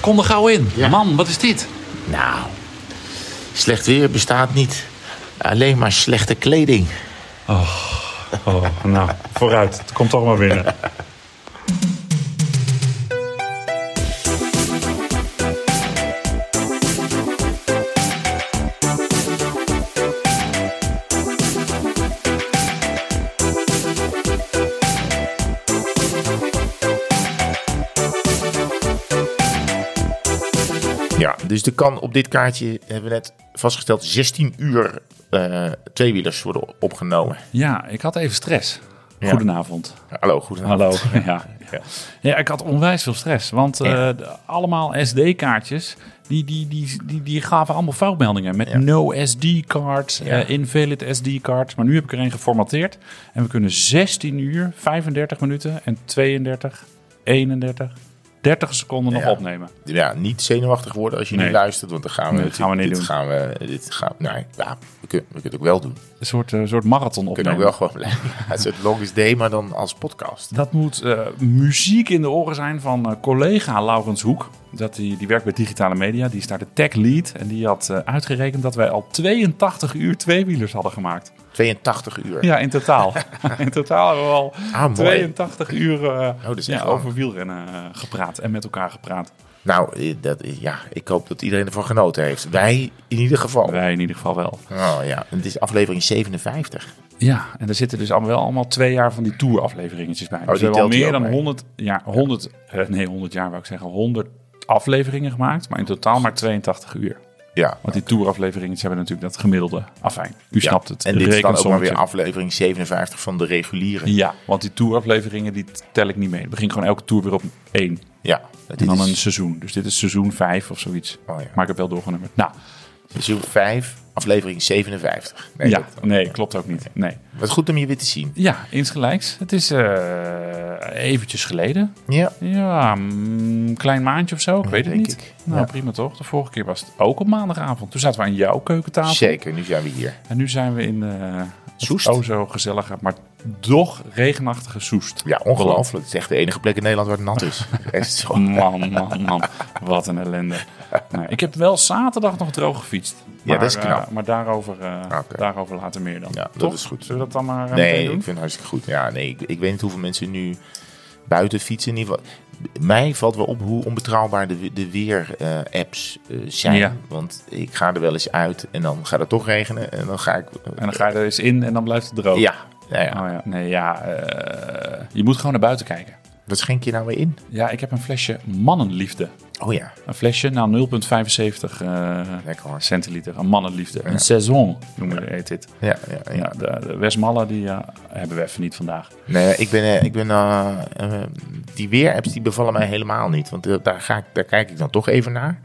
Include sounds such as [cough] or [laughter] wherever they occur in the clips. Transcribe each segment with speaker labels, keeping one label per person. Speaker 1: kom er gauw in.
Speaker 2: Ja.
Speaker 1: Man, wat is dit?
Speaker 2: Nou, slecht weer bestaat niet. Alleen maar slechte kleding.
Speaker 3: Oh, nou, vooruit. Het komt allemaal binnen.
Speaker 2: Ja, dus er kan op dit kaartje, hebben we net vastgesteld, 16 uur eh, tweewielers worden opgenomen.
Speaker 1: Ja, ik had even stress.
Speaker 2: Ja.
Speaker 1: Goedenavond.
Speaker 2: Hallo, goedenavond. [laughs]
Speaker 1: Hallo. Ja.
Speaker 2: Ja.
Speaker 1: ja, ik had onwijs veel stress. Want eh,
Speaker 2: Ja.
Speaker 1: de- allemaal SD-kaartjes, die, die, die, die, die gaven allemaal foutmeldingen. Met no SD-card, eh, invalid SD-card. Maar nu heb ik er een geformateerd. En we kunnen 16 uur, 35 minuten en 32, 31, 30 seconden nog
Speaker 2: Ja.
Speaker 1: opnemen.
Speaker 2: Ja, niet zenuwachtig worden als je
Speaker 1: Nee.
Speaker 2: nu luistert, want dan gaan we,
Speaker 1: Nee, dat gaan we niet
Speaker 2: dit
Speaker 1: doen.
Speaker 2: Gaan we, dit gaan nee, ja, we, kunnen, we kunnen het ook wel doen. We
Speaker 1: Een soort, eh, soort marathon opnemen.
Speaker 2: kunnen ook wel gewoon blijven. [laughs] Ja, het is het Longest Day, maar dan als podcast.
Speaker 1: Dat moet eh, muziek in de oren zijn van eh, collega Laurens Hoek. Dat die, die werkt bij digitale media. Die is daar de tech lead. En die had eh, uitgerekend dat wij al 82 uur tweewielers hadden gemaakt.
Speaker 2: 82 uur.
Speaker 1: Ja, in totaal. [laughs] in totaal hebben we al
Speaker 2: Ah, mooi. Oh,
Speaker 1: 82 uur eh,
Speaker 2: dat is
Speaker 1: ja,
Speaker 2: echt lang.
Speaker 1: over wielrennen eh, gepraat. En met elkaar gepraat.
Speaker 2: Nou, eh, dat, ja, ik hoop dat iedereen ervan genoten heeft. Wij in ieder geval.
Speaker 1: Wij in ieder geval wel.
Speaker 2: Oh ja, en het is aflevering 57.
Speaker 1: Ja, en er zitten dus al wel allemaal twee jaar van die tour-afleveringetjes bij. dus we
Speaker 2: Oh, die
Speaker 1: hebben al
Speaker 2: telt die
Speaker 1: meer
Speaker 2: ook
Speaker 1: dan
Speaker 2: mee.
Speaker 1: 100, ja, 100, eh, nee 100 jaar wou ik zeggen, 100 afleveringen gemaakt. Maar in totaal maar 82 uur.
Speaker 2: Ja.
Speaker 1: Want die tourafleveringen hebben natuurlijk dat gemiddelde. Afijn, u
Speaker 2: Ja,
Speaker 1: snapt het.
Speaker 2: En dit is dan ook maar
Speaker 1: Rekensommetje.
Speaker 2: weer aflevering 57 van de reguliere.
Speaker 1: Ja, want die tourafleveringen die tel ik niet mee. We beginnen gewoon elke tour weer op één.
Speaker 2: Ja, dat
Speaker 1: En dan een
Speaker 2: is
Speaker 1: seizoen. Dus dit is seizoen vijf of zoiets.
Speaker 2: Oh ja.
Speaker 1: Maar ik heb wel doorgenummerd. Nou,
Speaker 2: seizoen 5, aflevering 57. Nee,
Speaker 1: ja,
Speaker 2: dat-
Speaker 1: nee, klopt ook niet. Nee.
Speaker 2: Wat goed om je weer te zien.
Speaker 1: Ja, insgelijks. Het is eh, eventjes geleden.
Speaker 2: Ja.
Speaker 1: Ja, een klein maandje of zo. Ik weet het
Speaker 2: denk
Speaker 1: niet.
Speaker 2: ik.
Speaker 1: Nou,
Speaker 2: Ja.
Speaker 1: prima toch? De vorige keer was het ook op maandagavond. Toen zaten we aan jouw keukentafel.
Speaker 2: Zeker, nu zijn we hier.
Speaker 1: En nu zijn we in eh
Speaker 2: Soest.
Speaker 1: het o zo gezellige, maar toch regenachtige Soest.
Speaker 2: Ja, ongelooflijk. Het is echt de enige plek in Nederland waar het nat
Speaker 1: [laughs]
Speaker 2: is. echt zo.
Speaker 1: Man, man, man. Wat een ellende. Nou, ik heb wel zaterdag nog droog gefietst.
Speaker 2: Ja, dat is
Speaker 1: eh,
Speaker 2: knap. Ah,
Speaker 1: maar daarover, eh,
Speaker 2: Oké.
Speaker 1: daarover later meer dan.
Speaker 2: Ja, dat
Speaker 1: toch?
Speaker 2: is goed.
Speaker 1: Zullen we dat dan maar eh,
Speaker 2: Nee,
Speaker 1: meteen
Speaker 2: ik
Speaker 1: doen?
Speaker 2: vind het hartstikke goed. Ja, nee, ik, ik weet niet hoeveel mensen nu buiten fietsen. In ieder geval. Mij valt wel op hoe onbetrouwbaar de, de weer-apps eh, zijn.
Speaker 1: Ja.
Speaker 2: Want ik ga er wel eens uit en dan gaat het toch regenen. En dan ga ik... eh,
Speaker 1: En dan ga je er eens in en dan blijft het droog.
Speaker 2: ja, nou ja.
Speaker 1: Oh, ja. Nee, ja. eh, je moet gewoon naar buiten kijken.
Speaker 2: Wat schenk je nou weer in?
Speaker 1: Ja, ik heb een flesje mannenliefde.
Speaker 2: Oh ja,
Speaker 1: Een flesje, nou 0,75 eh,
Speaker 2: lekker hoor.
Speaker 1: centiliter. Een mannenliefde. Een saison noemen we heet dit.
Speaker 2: Ja, ja, ja.
Speaker 1: Ja, de, de Westmalle die eh, hebben we even niet vandaag.
Speaker 2: Nee, ik ben, eh, ik ben eh, eh, die weer-apps die bevallen mij helemaal niet. Want eh, daar, ga ik, daar kijk ik dan toch even naar.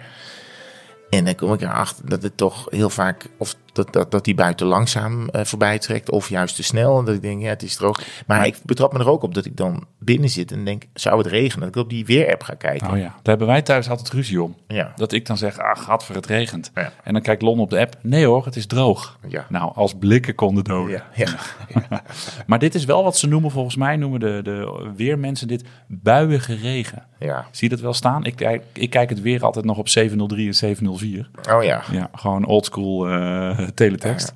Speaker 2: En dan kom ik erachter dat het toch heel vaak, of dat, dat, dat die buiten langzaam eh, voorbij trekt, of juist te snel. En dat ik denk, ja, het is droog. Maar ik betrap me er ook op dat ik dan binnen zit en denk, zou het regenen? Dat ik op die weer-app ga kijken.
Speaker 1: Oh ja, daar hebben wij thuis altijd ruzie om.
Speaker 2: Ja.
Speaker 1: Dat ik dan zeg, ah, gaat voor het regent.
Speaker 2: Ja.
Speaker 1: En dan kijkt Lon op de app, nee hoor, het is droog.
Speaker 2: Ja.
Speaker 1: Nou, als blikken konden doden.
Speaker 2: Ja, ja.
Speaker 1: Maar dit is wel wat ze noemen, volgens mij noemen de, de weermensen dit buiige regen.
Speaker 2: ja.
Speaker 1: Zie je dat wel staan? Ik, kijk- ik kijk het weer altijd nog op 703 en 704.
Speaker 2: Oh ja.
Speaker 1: Ja, gewoon oldschool eh teletext.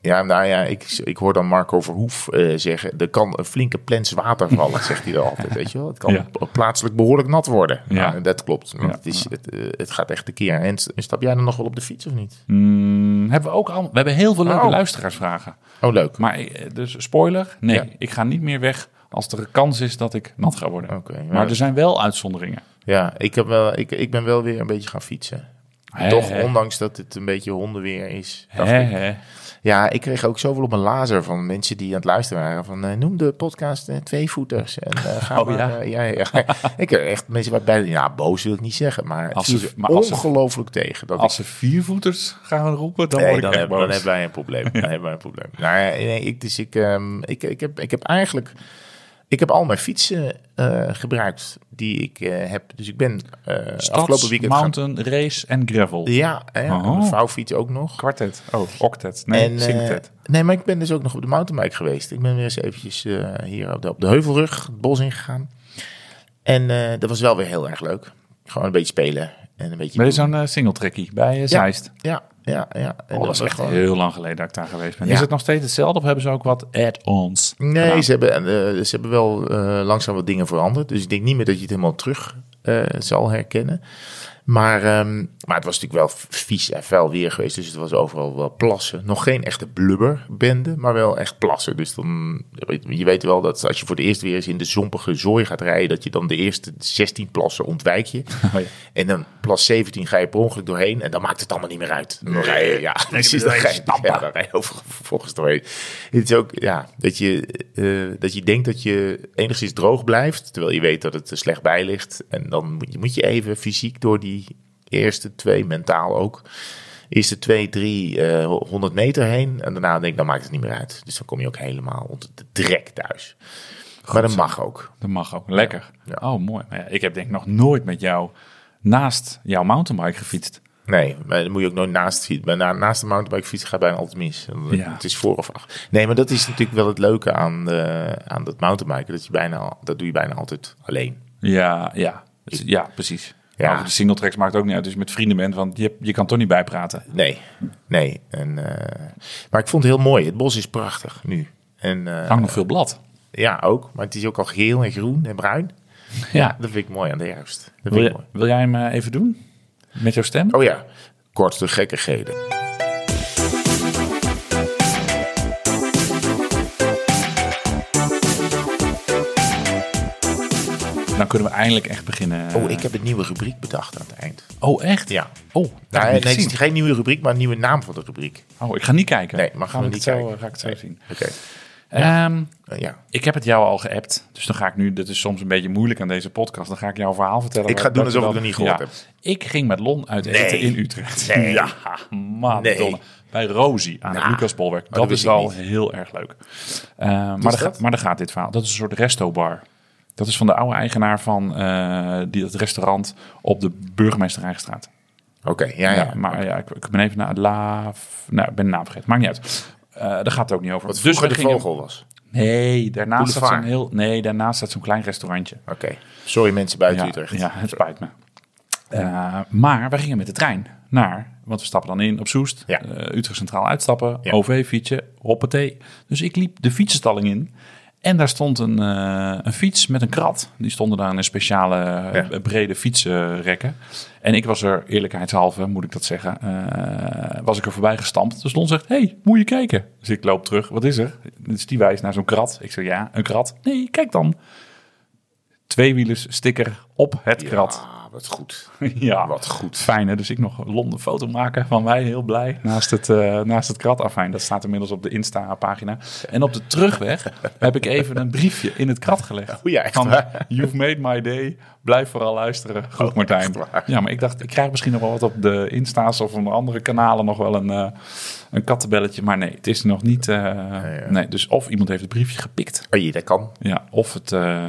Speaker 2: Ja, nou ja, ik, ik hoor dan Marco Verhoef eh, zeggen, er kan een flinke plens water vallen, zegt hij dan
Speaker 1: [laughs]
Speaker 2: altijd, weet je wel. Het kan
Speaker 1: Ja.
Speaker 2: pla- plaatselijk behoorlijk nat worden.
Speaker 1: Ja.
Speaker 2: Ja. dat klopt, want
Speaker 1: Ja.
Speaker 2: het, is, het, eh, het gaat echt de keer. En s- stap jij dan nog wel op de fiets of niet?
Speaker 1: Mm, hebben we, ook al, we hebben heel veel leuke
Speaker 2: Oh.
Speaker 1: luisteraarsvragen.
Speaker 2: Oh, leuk.
Speaker 1: Maar eh, dus spoiler, nee,
Speaker 2: Ja.
Speaker 1: ik ga niet meer weg als er een kans is dat ik nat ga worden.
Speaker 2: Oké,
Speaker 1: maar, dus-
Speaker 2: maar-
Speaker 1: er zijn wel uitzonderingen.
Speaker 2: Ja, ik, heb wel, ik, ik ben wel weer een beetje gaan fietsen.
Speaker 1: Hè,
Speaker 2: Toch,
Speaker 1: hè,
Speaker 2: ondanks dat het een beetje hondenweer is. dacht
Speaker 1: hè,
Speaker 2: ik.
Speaker 1: hè.
Speaker 2: Ja, ik kreeg ook zoveel op mijn lazer van mensen die aan het luisteren waren. Van eh, noem de podcast eh, Tweevoeters. En, eh, ga
Speaker 1: Oh,
Speaker 2: maar,
Speaker 1: ja?
Speaker 2: eh, ja, ja, [laughs] ja. ik heb echt mensen waarbij, ja, boos wil ik niet zeggen. Maar het
Speaker 1: Als
Speaker 2: viel
Speaker 1: ze-
Speaker 2: er
Speaker 1: maar als ze-
Speaker 2: ongelooflijk tegen. Dat ik
Speaker 1: Als ze viervoeters gaan roepen, dan
Speaker 2: Nee,
Speaker 1: word ik
Speaker 2: dan,
Speaker 1: echt
Speaker 2: heb-
Speaker 1: boos.
Speaker 2: dan hebben wij een [laughs] probleem. Dan hebben wij een probleem. Nou ja, nee, ik, dus ik, ehm, ik, ik, heb, ik heb eigenlijk... Ik heb al mijn fietsen eh, gebruikt die ik eh, heb. Dus ik ben eh,
Speaker 1: Stads,
Speaker 2: afgelopen weekend... gaan-
Speaker 1: mountain, race en gravel.
Speaker 2: ja, hè,
Speaker 1: Oh.
Speaker 2: mijn vrouwfiets ook nog.
Speaker 1: Kwartet, oh, octet, nee,
Speaker 2: eh,
Speaker 1: singtet.
Speaker 2: nee, maar ik ben dus ook nog op de mountainbike geweest. Ik ben weer eens eventjes eh, hier op de, op de heuvelrug, het bos ingegaan. En eh, dat was wel weer heel erg leuk. Gewoon een beetje spelen. En een beetje
Speaker 1: Maar dit is
Speaker 2: doen.
Speaker 1: zo'n eh, singletrackie bij eh, Zeist.
Speaker 2: Ja, ja, ja. En
Speaker 1: Oh, dat is
Speaker 2: was
Speaker 1: echt heel lang geleden dat ik daar geweest ben.
Speaker 2: Ja.
Speaker 1: Is het nog steeds hetzelfde of hebben ze ook wat add-ons? Nou,
Speaker 2: Nee,
Speaker 1: gedaan?
Speaker 2: ze, hebben, eh, ze hebben wel eh, langzaam wat dingen veranderd. Dus ik denk niet meer dat je het helemaal terug eh, zal herkennen. Maar, ehm, maar het was natuurlijk wel v- vies en vuil weer geweest. Dus het was overal wel plassen. Nog geen echte blubberbende, maar wel echt plassen. Dus dan, je weet wel dat als je voor het eerst weer eens in de zompige zooi gaat rijden... dat je dan de eerste 16 plassen ontwijk
Speaker 1: [laughs]
Speaker 2: je.
Speaker 1: Oh ja.
Speaker 2: En dan plas 17 ga je per ongeluk doorheen. En dan maakt het allemaal niet meer uit. Dan rij je, ja, precies. Dan ga je, ja, dan rij je [laughs] over- vervolgens doorheen. Het is ook ja, dat, je, eh, dat je denkt dat je enigszins droog blijft. Terwijl je weet dat het er slecht bij ligt. En dan moet je, moet je even fysiek door die eerste twee, mentaal ook. Eerste twee, drie, eh 100 meter heen. En daarna denk ik, dan maakt het niet meer uit. Dus dan kom je ook helemaal onder de drek thuis. maar dat mag ook.
Speaker 1: Dat mag ook. Lekker.
Speaker 2: Ja.
Speaker 1: Oh, mooi. Maar ja, ik heb denk ik nog nooit met jou naast jouw mountainbike gefietst.
Speaker 2: Nee, maar dan moet je ook nooit naast, fiets- maar na- naast de mountainbike fietsen gaat bijna altijd mis. Dan-
Speaker 1: Ja.
Speaker 2: Het is voor of achter. Nee, maar dat is natuurlijk wel het leuke aan, eh, aan dat mountainbiken. Dat, je bijna, al- dat doe je bijna altijd alleen.
Speaker 1: Ja, ja. Dus- Ja, precies.
Speaker 2: Ja.
Speaker 1: Maar voor de singletracks maakt het ook niet uit als je met vrienden bent, want je, je kan toch niet bijpraten.
Speaker 2: Nee, nee. En, eh, maar ik vond het heel mooi. Het bos is prachtig nu. En, eh,
Speaker 1: Er hangt nog veel blad.
Speaker 2: ja, ook. Maar het is ook al geel en groen en bruin.
Speaker 1: Ja.
Speaker 2: Dat vind ik mooi aan de herfst.
Speaker 1: Wil,
Speaker 2: Dat vind ik
Speaker 1: je-
Speaker 2: mooi.
Speaker 1: wil jij hem eh, even doen? Met jouw stem?
Speaker 2: Oh ja, korte gekkigheden.
Speaker 1: Dan kunnen we eindelijk echt beginnen.
Speaker 2: Oh, ik heb een nieuwe rubriek bedacht aan het eind.
Speaker 1: Oh, echt?
Speaker 2: Ja.
Speaker 1: Oh, dat
Speaker 2: Nou,
Speaker 1: heb
Speaker 2: nee,
Speaker 1: ik niet
Speaker 2: het
Speaker 1: gezien.
Speaker 2: is geen nieuwe rubriek, maar een nieuwe naam van de rubriek.
Speaker 1: Oh, ik ga niet kijken.
Speaker 2: Nee, mag
Speaker 1: Gaan we
Speaker 2: niet
Speaker 1: het zo,
Speaker 2: kijken.
Speaker 1: Ga ik het zo
Speaker 2: Nee.
Speaker 1: zien.
Speaker 2: Oké.
Speaker 1: Ehm,
Speaker 2: Eh, ja.
Speaker 1: ik heb het jou al geappt, dus dan ga ik nu... Dat is soms een beetje moeilijk aan deze podcast. Dan ga ik jouw verhaal vertellen.
Speaker 2: Ik ga
Speaker 1: waar-
Speaker 2: doen
Speaker 1: dat
Speaker 2: alsof
Speaker 1: je
Speaker 2: ik
Speaker 1: dan-
Speaker 2: het nog niet gehoord
Speaker 1: Ik ging met Lon uit eten in Utrecht. [laughs]
Speaker 2: Nee.
Speaker 1: Ja, man.
Speaker 2: Nee.
Speaker 1: Bij Rosie aan het
Speaker 2: Nou,
Speaker 1: Lucas Bolwerk. Dat,
Speaker 2: dat wist
Speaker 1: is
Speaker 2: ik
Speaker 1: al
Speaker 2: niet.
Speaker 1: heel erg leuk. Eh, maar, daar,
Speaker 2: dat?
Speaker 1: ga- maar daar gaat dit verhaal. Dat is een soort resto-bar. Dat is van de oude eigenaar van eh, die, dat restaurant op de Burgemeester Rijnstraat.
Speaker 2: Oké, ja, Ah, ja.
Speaker 1: Ja, maar ja, ik, ik ben even naar La. Nou, ik ben de naam vergeten. Maakt niet uit. Eh, daar gaat het ook niet over. Dus
Speaker 2: Wat vroeger
Speaker 1: we
Speaker 2: de
Speaker 1: gingen-
Speaker 2: vogel was.
Speaker 1: Nee, daarnaast staat zo'n
Speaker 2: Boulevard.
Speaker 1: heel. Nee, daarnaast staat zo'n klein restaurantje.
Speaker 2: Oké. Sorry mensen buiten
Speaker 1: Ja,
Speaker 2: Utrecht.
Speaker 1: ja, het spijt me. Eh, maar we gingen met de trein naar, want we stappen dan in op Soest,
Speaker 2: Ja.
Speaker 1: eh, Utrecht Centraal uitstappen,
Speaker 2: Ja.
Speaker 1: OV-fietsen, hoppatee. Dus ik liep de fietsenstalling in en daar stond een, eh, een fiets met een krat. Die stonden daar in een speciale eh,
Speaker 2: Ja.
Speaker 1: brede fietsenrekken. En ik was er, eerlijkheidshalve moet ik dat zeggen, eh, was ik er voorbij gestampt. Dus Lon zegt, hey, moet je kijken. Dus ik loop terug, wat is er? Dus die wijst naar zo'n krat. Ik zeg, ja, een krat. Nee, kijk dan. Tweewielers sticker op het krat.
Speaker 2: Ah, wat
Speaker 1: [laughs]
Speaker 2: goed.
Speaker 1: ja,
Speaker 2: Wat goed.
Speaker 1: fijn hè. Dus ik nog een Londen foto maken van mij, heel blij. Naast het, eh, naast het krat afijn. Dat staat inmiddels op de Insta-pagina. En op de terugweg heb ik even een briefje in het krat gelegd.
Speaker 2: Oh ja, echt
Speaker 1: Van,
Speaker 2: waar? Oh,
Speaker 1: You've made my day. Blijf vooral luisteren. Goed Martijn.
Speaker 2: echt waar?
Speaker 1: Ja, maar ik dacht, ik krijg misschien nog wel wat op de Insta's of op de andere kanalen nog wel een, eh, een kattenbelletje. Maar nee, het is nog niet... eh, Nee, dus of iemand heeft het briefje gepikt.
Speaker 2: Oh je, dat kan.
Speaker 1: Ja, of het, eh,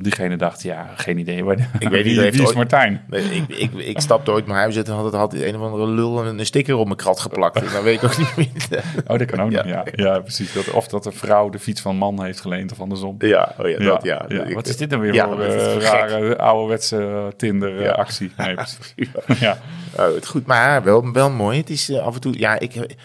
Speaker 1: diegene dacht, ja, geen idee. waar-
Speaker 2: Ik weet niet,
Speaker 1: wie,
Speaker 2: heeft
Speaker 1: wie is
Speaker 2: ooit-
Speaker 1: Martijn?
Speaker 2: Nee, Ik, ik, ik stapte ooit mijn huis uit en had, had een of andere lul een, een sticker op mijn krat geplakt.
Speaker 1: [laughs]
Speaker 2: En dan weet ik ook niet meer.
Speaker 1: Oh, dat kan ook
Speaker 2: Ja.
Speaker 1: nog, ja. Ja, precies. Dat, of dat een vrouw de fiets van een man heeft geleend of andersom.
Speaker 2: Ja, oh ja, dat, ja.
Speaker 1: ja.
Speaker 2: Ik-
Speaker 1: Wat is dit dan weer
Speaker 2: ja,
Speaker 1: voor
Speaker 2: wat is dit
Speaker 1: eh,
Speaker 2: voor gek?
Speaker 1: rare ouderwetse eh,
Speaker 2: Ja.
Speaker 1: Tinder-actie?
Speaker 2: [laughs]
Speaker 1: Nee, precies. Ja.
Speaker 2: Oh, het goed, maar wel, wel mooi. Het is eh, af en toe, ja, ik, eh,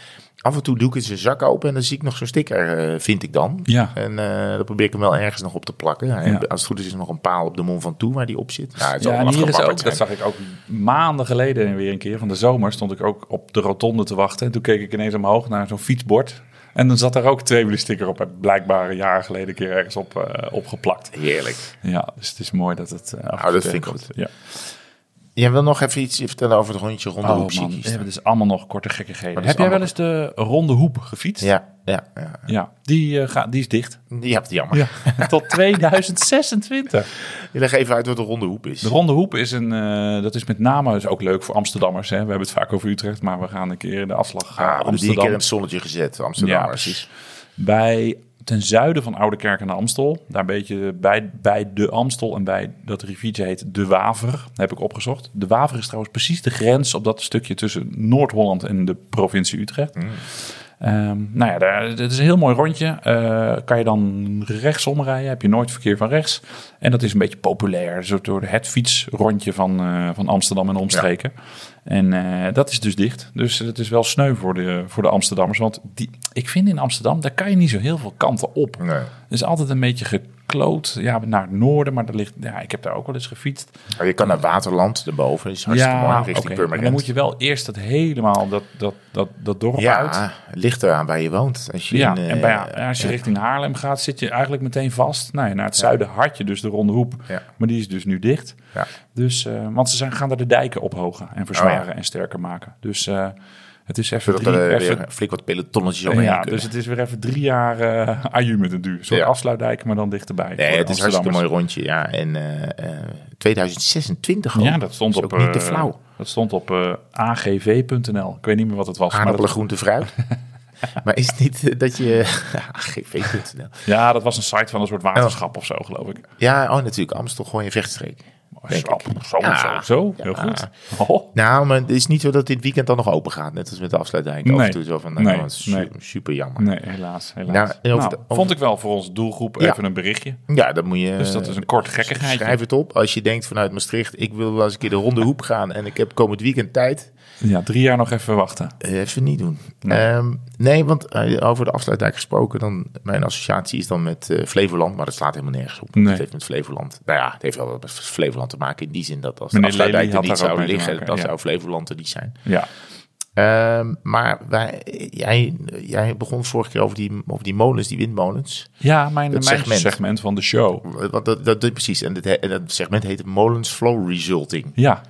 Speaker 2: af en toe doe ik eens een zak open en dan zie ik nog zo'n sticker, eh, vind ik dan.
Speaker 1: Ja.
Speaker 2: En eh, dan probeer ik hem wel ergens nog op te plakken. En
Speaker 1: Ja.
Speaker 2: Als het goed is, is er nog een paal op de mond van toe waar die op zit. Nou, het zal
Speaker 1: Ja, en
Speaker 2: wel
Speaker 1: hier is
Speaker 2: afgewakkerd
Speaker 1: ook, dat
Speaker 2: zijn.
Speaker 1: zag ik ook maanden geleden weer een keer van de zomer, stond ik ook op de rotonde te wachten. En toen keek ik ineens omhoog naar zo'n fietsbord. En dan zat daar ook een sticker op, heb ik blijkbaar een jaar geleden een keer ergens op, eh, opgeplakt.
Speaker 2: Heerlijk.
Speaker 1: Ja, dus het is mooi dat het... eh, af en
Speaker 2: Nou, dat
Speaker 1: toe
Speaker 2: vind ik
Speaker 1: tegenkomt.
Speaker 2: goed.
Speaker 1: Ja.
Speaker 2: Jij wil nog even iets vertellen over het rondje ronde
Speaker 1: Oh
Speaker 2: hoek
Speaker 1: man, we
Speaker 2: cyclist.
Speaker 1: hebben dus allemaal nog korte gekkigheden.
Speaker 2: Maar
Speaker 1: Heb jij
Speaker 2: dat is
Speaker 1: wel eens de ronde hoep gefietst?
Speaker 2: Ja, ja, ja.
Speaker 1: Ja, Oh die, eh, gaat, die is dicht.
Speaker 2: Je hebt het jammer.
Speaker 1: [laughs] Tot 2026.
Speaker 2: Je legt even uit wat de ronde hoep is.
Speaker 1: De Ronde Hoep is een, eh, dat is met name is ook leuk voor Amsterdammers. Hè. We hebben het vaak over Utrecht, maar we gaan een keer in de afslag eh,
Speaker 2: Ah, we hebben die een keer
Speaker 1: Amsterdam.
Speaker 2: in het zonnetje gezet,
Speaker 1: Ja,
Speaker 2: Amsterdammers.
Speaker 1: precies. Bij ten zuiden van Oude Kerk aan de Amstel, daar een beetje bij, bij de Amstel en bij dat riviertje heet De Waver, heb ik opgezocht. De Waver is trouwens precies de grens op dat stukje tussen Noord-Holland en de provincie Utrecht. Eh, Ehm, nou ja, daar, dat is een heel mooi rondje. Eh, kan je dan rechtsom rijden, heb je nooit verkeer van rechts. En dat is een beetje populair, zo door het fietsrondje van, eh, van Amsterdam en omstreken. En eh, dat is dus dicht. Dus het is wel sneu voor de, voor de Amsterdammers. Want die, ik vind in Amsterdam, daar kan je niet zo heel veel kanten op.
Speaker 2: Nee.
Speaker 1: Er is altijd een beetje gekloot ja, naar het noorden, maar daar ligt, ja, ik heb daar ook wel eens gefietst.
Speaker 2: Maar je kan naar Waterland, daarboven. Dat is hartstikke mooi, richting
Speaker 1: oké. Maar
Speaker 2: Purmerend.
Speaker 1: Dan moet je wel eerst dat helemaal dat, dat, dat, dat dorp uit.
Speaker 2: ja, ligt eraan waar je woont. Als je
Speaker 1: Ja,
Speaker 2: in, eh,
Speaker 1: en bij, als je richting Haarlem gaat, zit je eigenlijk meteen vast. Nee, naar het zuiden had je dus de Ronde Hoep,
Speaker 2: Ja.
Speaker 1: maar die is dus nu dicht.
Speaker 2: Ja.
Speaker 1: Dus, eh, want ze zijn, gaan daar de dijken ophogen en verzwaren
Speaker 2: Oh, ja.
Speaker 1: en sterker maken. Dus eh, het is even
Speaker 2: Zodat
Speaker 1: drie,
Speaker 2: er
Speaker 1: even-
Speaker 2: weer flink wat pelotonnetjes
Speaker 1: ja,
Speaker 2: omheen kunnen.
Speaker 1: dus het is weer even drie jaar eh aju met een duur. Een soort
Speaker 2: Ja.
Speaker 1: afsluitdijk, maar dan dichterbij.
Speaker 2: Nee,
Speaker 1: voor
Speaker 2: het
Speaker 1: de
Speaker 2: is een hartstikke mooi
Speaker 1: Amsterdammers.
Speaker 2: rondje. Ja. En eh, eh, 2026 al.
Speaker 1: Ja, dat stond
Speaker 2: is
Speaker 1: op...
Speaker 2: ook niet te
Speaker 1: eh,
Speaker 2: flauw.
Speaker 1: dat stond op eh, agv.nl. Ik weet niet meer wat het was. maar dat-
Speaker 2: Aardappelen, groente, fruit. [laughs] maar is het niet eh, dat je... [laughs] AGV.nl.
Speaker 1: ja, dat was een site van een soort waterschap of zo, geloof ik.
Speaker 2: Ja, oh natuurlijk. Amstel, gewoon je vechtstreek. Denk
Speaker 1: Zo, zo,
Speaker 2: Ja.
Speaker 1: zo, zo. Heel
Speaker 2: Ja.
Speaker 1: goed. Oh.
Speaker 2: Nou, maar het is niet zo dat dit weekend dan nog open gaat. Net als met de afsluitdijk. Af
Speaker 1: Nee.
Speaker 2: en toe zo van, nou,
Speaker 1: Nee,
Speaker 2: dat is su-
Speaker 1: nee.
Speaker 2: super jammer.
Speaker 1: Nee, helaas. helaas.
Speaker 2: Nou, en over
Speaker 1: Nou,
Speaker 2: de- over-
Speaker 1: Vond ik wel voor onze doelgroep
Speaker 2: Ja.
Speaker 1: even een berichtje.
Speaker 2: Ja, dat moet je...
Speaker 1: Dus dat is een kort gekkigheidje.
Speaker 2: Schrijf het op. Als je denkt vanuit Maastricht, ik wil wel eens een keer de ronde hoep gaan en ik heb komend weekend tijd.
Speaker 1: Ja, drie jaar nog even wachten.
Speaker 2: Eh, Even niet doen. Ehm, nee, want eh, over de afsluitdijk gesproken, dan, mijn associatie is dan met eh, Flevoland, maar dat slaat helemaal nergens op.
Speaker 1: Nee.
Speaker 2: Het heeft met Flevoland, nou ja, het heeft wel wat met Flevoland te maken in die zin dat als de
Speaker 1: Meneer Lely
Speaker 2: afsluitdijk er
Speaker 1: had
Speaker 2: niet
Speaker 1: daar ook mee
Speaker 2: zou
Speaker 1: te
Speaker 2: liggen,
Speaker 1: maken,
Speaker 2: dan
Speaker 1: ja.
Speaker 2: zou Flevoland er niet zijn.
Speaker 1: Ja,
Speaker 2: Ehm, maar wij, jij, jij begon vorige keer over die, over die molens, die windmolens.
Speaker 1: ja mijn, mijn
Speaker 2: Het
Speaker 1: segment.
Speaker 2: segment.
Speaker 1: van de show.
Speaker 2: Want dat, dat, dat- precies, en dat, en dat segment heet Molens Flow Resulting.
Speaker 1: Ja,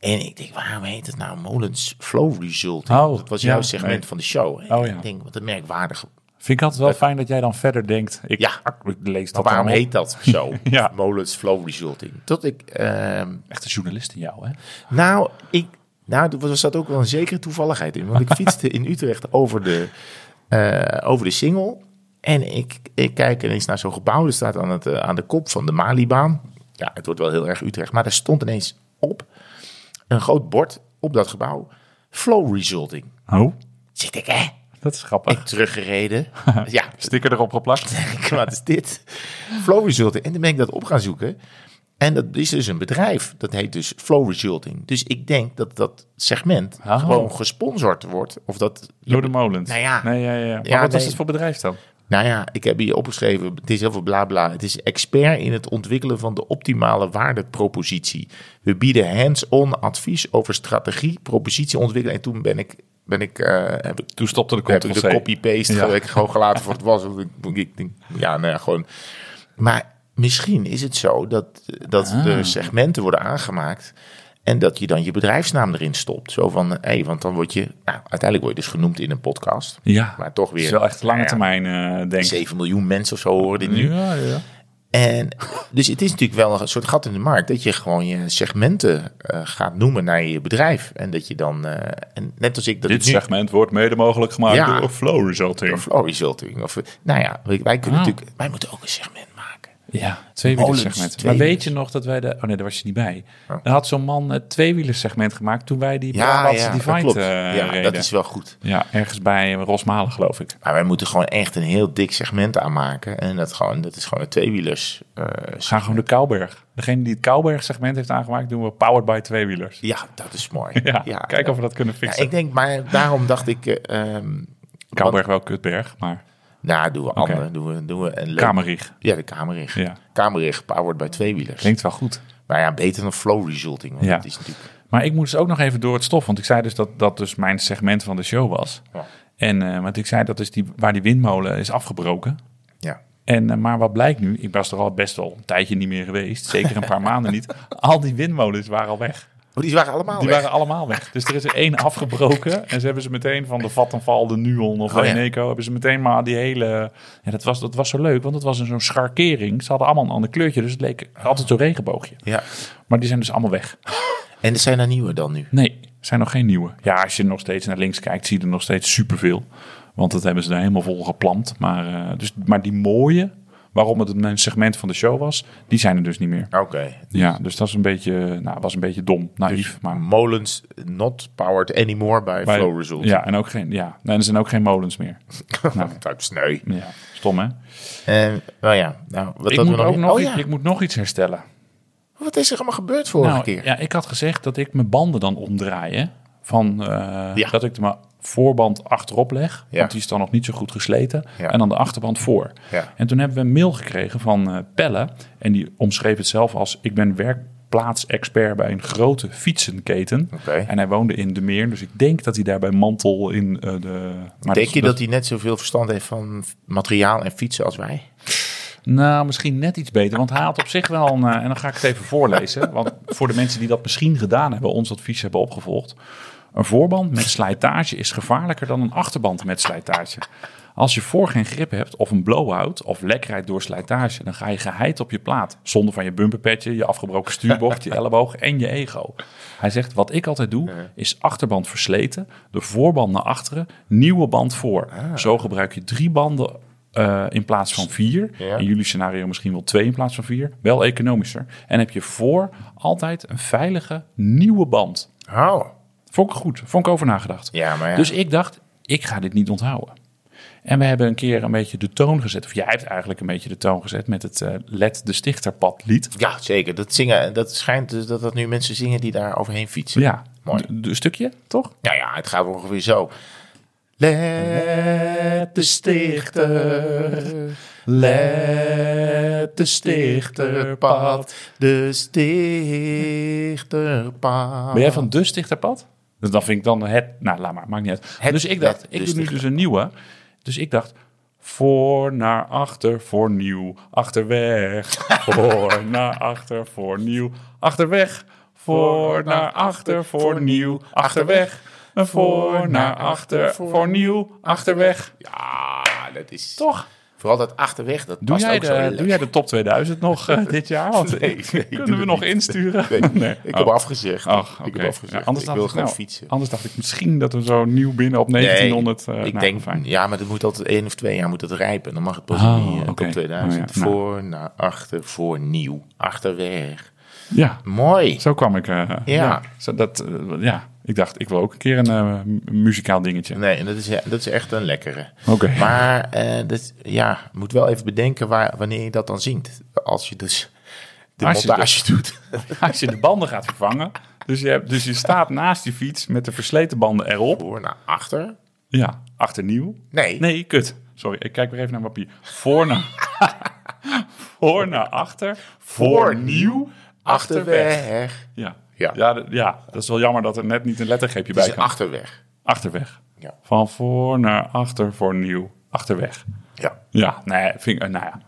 Speaker 2: En ik denk, waarom heet het nou Molens Flow Result?
Speaker 1: Oh,
Speaker 2: dat was
Speaker 1: ja,
Speaker 2: jouw segment
Speaker 1: nee.
Speaker 2: van de show. En
Speaker 1: Oh, ja.
Speaker 2: Ik denk, wat een merkwaardig.
Speaker 1: vind ik altijd wel fijn dat jij dan verder denkt. Ik,
Speaker 2: Ja.
Speaker 1: ik lees dat
Speaker 2: waarom
Speaker 1: dan op.
Speaker 2: heet dat zo?
Speaker 1: [laughs] Ja.
Speaker 2: Molens Flow Resulting. Tot ik, ehm,
Speaker 1: Echt een journalist in jou, hè?
Speaker 2: nou, ik, nou, er was- zat ook wel een zekere toevalligheid in.
Speaker 1: [laughs]
Speaker 2: Want ik fietste in Utrecht over de, eh, over de Singel. En ik, ik kijk ineens naar zo'n gebouw. Dat staat aan, het, eh, aan de kop van de Malibaan. Ja, het wordt wel heel erg Utrecht. Maar er stond ineens op een groot bord op dat gebouw. Flow Resulting.
Speaker 1: Oh,
Speaker 2: Zit ik, hè?
Speaker 1: dat is grappig. [laughs]
Speaker 2: teruggereden. ja,
Speaker 1: Sticker erop geplakt.
Speaker 2: ik, wat [laughs] is dit? Flow Resulting. En dan ben ik dat op gaan zoeken. En dat is dus een bedrijf. Dat heet dus Flow Resulting. Dus ik denk dat dat segment
Speaker 1: Oh.
Speaker 2: gewoon gesponsord wordt. Of dat...
Speaker 1: Door de molens.
Speaker 2: Nou ja.
Speaker 1: Nee, ja, ja. Maar
Speaker 2: Ja,
Speaker 1: wat is
Speaker 2: nee.
Speaker 1: het voor bedrijf dan?
Speaker 2: Nou ja, ik heb hier opgeschreven. Het is heel veel bla bla. Het is expert in het ontwikkelen van de optimale waardepropositie. We bieden hands-on advies over strategie, propositieontwikkeling. En toen ben ik... Ben ik eh, heb ik
Speaker 1: Toen stopte de
Speaker 2: heb ik de
Speaker 1: kopie.
Speaker 2: copy-paste
Speaker 1: Ja.
Speaker 2: heb ik gewoon gelaten voor het was. Want Ik, ik denk, ja, nou ja, gewoon. Maar misschien is het zo dat, dat
Speaker 1: Ah.
Speaker 2: er segmenten worden aangemaakt. En dat je dan je bedrijfsnaam erin stopt. Zo van, hé, want dan word je... Nou, uiteindelijk word je dus genoemd in een podcast.
Speaker 1: Ja,
Speaker 2: Maar toch
Speaker 1: is
Speaker 2: weer...
Speaker 1: wel echt lange
Speaker 2: nou ja,
Speaker 1: termijn, eh denk ik.
Speaker 2: 7 miljoen mensen of zo horen dit nu.
Speaker 1: Ja, ja.
Speaker 2: En, dus het is natuurlijk wel een soort gat in de markt. Dat je gewoon je segmenten eh, gaat noemen naar je bedrijf. En dat je dan... eh, en net als ik dat
Speaker 1: Dit
Speaker 2: ik nu-
Speaker 1: segment wordt mede mogelijk gemaakt
Speaker 2: Ja.
Speaker 1: door Flow Resulting.
Speaker 2: Of oh, resulting. Of, eh, nou ja, wij wij kunnen
Speaker 1: Ah.
Speaker 2: natuurlijk, wij moeten ook een segment maken.
Speaker 1: Ja, tweewielersegment.
Speaker 2: Molens,
Speaker 1: maar
Speaker 2: tweewielers. Oh.
Speaker 1: weet je nog dat wij de... Oh nee, daar was je niet bij. Er had zo'n man het tweewielersegment gemaakt toen wij die Brabantse Divide eh,
Speaker 2: ja,
Speaker 1: reden.
Speaker 2: dat is wel goed.
Speaker 1: Ja, ergens bij Rosmalen geloof ik.
Speaker 2: Maar wij moeten gewoon echt een heel dik segment aanmaken. En dat, gewoon, dat is gewoon een tweewielers. eh,
Speaker 1: Ga gewoon de Kouberg. Degene die het Kouberg segment heeft aangemaakt, doen we powered by tweewielers.
Speaker 2: ja, dat is mooi.
Speaker 1: Ja, kijk of we dat kunnen
Speaker 2: Ja,
Speaker 1: fixen.
Speaker 2: ik denk, maar daarom dacht ik... eh, ehm,
Speaker 1: Kouberg wel kutberg, maar
Speaker 2: nou, doen we
Speaker 1: Oké.
Speaker 2: andere. Doen we, doen we een leuk-
Speaker 1: Kamerig.
Speaker 2: Ja, de kamerig.
Speaker 1: Ja.
Speaker 2: Kamerig, powered by tweewielers.
Speaker 1: Klinkt wel goed.
Speaker 2: Maar ja, beter dan flow resulting. Want
Speaker 1: Ja.
Speaker 2: dat is natuurlijk...
Speaker 1: Maar ik moest dus ook nog even door het stof, want ik zei dus dat dat dus mijn segment van de show was.
Speaker 2: Ja.
Speaker 1: En eh, want ik zei dat is die, waar die windmolen is afgebroken.
Speaker 2: Ja.
Speaker 1: En, eh, maar wat blijkt nu, ik was er al best wel een tijdje niet meer geweest. Zeker een
Speaker 2: [laughs]
Speaker 1: paar maanden niet. Al die windmolens waren al weg.
Speaker 2: Oh, die waren allemaal
Speaker 1: Die
Speaker 2: weg.
Speaker 1: waren allemaal weg. Dus er is er één afgebroken. En ze hebben ze meteen van de Vattenfall, de Nuon of
Speaker 2: Oh, ja.
Speaker 1: Eneco... hebben ze meteen maar die hele... Ja, dat was, dat was zo leuk, want het was een zo'n scharkering. Ze hadden allemaal een ander kleurtje, dus het leek altijd zo'n regenboogje.
Speaker 2: Ja.
Speaker 1: Maar die zijn dus allemaal weg.
Speaker 2: En er zijn er nieuwe dan nu.
Speaker 1: Nee, er zijn nog geen nieuwe. Ja, als je nog steeds naar links kijkt, zie je er nog steeds superveel. Want dat hebben ze daar helemaal vol geplant. Maar, eh, dus, maar die mooie waarom het een segment van de show was, die zijn er dus niet meer.
Speaker 2: Oké.
Speaker 1: Ja, dus dat is een beetje, nou, was een beetje dom, naïef. maar
Speaker 2: Molens not powered anymore by,
Speaker 1: bij-
Speaker 2: Flow Result. [laughs]
Speaker 1: Ja, en ook geen, ja, nee, er zijn ook geen molens meer. nou.
Speaker 2: Dat is sneu.
Speaker 1: Ja, stom hè?
Speaker 2: Eh, nou ja, nou, wat
Speaker 1: Ik
Speaker 2: hadden
Speaker 1: moet,
Speaker 2: we
Speaker 1: ook
Speaker 2: meer?
Speaker 1: nog,
Speaker 2: oh,
Speaker 1: iets-
Speaker 2: ja.
Speaker 1: ik moet nog iets herstellen.
Speaker 2: Wat is er allemaal gebeurd vorige
Speaker 1: nou,
Speaker 2: keer?
Speaker 1: Ja, ik had gezegd dat ik mijn banden dan omdraai. Hè? Van, eh,
Speaker 2: Ja.
Speaker 1: Dat ik de ma- voorband achterop leg,
Speaker 2: Ja.
Speaker 1: want die is dan nog niet zo goed gesleten.
Speaker 2: Ja.
Speaker 1: En dan de achterband voor.
Speaker 2: Ja.
Speaker 1: En toen hebben we een mail gekregen van eh, Pelle. En die omschreef het zelf als... ik ben werkplaatsexpert bij een grote fietsenketen.
Speaker 2: Oké.
Speaker 1: En hij woonde in De Meer. Dus ik denk dat hij daar bij Mantel in eh, de... Maar
Speaker 2: Denk je dat hij net zoveel verstand heeft van materiaal en fietsen als wij?
Speaker 1: Nou, misschien net iets beter. Want hij had op zich wel een. eh, en dan ga ik het even voorlezen. Want voor de mensen die dat misschien gedaan hebben, ons advies hebben opgevolgd. Een voorband met slijtage is gevaarlijker dan een achterband met slijtage. Als je voor geen grip hebt, of een blowout, of lekkerheid door slijtage, dan ga je geheid op je plaat. Zonder van je bumperpetje, je afgebroken stuurbocht, je elleboog en je ego. Hij zegt: Wat ik altijd doe, is achterband versleten, de voorband naar achteren, nieuwe band voor. Zo gebruik je drie banden eh, in plaats van vier.
Speaker 2: Ja.
Speaker 1: In jullie scenario misschien wel twee in plaats van vier. Wel economischer. En heb je voor altijd een veilige nieuwe band.
Speaker 2: Oh.
Speaker 1: Vond ik goed. Vond ik over nagedacht.
Speaker 2: Ja, maar ja.
Speaker 1: Dus ik dacht, ik ga dit niet onthouden. En we hebben een keer een beetje de toon gezet. Of jij hebt eigenlijk een beetje de toon gezet met het eh, Let de Stichterpad lied.
Speaker 2: Ja, zeker. Dat zingen, dat schijnt dus dat dat nu mensen zingen die daar overheen fietsen.
Speaker 1: Ja,
Speaker 2: Mooi.
Speaker 1: d- d- een stukje, toch?
Speaker 2: Nou ja, het gaat ongeveer zo. Let de stichter, let de stichterpad, de stichterpad.
Speaker 1: Ben jij van de Stichterpad? Dus dan vind ik dan het... Nou, laat maar, maakt niet uit.
Speaker 2: Het
Speaker 1: dus ik dacht,
Speaker 2: Let de
Speaker 1: ik doe nu
Speaker 2: Stichter.
Speaker 1: dus een nieuwe. Dus ik dacht, voor naar achter, voor nieuw,
Speaker 2: [laughs]
Speaker 1: achterweg. Voor naar achter, voor nieuw, achterweg. Voor naar achter, voor nieuw, achterweg. En voor naar achter, voor nieuw, achterweg.
Speaker 2: Ja, dat is...
Speaker 1: Toch?
Speaker 2: Vooral dat achterweg, dat
Speaker 1: Doe
Speaker 2: past
Speaker 1: jij,
Speaker 2: ook zo
Speaker 1: de, doe jij de top 2000 nog eh, dit
Speaker 2: [laughs]
Speaker 1: jaar? Want
Speaker 2: Nee,
Speaker 1: ik-
Speaker 2: nee, ik doe
Speaker 1: kunnen we
Speaker 2: het
Speaker 1: nog
Speaker 2: niet.
Speaker 1: insturen? [laughs] Nee.
Speaker 2: Ik
Speaker 1: Oh.
Speaker 2: heb afgezegd.
Speaker 1: Ach,
Speaker 2: ik
Speaker 1: oké.
Speaker 2: heb afgezegd.
Speaker 1: Ja, anders
Speaker 2: ik
Speaker 1: dacht
Speaker 2: wil
Speaker 1: ik,
Speaker 2: gewoon
Speaker 1: nou,
Speaker 2: fietsen.
Speaker 1: Anders dacht ik misschien dat we zo nieuw binnen op 1900... eh,
Speaker 2: ik
Speaker 1: nou,
Speaker 2: denk,
Speaker 1: fijn.
Speaker 2: ja, maar dat moet altijd één of twee jaar moet dat rijpen. Dan mag het pas
Speaker 1: Oh,
Speaker 2: in die, eh,
Speaker 1: oké.
Speaker 2: top 2000.
Speaker 1: Oh ja, nou.
Speaker 2: Voor, naar achter, voor, nieuw, achterweg.
Speaker 1: Ja,
Speaker 2: Mooi.
Speaker 1: zo kwam ik. eh, ja. Zo dat, eh, ja, ik dacht, ik wil ook een keer een eh, mu- muzikaal dingetje.
Speaker 2: Nee, en dat is, dat is echt een lekkere.
Speaker 1: Oké.
Speaker 2: Maar eh, dat, ja, moet wel even bedenken waar, wanneer je dat dan zingt. Als je dus de
Speaker 1: Als je dus-
Speaker 2: montage doet.
Speaker 1: [laughs] Als je de banden gaat vervangen... Dus je, hebt, dus je staat naast die fiets met de versleten banden erop.
Speaker 2: Voor, naar achter.
Speaker 1: Ja, achternieuw.
Speaker 2: Nee.
Speaker 1: Nee, kut. Sorry, ik kijk weer even naar mijn papier. Voor naar, [laughs] voor naar achter. Voor nieuw. Achterweg.
Speaker 2: Achterweg.
Speaker 1: Ja.
Speaker 2: Ja.
Speaker 1: Ja. d- ja, dat is wel jammer dat er net niet een lettergreepje
Speaker 2: Het
Speaker 1: bij
Speaker 2: is een
Speaker 1: kan.
Speaker 2: achterweg.
Speaker 1: Achterweg.
Speaker 2: Ja.
Speaker 1: Van voor naar achter voor nieuw. Achterweg.
Speaker 2: Ja.
Speaker 1: Ja, nee, vind, ik- nou ja.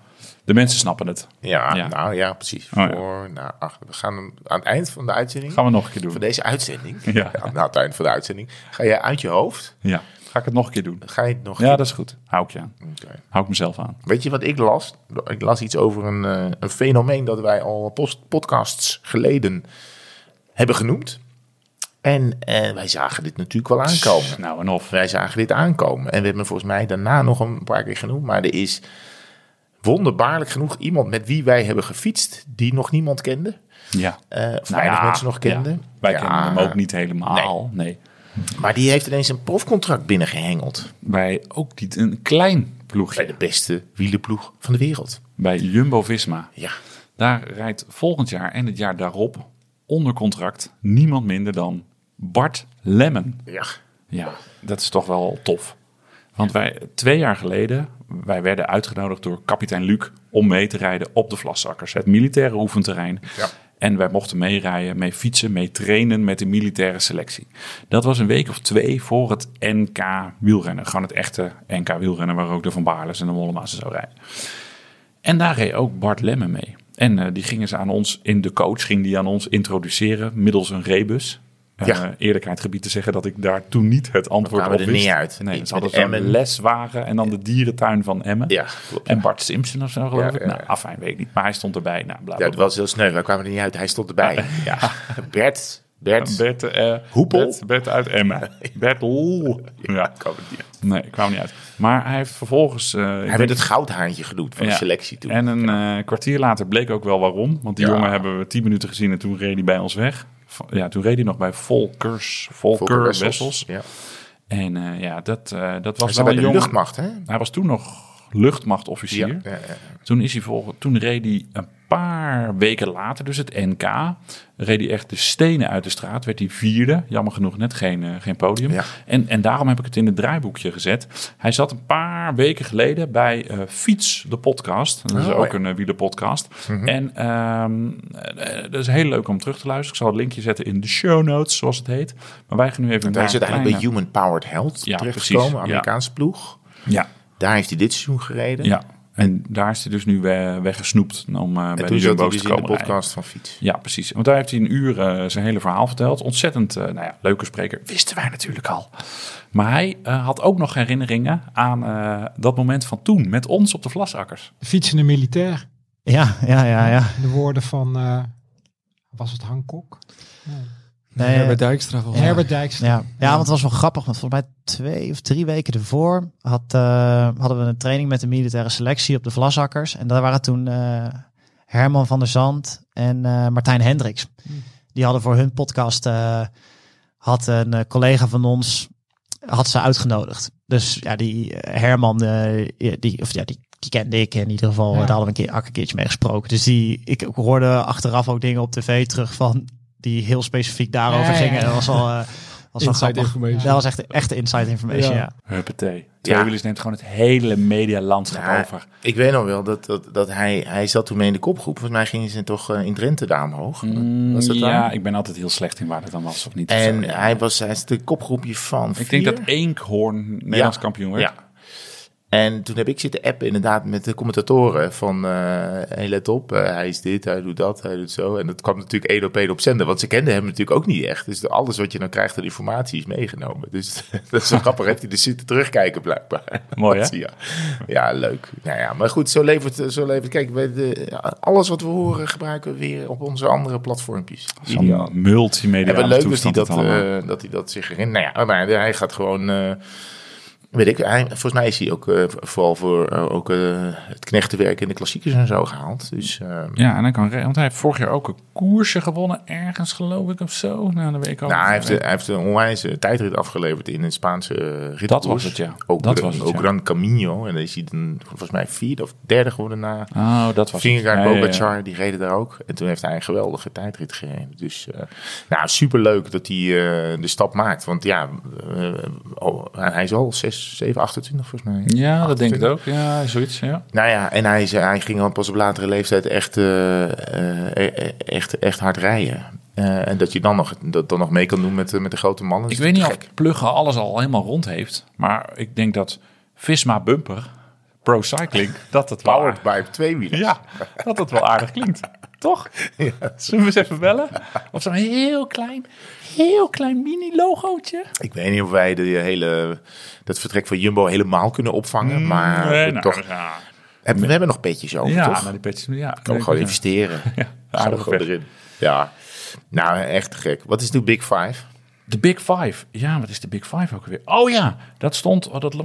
Speaker 1: De mensen snappen het.
Speaker 2: Ja,
Speaker 1: Ja.
Speaker 2: nou ja, precies.
Speaker 1: Oh, ja.
Speaker 2: Voor, naar achter. We gaan hem aan het eind van de uitzending.
Speaker 1: Gaan we nog een keer
Speaker 2: Van
Speaker 1: doen.
Speaker 2: deze uitzending. Ja.
Speaker 1: Ja.
Speaker 2: aan het eind van de uitzending. Ga je uit je hoofd.
Speaker 1: Ja. Ga ik het nog een keer doen?
Speaker 2: Ga je het nog.
Speaker 1: Ja, dat is goed. Hou ik je aan.
Speaker 2: Oké.
Speaker 1: Hou ik mezelf aan.
Speaker 2: Weet je wat ik las? Ik las iets over een, eh, een fenomeen dat wij al post- podcasts geleden hebben genoemd. En eh, wij zagen dit natuurlijk wel aankomen.
Speaker 1: Nou, en of.
Speaker 2: Wij zagen dit aankomen. En we hebben volgens mij daarna nog een paar keer genoemd. Maar er is wonderbaarlijk genoeg iemand met wie wij hebben gefietst. die nog niemand kende.
Speaker 1: Ja.
Speaker 2: Eh, of
Speaker 1: Nou
Speaker 2: weinig
Speaker 1: ja,
Speaker 2: mensen nog kenden.
Speaker 1: ja. Wij
Speaker 2: Ja,
Speaker 1: kennen hem ook niet helemaal. Nee.
Speaker 2: Maar die heeft ineens een profcontract binnengehengeld.
Speaker 1: Wij ook niet een klein
Speaker 2: Bij
Speaker 1: ploegje.
Speaker 2: de beste wielenploeg van de wereld.
Speaker 1: Bij Jumbo-Visma.
Speaker 2: Ja.
Speaker 1: Daar rijdt volgend jaar en het jaar daarop onder contract niemand minder dan Bart Lemmen.
Speaker 2: Ja.
Speaker 1: Ja, dat is toch wel tof. Want wij, twee jaar geleden, wij werden uitgenodigd door kapitein Luc om mee te rijden op de Vlaszakkers, het militaire oefenterrein.
Speaker 2: Ja.
Speaker 1: En wij mochten meerijden, mee fietsen, mee trainen met de militaire selectie. Dat was een week of twee voor het NK wielrennen. Gewoon het echte NK wielrennen waar ook de Van Baarles en de Mollema's en zo rijden. En daar reed ook Bart Lemme mee. En eh, die gingen ze aan ons, in de coach ging die aan ons introduceren middels een rebus. Eh,
Speaker 2: Ja.
Speaker 1: eerlijkheid gebied te zeggen dat ik daar toen niet het antwoord
Speaker 2: kwamen
Speaker 1: op
Speaker 2: er
Speaker 1: wist.
Speaker 2: niet uit.
Speaker 1: Nee,
Speaker 2: Iets
Speaker 1: ze hadden
Speaker 2: met
Speaker 1: zo'n
Speaker 2: Emmen.
Speaker 1: leswagen en dan de dierentuin van Emmen.
Speaker 2: Ja, klopt.
Speaker 1: En Bart Simpson of zo geloof
Speaker 2: Ja,
Speaker 1: ik.
Speaker 2: ja,
Speaker 1: Nou,
Speaker 2: ja.
Speaker 1: afijn, weet ik niet. Maar hij stond erbij. Nou, bla, bla,
Speaker 2: Ja,
Speaker 1: bla.
Speaker 2: het was heel sneu. Wij kwamen er niet uit. Hij stond erbij. Ja. Bert Bert.
Speaker 1: Bert, eh,
Speaker 2: Hoepel?
Speaker 1: Bert, Bert uit Emmen.
Speaker 2: [laughs]
Speaker 1: Bert L. Ja,
Speaker 2: kwam het niet uit.
Speaker 1: nee, kwam niet uit. Maar hij heeft vervolgens... eh, ik
Speaker 2: Hij
Speaker 1: denk-
Speaker 2: werd het goudhaantje genoemd van
Speaker 1: Ja.
Speaker 2: de selectie toen.
Speaker 1: En een eh, kwartier later bleek ook wel waarom. Want die
Speaker 2: Ja.
Speaker 1: jongen hebben we tien minuten gezien en toen reed hij bij ons weg. Va- Ja, toen reed hij nog bij Volkers, Volker,
Speaker 2: Volker
Speaker 1: Wessels.
Speaker 2: Ja.
Speaker 1: En eh, ja, dat, eh, dat was
Speaker 2: Hij zat
Speaker 1: wel
Speaker 2: bij
Speaker 1: een
Speaker 2: de
Speaker 1: jongen.
Speaker 2: luchtmacht, hè?
Speaker 1: Hij was toen nog luchtmachtofficier.
Speaker 2: Ja, ja, ja.
Speaker 1: Toen, is hij volg- toen reed hij een paar weken later, dus het NK, reed hij echt de stenen uit de straat. Werd hij vierde, jammer genoeg net geen, eh, geen podium.
Speaker 2: Ja.
Speaker 1: En, en daarom heb ik het in het draaiboekje gezet. Hij zat een paar weken geleden bij eh, Fiets, de podcast. Dat is
Speaker 2: Oh,
Speaker 1: ook
Speaker 2: ja. Mhm.
Speaker 1: een eh, wielerpodcast. En ehm, eh, dat is heel leuk om terug te luisteren. Ik zal het linkje zetten in de show notes, zoals het heet. Maar wij gaan nu even
Speaker 2: Hij
Speaker 1: naar
Speaker 2: zit
Speaker 1: een
Speaker 2: eigenlijk bij
Speaker 1: kleine-
Speaker 2: Human Powered Health
Speaker 1: Ja, precies,
Speaker 2: terechtgekomen,
Speaker 1: ja.
Speaker 2: Amerikaanse ploeg.
Speaker 1: Ja,
Speaker 2: Daar heeft hij dit seizoen gereden.
Speaker 1: ja. En daar is hij dus nu eh, weggesnoept om eh, bij
Speaker 2: En
Speaker 1: de
Speaker 2: toen zat hij
Speaker 1: Jumbo's
Speaker 2: dus
Speaker 1: te
Speaker 2: in de
Speaker 1: komen rijden.
Speaker 2: podcast van Fiets.
Speaker 1: Ja, precies. Want daar heeft hij een uur eh, zijn hele verhaal verteld. Ontzettend eh, nou ja, leuke spreker. Wisten wij natuurlijk al. Maar hij eh, had ook nog herinneringen aan eh, dat moment van toen. Met ons op de Vlasakkers.
Speaker 4: De fietsende militair.
Speaker 5: Ja, ja, ja, ja.
Speaker 4: De woorden van, eh, was het Hancock?
Speaker 5: Nee,
Speaker 6: Herbert Dijkstra volgens mij.
Speaker 4: Herbert Dijkstra.
Speaker 5: Ja. ja, want het was wel grappig. Want volgens mij twee of drie weken ervoor had, eh, hadden we een training met de militaire selectie op de Vlasakkers. En daar waren toen eh, Herman van der Zand en eh, Martijn Hendricks.
Speaker 4: Hmm.
Speaker 5: Die hadden voor hun podcast, eh, had een eh, collega van ons, had ze uitgenodigd. Dus ja, die eh, Herman, eh, die, of, ja, die, die kende ik in ieder geval.
Speaker 4: Ja.
Speaker 5: Daar hadden we een keer ook een keertje mee gesproken. Dus die, ik hoorde achteraf ook dingen op tv terug van die heel specifiek daarover
Speaker 4: Ja, ja,
Speaker 5: gingen.
Speaker 4: ja.
Speaker 5: Dat was
Speaker 4: [laughs]
Speaker 5: al eh, was wel
Speaker 6: Inside
Speaker 5: grappig.
Speaker 6: information.
Speaker 5: Dat was echt, echt inside information,
Speaker 6: Ja.
Speaker 5: ja.
Speaker 1: Huppatee.
Speaker 2: Ja.
Speaker 1: Twee neemt gewoon het hele medialandschap
Speaker 2: Nou,
Speaker 1: over.
Speaker 2: Ik weet nog wel dat, dat, dat hij, hij zat toen mee in de kopgroep. Volgens mij gingen ze toch eh, in Drenthe daar omhoog.
Speaker 1: Mm.
Speaker 2: was dat
Speaker 1: ja,
Speaker 2: daar?
Speaker 1: ik ben altijd heel slecht in waar dat dan was of niet.
Speaker 2: En
Speaker 1: Zo, ja.
Speaker 2: hij was hij is de kopgroepje van
Speaker 1: ik denk
Speaker 2: vier.
Speaker 1: dat Eekhoorn Nederlands kampioen werd.
Speaker 2: Ja. En toen heb ik zitten appen inderdaad met de commentatoren van, eh hey, let op, eh, hij is dit, hij doet dat, hij doet zo. En dat kwam natuurlijk één op één op zender, want ze kenden hem natuurlijk ook niet echt. Dus de- alles wat je dan krijgt aan informatie is meegenomen. Dus [laughs] dat is wel grappig, heeft hij dus zitten terugkijken blijkbaar. [laughs]
Speaker 1: Mooi, hè?
Speaker 2: Ja, ja leuk. Nou ja, maar goed, zo levert, zo levert kijk, we- de, alles wat we horen gebruiken we weer op onze andere platformpjes.
Speaker 1: Zo'n
Speaker 2: Ideaal.
Speaker 1: multimedia
Speaker 2: En wat leuk dat hij
Speaker 1: toestand
Speaker 2: dat,
Speaker 1: het allemaal.
Speaker 2: eh, dat hij dat zich herinnert. Nou ja, maar hij gaat gewoon... eh, weet ik, hij, volgens mij is hij ook eh, vooral voor eh, ook, eh, het knechtenwerk in de klassiekers en zo gehaald. Dus eh,
Speaker 1: Ja, en hij kan re- Want hij heeft vorig jaar ook een koersje gewonnen. Ergens geloof ik of zo. Nou, dat weet ik ook
Speaker 2: nou,
Speaker 1: niet.
Speaker 2: hij, heeft, hij heeft een onwijze tijdrit afgeleverd in een Spaanse ritkoers.
Speaker 1: Dat was het, ja.
Speaker 2: Ook,
Speaker 1: Dat
Speaker 2: Gran-
Speaker 1: was het,
Speaker 2: ook
Speaker 1: ja.
Speaker 2: Gran Camino. En dan is hij dan volgens mij vierde of derde geworden na...
Speaker 1: Oh, dat was het.
Speaker 2: Vingegaard,
Speaker 1: Ja, ja, ja.
Speaker 2: Bogacar, die reden daar ook. En toen heeft hij een geweldige tijdrit gereden. Dus eh nou, superleuk dat hij eh, de stap maakt. Want ja, eh, oh, hij is al 6, 7, 28 volgens mij.
Speaker 1: Ja, dat denk ik ook. Ja, zoiets, ja.
Speaker 2: Nou ja, en hij, is- hij ging al pas op latere leeftijd echt, eh, eh, eh, echt, echt hard rijden. Eh, en dat je dan nog, dat dan nog mee kan doen met, eh, met de grote mannen.
Speaker 1: Ik
Speaker 2: is
Speaker 1: weet niet
Speaker 2: gek.
Speaker 1: of Pluggen alles al helemaal rond heeft. Maar ik denk dat Visma Bumper, Pro
Speaker 2: [laughs]
Speaker 1: Cycling, dat het wel
Speaker 2: Powered
Speaker 1: aardig,
Speaker 2: by twee wielen.
Speaker 1: ja, dat het wel aardig
Speaker 2: [laughs]
Speaker 1: klinkt. Toch? Zullen we eens even bellen? Of zo'n heel klein, heel klein mini-logootje.
Speaker 2: Ik weet niet of wij de hele, dat vertrek van Jumbo helemaal kunnen opvangen. maar
Speaker 1: Nee,
Speaker 2: we
Speaker 1: nou,
Speaker 2: toch,
Speaker 1: ja.
Speaker 2: hebben, we hebben nog petjes over,
Speaker 1: ja,
Speaker 2: toch?
Speaker 1: maar die petjes. Ja,
Speaker 2: Ook gewoon investeren.
Speaker 1: [laughs]
Speaker 2: Zo
Speaker 1: aardig
Speaker 2: gewoon
Speaker 1: weg.
Speaker 2: erin. Ja. Nou, echt gek. Wat is nu Big Five?
Speaker 1: De Big Five. Ja, wat is de Big Five ook weer? Oh ja, dat stond. oh, Dat,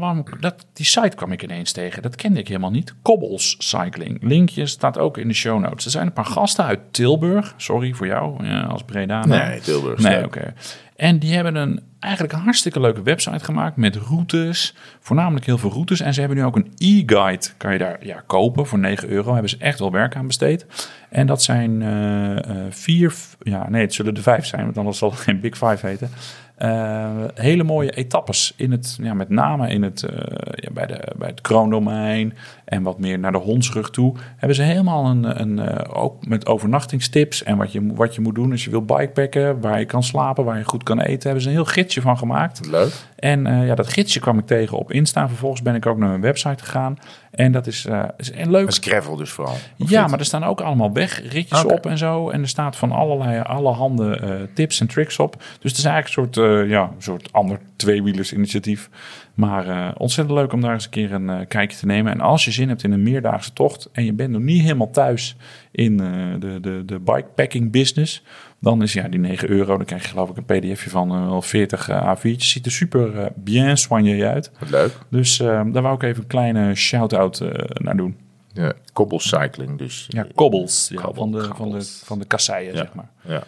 Speaker 1: dat, die site kwam ik ineens tegen. Dat kende ik helemaal niet. Cobbles Cycling. Linkje staat ook in de show notes. Er zijn een paar gasten uit Tilburg. Sorry voor jou ja, als Breda.
Speaker 2: Nee, Tilburg is
Speaker 1: Nee,
Speaker 2: leuk.
Speaker 1: oké. En die hebben een eigenlijk een hartstikke leuke website gemaakt met routes. Voornamelijk heel veel routes. En ze hebben nu ook een e-guide. Kan je daar ja, kopen voor 9 euro. Hebben ze echt wel werk aan besteed. En dat zijn eh, eh, vier. Ja, nee, het zullen er vijf zijn. Want anders zal het geen Big Five heten. Eh, hele mooie etappes in het, ja, met name in het, eh, ja, bij, de, bij het kroondomein en wat meer naar de hondsrug toe. Hebben ze helemaal een, een eh, ook met overnachtingstips en wat je, mo- wat je moet doen als je wil bikepacken, waar je kan slapen, waar je goed kan eten. Hebben ze een heel gidsje van gemaakt.
Speaker 2: Leuk.
Speaker 1: En eh, ja, dat gidsje kwam ik tegen op Insta. Vervolgens ben ik ook naar hun website gegaan. En dat is, eh is een leuk.
Speaker 2: Dat is gravel dus vooral. Of
Speaker 1: Ja,
Speaker 2: niet?
Speaker 1: maar er staan ook allemaal wegritjes
Speaker 2: Oké.
Speaker 1: op en zo. En er staat van allerlei allerhande eh tips en tricks op. Dus het is eigenlijk een soort eh, ja, een soort ander tweewielersinitiatief. Maar eh, ontzettend leuk om daar eens een keer een eh, kijkje te nemen. En als je zin hebt in een meerdaagse tocht en je bent nog niet helemaal thuis in eh, de, de, de bikepacking business, dan is ja, die 9 euro, dan krijg je geloof ik een pdfje van eh, wel 40 eh, A4'tjes. Ziet er super eh, bien soigné uit.
Speaker 2: Wat leuk.
Speaker 1: Dus eh, daar wou ik even een kleine shout-out eh, naar doen.
Speaker 2: Ja, kobbelcycling dus.
Speaker 1: Ja, kobbels. Ja,
Speaker 2: Kobbel,
Speaker 1: van, de, van, de,
Speaker 2: kobbels.
Speaker 1: van de kasseien, zeg maar.
Speaker 2: Ja.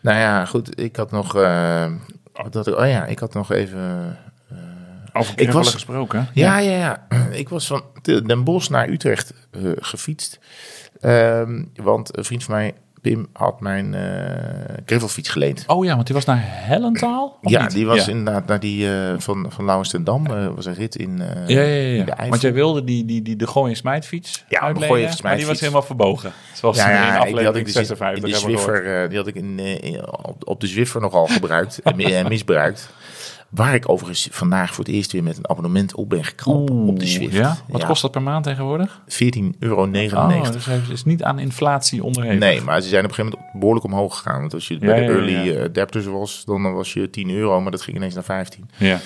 Speaker 2: Nou ja, goed. Ik had nog... eh, wat had ik, oh ja, ik had nog even...
Speaker 1: Over
Speaker 2: Ik
Speaker 1: ik
Speaker 2: was-
Speaker 1: gesproken. hè?
Speaker 2: Ja, ja, ja. [clears throat] Ik was van Den Bosch naar Utrecht eh, gefietst. Ehm, want een vriend van mij, Pim, had mijn eh gravelfiets geleend.
Speaker 1: Oh ja, want die was naar Hellentaal? of
Speaker 2: ja,
Speaker 1: niet?
Speaker 2: die was
Speaker 1: Ja.
Speaker 2: inderdaad naar die eh, van, van Lauwens ten Dam. eh, was een rit in, eh,
Speaker 1: Ja, ja, ja,
Speaker 2: in
Speaker 1: ja.
Speaker 2: de Eifel.
Speaker 1: Want jij wilde die, die, die de gooi- en smijtfiets
Speaker 2: Ja, de
Speaker 1: uitlenen, maar
Speaker 2: gooi- en
Speaker 1: die was
Speaker 2: smijtfiets.
Speaker 1: helemaal verbogen. Zoals
Speaker 2: Ja,
Speaker 1: in
Speaker 2: ja, ik- die had ik
Speaker 1: aflevering
Speaker 2: dus in-
Speaker 1: 56
Speaker 2: in de
Speaker 1: hebben we gehoord.
Speaker 2: Zwiffer, eh, die had ik in, eh, in- op, op de Zwiffer nogal gebruikt en mi- en misbruikt. Waar ik overigens vandaag voor het eerst weer met een abonnement op ben geknapt op de Zwift.
Speaker 1: Ja? Wat kost dat per maand tegenwoordig?
Speaker 2: 14,99 euro.
Speaker 1: Oh, dus hij is niet aan inflatie onderhevig.
Speaker 2: Nee, maar ze zijn op een gegeven moment behoorlijk omhoog gegaan. Want als je bij
Speaker 1: Ja,
Speaker 2: de
Speaker 1: ja, ja,
Speaker 2: early
Speaker 1: ja.
Speaker 2: eh, adapters was, dan was je 10 euro, maar dat ging ineens naar 15.
Speaker 1: Ja.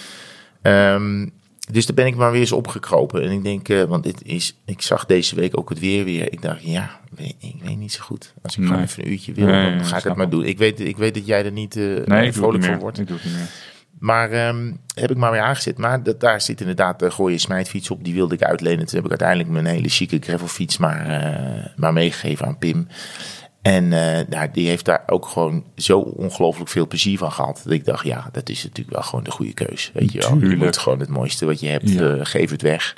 Speaker 2: Ehm, dus daar ben ik maar weer eens opgekropen. En ik denk, eh, want dit is, ik zag deze week ook het weer weer. Ik dacht, ja, we- ik weet niet zo goed. Als ik gewoon
Speaker 1: Nee.
Speaker 2: even een uurtje wil,
Speaker 1: Nee, ja,
Speaker 2: dan ga ik
Speaker 1: snap
Speaker 2: het maar
Speaker 1: ik.
Speaker 2: doen. Ik weet, ik weet dat jij er niet eh,
Speaker 1: Nee, ik doe, het
Speaker 2: vrolijk
Speaker 1: niet
Speaker 2: van
Speaker 1: meer.
Speaker 2: wordt.
Speaker 1: ik doe het niet meer.
Speaker 2: Maar ehm, heb ik maar weer aangezet. Maar dat, daar zit inderdaad de gooie smijtfiets op. Die wilde ik uitlenen. Toen heb ik uiteindelijk mijn hele chique gravelfiets maar, eh, maar meegegeven aan Pim. En eh, nou, die heeft daar ook gewoon zo ongelooflijk veel plezier van gehad. Dat ik dacht, ja, dat is natuurlijk wel gewoon de goede keus. Weet je wel, je
Speaker 1: Tuurlijk.
Speaker 2: moet gewoon het mooiste wat je hebt,
Speaker 1: Ja.
Speaker 2: eh, geef het weg.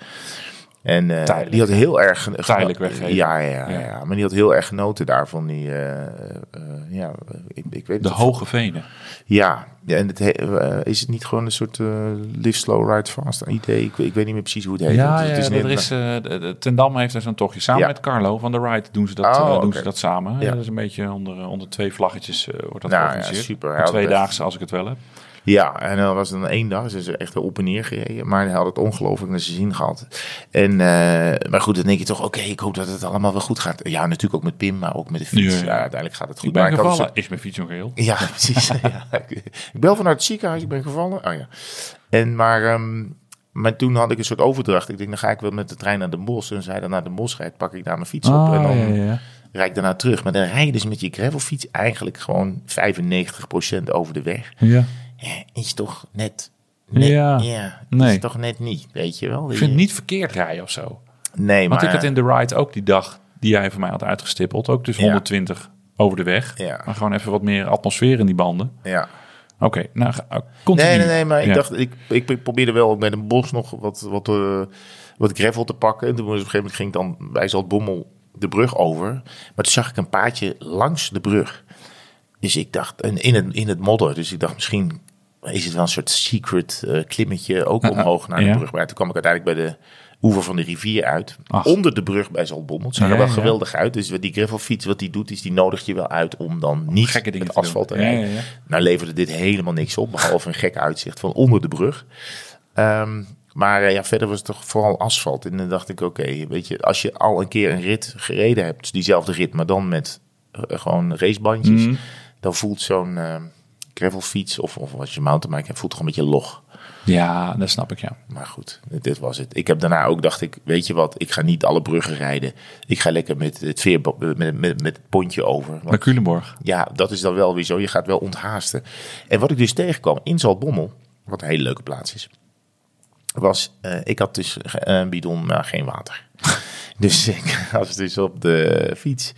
Speaker 2: En eh,
Speaker 1: Tijdelijk.
Speaker 2: die had heel erg... geno-
Speaker 1: Tijdelijk weggeven.
Speaker 2: Ja, ja, ja,
Speaker 1: Ja.
Speaker 2: ja. Maar die had heel erg genoten daarvan. Die, eh, eh, ja, ik, ik weet
Speaker 1: De
Speaker 2: het-
Speaker 1: Hoge Venen.
Speaker 2: ja, ja, en het he- eh, is het niet gewoon een soort eh, live slow, ride fast idee? Ik, ik weet niet meer precies hoe het heet.
Speaker 1: Ja,
Speaker 2: Het
Speaker 1: ja,
Speaker 2: is
Speaker 1: dat er
Speaker 2: net-
Speaker 1: is, eh, de- de- Ten Dam heeft daar zo'n tochtje. Samen
Speaker 2: Ja.
Speaker 1: met Carlo van de Ride doen ze dat,
Speaker 2: Oh,
Speaker 1: eh, doen
Speaker 2: oké.
Speaker 1: ze dat samen.
Speaker 2: Ja.
Speaker 1: Dat is een beetje onder, eh, onder twee vlaggetjes eh, wordt dat
Speaker 2: Nou, ja,
Speaker 1: georganiseerd.
Speaker 2: super.
Speaker 1: Een
Speaker 2: Ja, dat-
Speaker 1: tweedaagse als ik het wel heb.
Speaker 2: Ja, en dan was het dan één dag. Ze is echt op en neer gereden. Maar hij had het ongelooflijk naar zijn zin gehad. En, eh, maar goed, dan denk je toch, oké, ik hoop dat het allemaal wel goed gaat. Ja, natuurlijk ook met Pim, maar ook met de fiets.
Speaker 1: Ja,
Speaker 2: Ja,
Speaker 1: ja.
Speaker 2: uiteindelijk gaat het goed.
Speaker 1: Ik ben
Speaker 2: maar had een
Speaker 1: gevallen.
Speaker 2: soort-
Speaker 1: Is mijn fiets nog heel?
Speaker 2: Ja, [laughs] precies. ja. Ik bel vanuit het ziekenhuis, ik ben gevallen. Oh ja. En maar, ehm, maar toen had ik een soort overdracht. Ik denk, dan ga ik wel met de trein naar Den Bosch. En als hij dan naar Den Bosch rijdt, pak ik daar mijn fiets op.
Speaker 1: Ah,
Speaker 2: en dan rijd ik daarna terug. Maar dan rij je dus met je gravelfiets eigenlijk gewoon 95% over de weg. Ja, is toch net... net
Speaker 1: Ja.
Speaker 2: ja.
Speaker 1: Nee.
Speaker 2: Is toch net niet, weet je wel?
Speaker 1: Ik vind het niet verkeerd rijden of zo.
Speaker 2: Nee,
Speaker 1: Want
Speaker 2: maar...
Speaker 1: ik had in de ride ook die dag die jij voor mij had uitgestippeld. Ook dus
Speaker 2: Ja.
Speaker 1: 120 over de weg.
Speaker 2: Ja.
Speaker 1: Maar gewoon even wat meer atmosfeer in die banden.
Speaker 2: Ja.
Speaker 1: Oké, nou, ga- eh, continu.
Speaker 2: Nee, nee, nee, maar ik
Speaker 1: Ja.
Speaker 2: dacht, ik, ik probeerde wel met een bos nog wat, wat, eh, wat gravel te pakken. En toen was op een gegeven moment ging ik dan bij Zaltbommel de brug over. Maar toen zag ik een paadje langs de brug. Dus ik dacht, en in, het, in het modder. Dus ik dacht, misschien is het wel een soort secret eh, klimmetje ook omhoog naar de
Speaker 1: ja.
Speaker 2: brug. Maar toen kwam ik uiteindelijk bij de oever van de rivier uit.
Speaker 1: Ach.
Speaker 2: Onder de brug bij Zaltbommel. Het zag er
Speaker 1: Ja,
Speaker 2: wel
Speaker 1: ja.
Speaker 2: geweldig uit. Dus wat die gravelfiets, wat die doet, is die nodigt je wel uit om dan niet
Speaker 1: gekke dingen
Speaker 2: met
Speaker 1: te doen.
Speaker 2: asfalt te
Speaker 1: Ja, ja,
Speaker 2: rijden.
Speaker 1: ja.
Speaker 2: Nou leverde dit helemaal niks op, behalve een gek uitzicht van onder de brug. Ehm, maar eh, ja, verder was het toch vooral asfalt. En dan dacht ik, oké, weet je, als je al een keer een rit gereden hebt, diezelfde rit, maar dan met eh, gewoon racebandjes,
Speaker 1: Mhm.
Speaker 2: dan voelt zo'n eh, gravelfiets of, of als je mountainbike hebt, voelt toch een beetje log.
Speaker 1: Ja, dat snap ik, ja.
Speaker 2: Maar goed, dit was het. Ik heb daarna ook dacht ik, weet je wat, ik ga niet alle bruggen rijden. Ik ga lekker met het, veer, met, met, met het pontje over. Want-
Speaker 1: Naar Culemborg.
Speaker 2: ja, dat is dan wel weer zo. Je gaat wel onthaasten. En wat ik dus tegenkwam in Zaltbommel, wat een hele leuke plaats is, was, eh, ik had dus eh, een bidon, maar geen water. [laughs] dus ik [laughs] was dus op de fiets.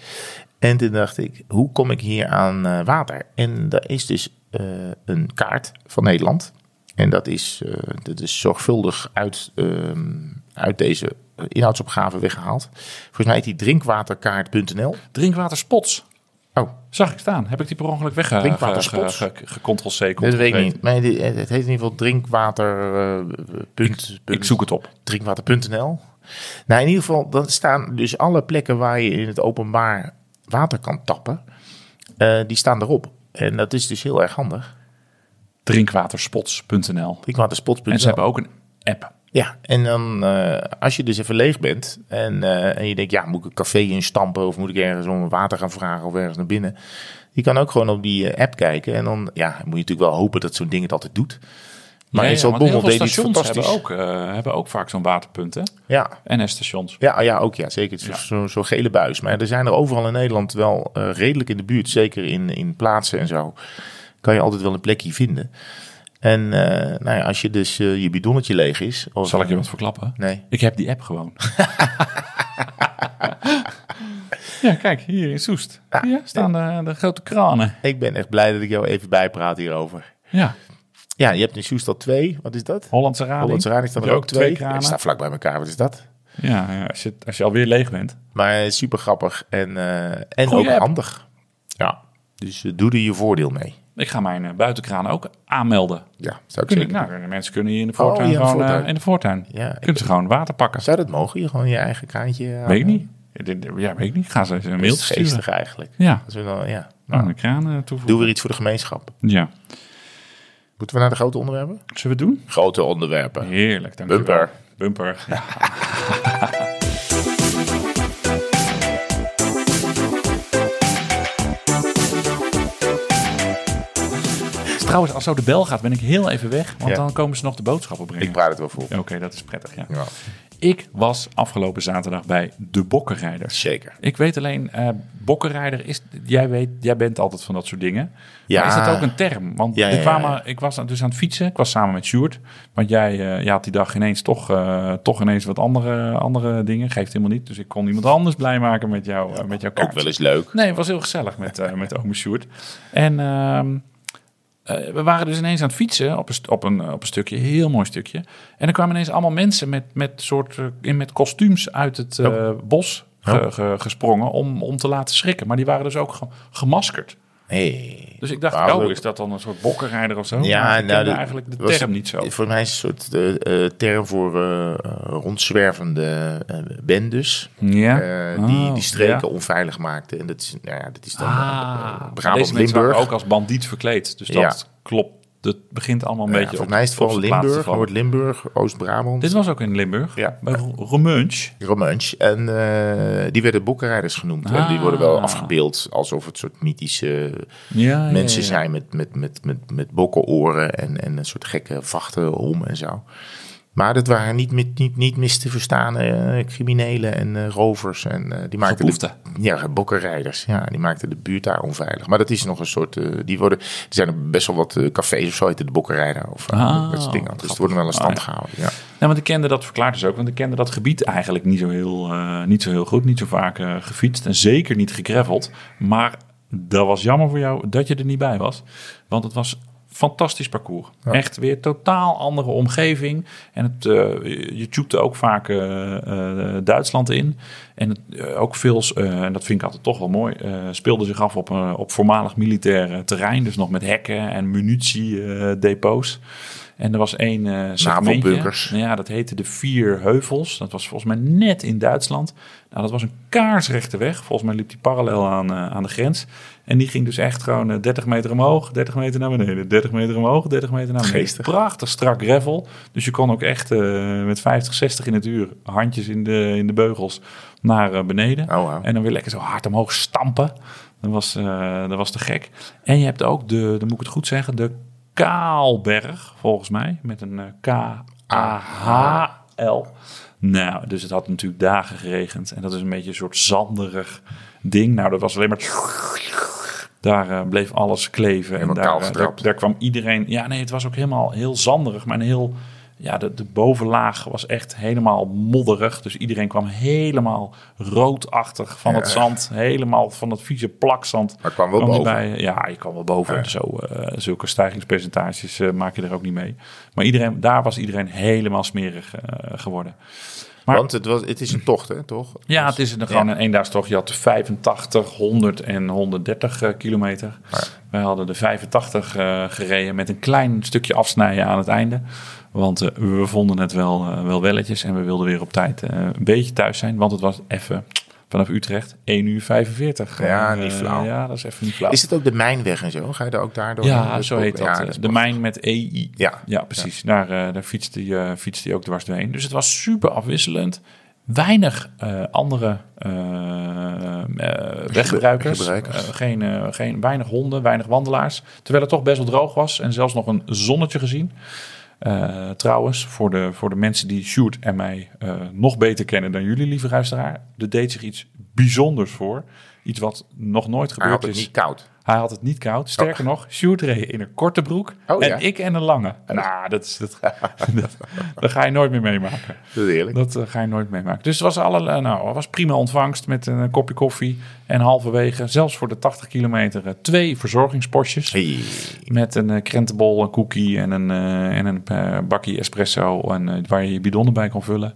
Speaker 2: En toen dacht ik, hoe kom ik hier aan eh, water? En daar is dus eh, een kaart van Nederland. En dat is, eh, dat is zorgvuldig uit, ehm, uit deze eh, inhoudsopgave weggehaald. Volgens mij heet die drinkwaterkaart.nl.
Speaker 1: Drinkwaterspots.
Speaker 2: Oh,
Speaker 1: Zag ik staan. Heb ik die per ongelk weg eh,
Speaker 2: Drinkwaterspots?
Speaker 1: ge- ge- ge- gecontrol C?
Speaker 2: Dat weet ik
Speaker 1: control V.
Speaker 2: niet. Maar die- het het heet in ieder geval drinkwater. eh, punt, punt,
Speaker 1: Ik zoek het op.
Speaker 2: Drinkwater.nl. Nou, in ieder geval, dan staan dus alle plekken waar je in het openbaar water kan tappen. eh, die staan erop. En dat is dus heel erg handig.
Speaker 1: Drinkwaterspots.nl.
Speaker 2: Drinkwaterspots.nl.
Speaker 1: En ze hebben ook een app.
Speaker 2: Ja, en dan eh, als je dus even leeg bent en, eh, en je denkt, ja, moet ik een café instampen of moet ik ergens om water gaan vragen of ergens naar binnen? Je kan ook gewoon op die eh, app kijken en dan ja, moet je natuurlijk wel hopen dat zo'n ding het altijd doet. Maar in zo'n
Speaker 1: want heel
Speaker 2: bommel
Speaker 1: veel
Speaker 2: deed hij het
Speaker 1: stations
Speaker 2: fantastisch.
Speaker 1: hebben ook, eh, hebben ook vaak zo'n waterpunt, hè?
Speaker 2: Ja,
Speaker 1: NS-stations.
Speaker 2: ja, ja, ook ja, zeker. Het is
Speaker 1: Ja.
Speaker 2: Zo'n zo'n gele buis. Maar er zijn er overal in Nederland wel eh, redelijk in de buurt, zeker in, in plaatsen en zo, kan je altijd wel een plekje vinden. En eh, nou ja, als je dus eh, je bidonnetje leeg is... Of,
Speaker 1: Zal ik je wat verklappen?
Speaker 2: Nee.
Speaker 1: Ik heb die app
Speaker 2: [laughs]
Speaker 1: gewoon. ja, kijk, hier in Soest. Hier staan de, de grote kranen.
Speaker 2: Ik ben echt blij dat ik jou even bijpraat hierover.
Speaker 1: Ja,
Speaker 2: Ja, je hebt in Soest al twee. Wat is dat?
Speaker 1: Hollandse Rading.
Speaker 2: Hollandse Rading staan
Speaker 1: Heb
Speaker 2: er
Speaker 1: je
Speaker 2: ook twee. Ja,
Speaker 1: kranen.
Speaker 2: Die staan vlak bij elkaar. Wat is dat?
Speaker 1: Ja, ja, als, je, als je alweer leeg bent.
Speaker 2: Maar eh, super grappig en, eh, en
Speaker 1: Goeie
Speaker 2: ook
Speaker 1: app.
Speaker 2: handig. Ja, dus eh, doe er je voordeel mee.
Speaker 1: Ik ga mijn eh, buitenkraan ook aanmelden.
Speaker 2: Ja, zou ik
Speaker 1: Kun ik,
Speaker 2: zeggen.
Speaker 1: nou, de mensen kunnen hier in de voortuin
Speaker 2: ja,
Speaker 1: gewoon
Speaker 2: voortuin.
Speaker 1: eh, in de voortuin.
Speaker 2: Ja, ik-
Speaker 1: kunnen ze gewoon water pakken.
Speaker 2: Zou dat mogen? Je gewoon je eigen kraantje. eh,
Speaker 1: weet
Speaker 2: aanmelden?
Speaker 1: ik niet. Eh, Dit- dit- Ja, weet ik niet. Ga ze eens een
Speaker 2: Dat
Speaker 1: mailtje
Speaker 2: is
Speaker 1: sturen.
Speaker 2: geestig eigenlijk.
Speaker 1: Ja,
Speaker 2: Als we dan, ja.
Speaker 1: aan
Speaker 2: Nou,
Speaker 1: de kraan eh, toevoegen.
Speaker 2: doe weer iets voor de gemeenschap.
Speaker 1: Ja.
Speaker 2: Moeten we naar de grote onderwerpen?
Speaker 1: Zullen we het doen?
Speaker 2: Grote onderwerpen.
Speaker 1: Heerlijk, dankjewel.
Speaker 2: Bumper.
Speaker 1: [laughs] Bumper. Ja. Trouwens, als zo de bel gaat, ben ik heel even weg. Want
Speaker 2: Ja.
Speaker 1: dan komen ze nog de boodschappen brengen.
Speaker 2: Ik praat het wel vol.
Speaker 1: Oké, dat is prettig, ja.
Speaker 2: Ja,
Speaker 1: Ik was afgelopen zaterdag bij de Bokkenrijders.
Speaker 2: zeker.
Speaker 1: Ik weet alleen, eh Bokkenrijder is. Jij, weet, jij bent altijd van dat soort dingen.
Speaker 2: Ja.
Speaker 1: Maar is dat ook een term? Want
Speaker 2: Ja, ja,
Speaker 1: ik, kwam,
Speaker 2: ja,
Speaker 1: ik was dus aan het fietsen. Ik was samen met Sjoerd. Want jij, eh, jij had die dag ineens toch, eh, toch ineens wat andere, andere dingen. Geeft helemaal niet. Dus ik kon iemand anders blij maken met, jou, eh, met jouw kaart.
Speaker 2: Ook wel eens leuk.
Speaker 1: Nee, het was heel gezellig met, eh met ome Sjoerd. En ehm, eh, we waren dus ineens aan het fietsen op een, st- op, een, eh, op een stukje, heel mooi stukje. En er kwamen ineens allemaal mensen met, met, soort, eh, in met kostuums uit het eh, bos ge-
Speaker 2: Oh.
Speaker 1: ge- gesprongen om, om te laten schrikken. Maar die waren dus ook ge- gemaskerd.
Speaker 2: Hey.
Speaker 1: Dus ik dacht,
Speaker 2: Wauw,
Speaker 1: oh,
Speaker 2: leuk.
Speaker 1: is dat dan een soort bokkenrijder of zo?
Speaker 2: Ja,
Speaker 1: Oh, Maar ik
Speaker 2: nou,
Speaker 1: kende
Speaker 2: dat
Speaker 1: eigenlijk de
Speaker 2: was-
Speaker 1: term niet zo.
Speaker 2: Voor mij is het een soort eh, eh, term voor eh, eh, rondzwervende eh, bendes.
Speaker 1: Ja?
Speaker 2: eh, die,
Speaker 1: Oh,
Speaker 2: die streken
Speaker 1: ja.
Speaker 2: onveilig maakten. En dat is, nou ja, dat is dan
Speaker 1: Ah,
Speaker 2: eh,
Speaker 1: maar deze
Speaker 2: Brabant,
Speaker 1: mensen
Speaker 2: Limburg.
Speaker 1: waren ook als bandiet verkleed. Dus dat klopt. Het begint allemaal een
Speaker 2: Nou Ja,
Speaker 1: beetje
Speaker 2: volgens
Speaker 1: op
Speaker 2: mij is het
Speaker 1: op
Speaker 2: vooral
Speaker 1: zijn plaats te
Speaker 2: Limburg,
Speaker 1: vallen.
Speaker 2: Noord-Limburg, Oost-Brabant.
Speaker 1: Dit was ook in Limburg.
Speaker 2: Ja.
Speaker 1: Bij Ro- Romunch.
Speaker 2: Romansch. En eh, die werden boekenrijders genoemd. En die worden wel
Speaker 1: Ah.
Speaker 2: afgebeeld alsof het soort mythische
Speaker 1: Ja,
Speaker 2: mensen zijn met, met, met, met, met bokkenoren en, en een soort gekke vachten om en zo. Maar dat waren niet, met, niet, niet mis te verstaan eh, criminelen en eh, rovers. En, eh, die maakten de-
Speaker 1: Geboefte.
Speaker 2: ja, bokkenrijders. Ja, die maakten de buurt daar onveilig. Maar dat is nog een soort... eh, die worden, er zijn er best wel wat eh, cafés of zo, heet het de bokkenrijder. Of eh,
Speaker 1: Ah,
Speaker 2: dat soort dingen. Dus
Speaker 1: grappig.
Speaker 2: die worden wel in stand
Speaker 1: Ah,
Speaker 2: gehouden. Ja.
Speaker 1: Nou, want ik kende dat verklaart dus ook. Want ik kende dat gebied eigenlijk niet zo heel, eh, niet zo heel goed. Niet zo vaak eh, gefietst en zeker niet gegraveld. Maar dat was jammer voor jou dat je er niet bij was. Want het was fantastisch parcours. Echt weer totaal andere omgeving. En het, eh, je tubte ook vaak eh, eh, Duitsland in. En het, eh, ook veel, eh, en dat vind ik altijd toch wel mooi, eh, speelde zich af op, eh, op voormalig militair eh, terrein. Dus nog met hekken en munitiedepots. en er was één eh segmentje.
Speaker 2: NAVO-bunkers.
Speaker 1: Nou Ja, dat heette de Vier Heuvels. Dat was volgens mij net in Duitsland. Nou, dat was een kaarsrechte weg. Volgens mij liep die parallel aan, eh, aan de grens. En die ging dus echt gewoon eh, 30 meter omhoog, 30 meter naar beneden, 30 meter omhoog, 30 meter naar beneden.
Speaker 2: Geestig.
Speaker 1: Prachtig strak gravel. Dus je kon ook echt eh, met 50, 60 in het uur, handjes in de, in de beugels, naar eh, beneden.
Speaker 2: Oh, wauw.
Speaker 1: En dan weer lekker zo hard omhoog stampen. Dat was, eh, dat was te gek. En je hebt ook de, dan moet ik het goed zeggen, de Kaalberg, volgens mij. Met een eh, K-A-H-L. Nou, dus het had natuurlijk dagen geregend. En dat is een beetje een soort zanderig ding. Nou, dat was alleen maar... Daar eh, bleef alles kleven. En
Speaker 2: Helemaal
Speaker 1: daar,
Speaker 2: kaal
Speaker 1: eh, daar,
Speaker 2: getrapt.
Speaker 1: daar kwam iedereen... Ja, nee, het was ook helemaal heel zanderig. Maar een heel... Ja, de, de bovenlaag was echt helemaal modderig. Dus iedereen kwam helemaal roodachtig van het zand. Helemaal van dat vieze plakzand.
Speaker 2: Maar kwam wel
Speaker 1: Kwam je
Speaker 2: boven.
Speaker 1: bij- ja, je kwam wel boven. Zo, eh, zulke stijgingspercentages eh, maak je er ook niet mee. Maar iedereen, daar was iedereen helemaal smerig eh, geworden. Maar-
Speaker 2: Want het, was, het is een tocht, hè, toch? Dus
Speaker 1: Ja, het is een, gewoon Dus een eendagstocht. Je had de 85, 100 en 130 eh, kilometer. Wij hadden de 85 eh, gereden met een klein stukje afsnijden aan het einde. Want eh, we vonden het wel, eh, wel welletjes en we wilden weer op tijd eh, een beetje thuis zijn. Want het was even Vanaf Utrecht 1 uur 45.
Speaker 2: Ja,
Speaker 1: Gewoon,
Speaker 2: niet
Speaker 1: eh,
Speaker 2: flauw.
Speaker 1: ja, dat is even niet flauw.
Speaker 2: Is het ook de Mijnweg en zo? Ga je daar ook daardoor?
Speaker 1: ja,
Speaker 2: Dat
Speaker 1: zo
Speaker 2: is-
Speaker 1: heet dat.
Speaker 2: ja,
Speaker 1: eh,
Speaker 2: is
Speaker 1: de
Speaker 2: prachtig.
Speaker 1: mijn met EI.
Speaker 2: Ja.
Speaker 1: Ja, precies. Daar, eh, daar fietst hij eh, fietst hij ook dwars doorheen. Dus het was super afwisselend. Weinig eh, andere eh, eh, weggebruikers.
Speaker 2: Gebruikers.
Speaker 1: Eh, geen, eh, geen, weinig honden, weinig wandelaars. Terwijl het toch best wel droog was en zelfs nog een zonnetje gezien. Eh, trouwens, voor de, voor de mensen die Shoot en mij eh, nog beter kennen dan jullie, lieve luisteraar. Er deed zich iets bijzonders voor. Iets wat nog nooit
Speaker 2: Maar had
Speaker 1: gebeurd
Speaker 2: het
Speaker 1: is.
Speaker 2: niet koud.
Speaker 1: Hij had het niet koud. Sterker nog, Sjoerd reed in een korte broek.
Speaker 2: Oh,
Speaker 1: en
Speaker 2: ja.
Speaker 1: ik en een lange. Nou, dat, is, dat, [laughs] dat, dat ga je nooit meer meemaken.
Speaker 2: Dat is eerlijk.
Speaker 1: Dat eh, ga je nooit meemaken. Dus het was, alle, eh, nou, het was prima ontvangst met een kopje koffie. En halverwege, zelfs voor de 80 kilometer, eh, twee verzorgingspostjes.
Speaker 2: Hey.
Speaker 1: Met een eh, krentenbol, een cookie en een, eh, en een eh, bakje espresso. En, eh, waar je je bidonnen bij kon vullen.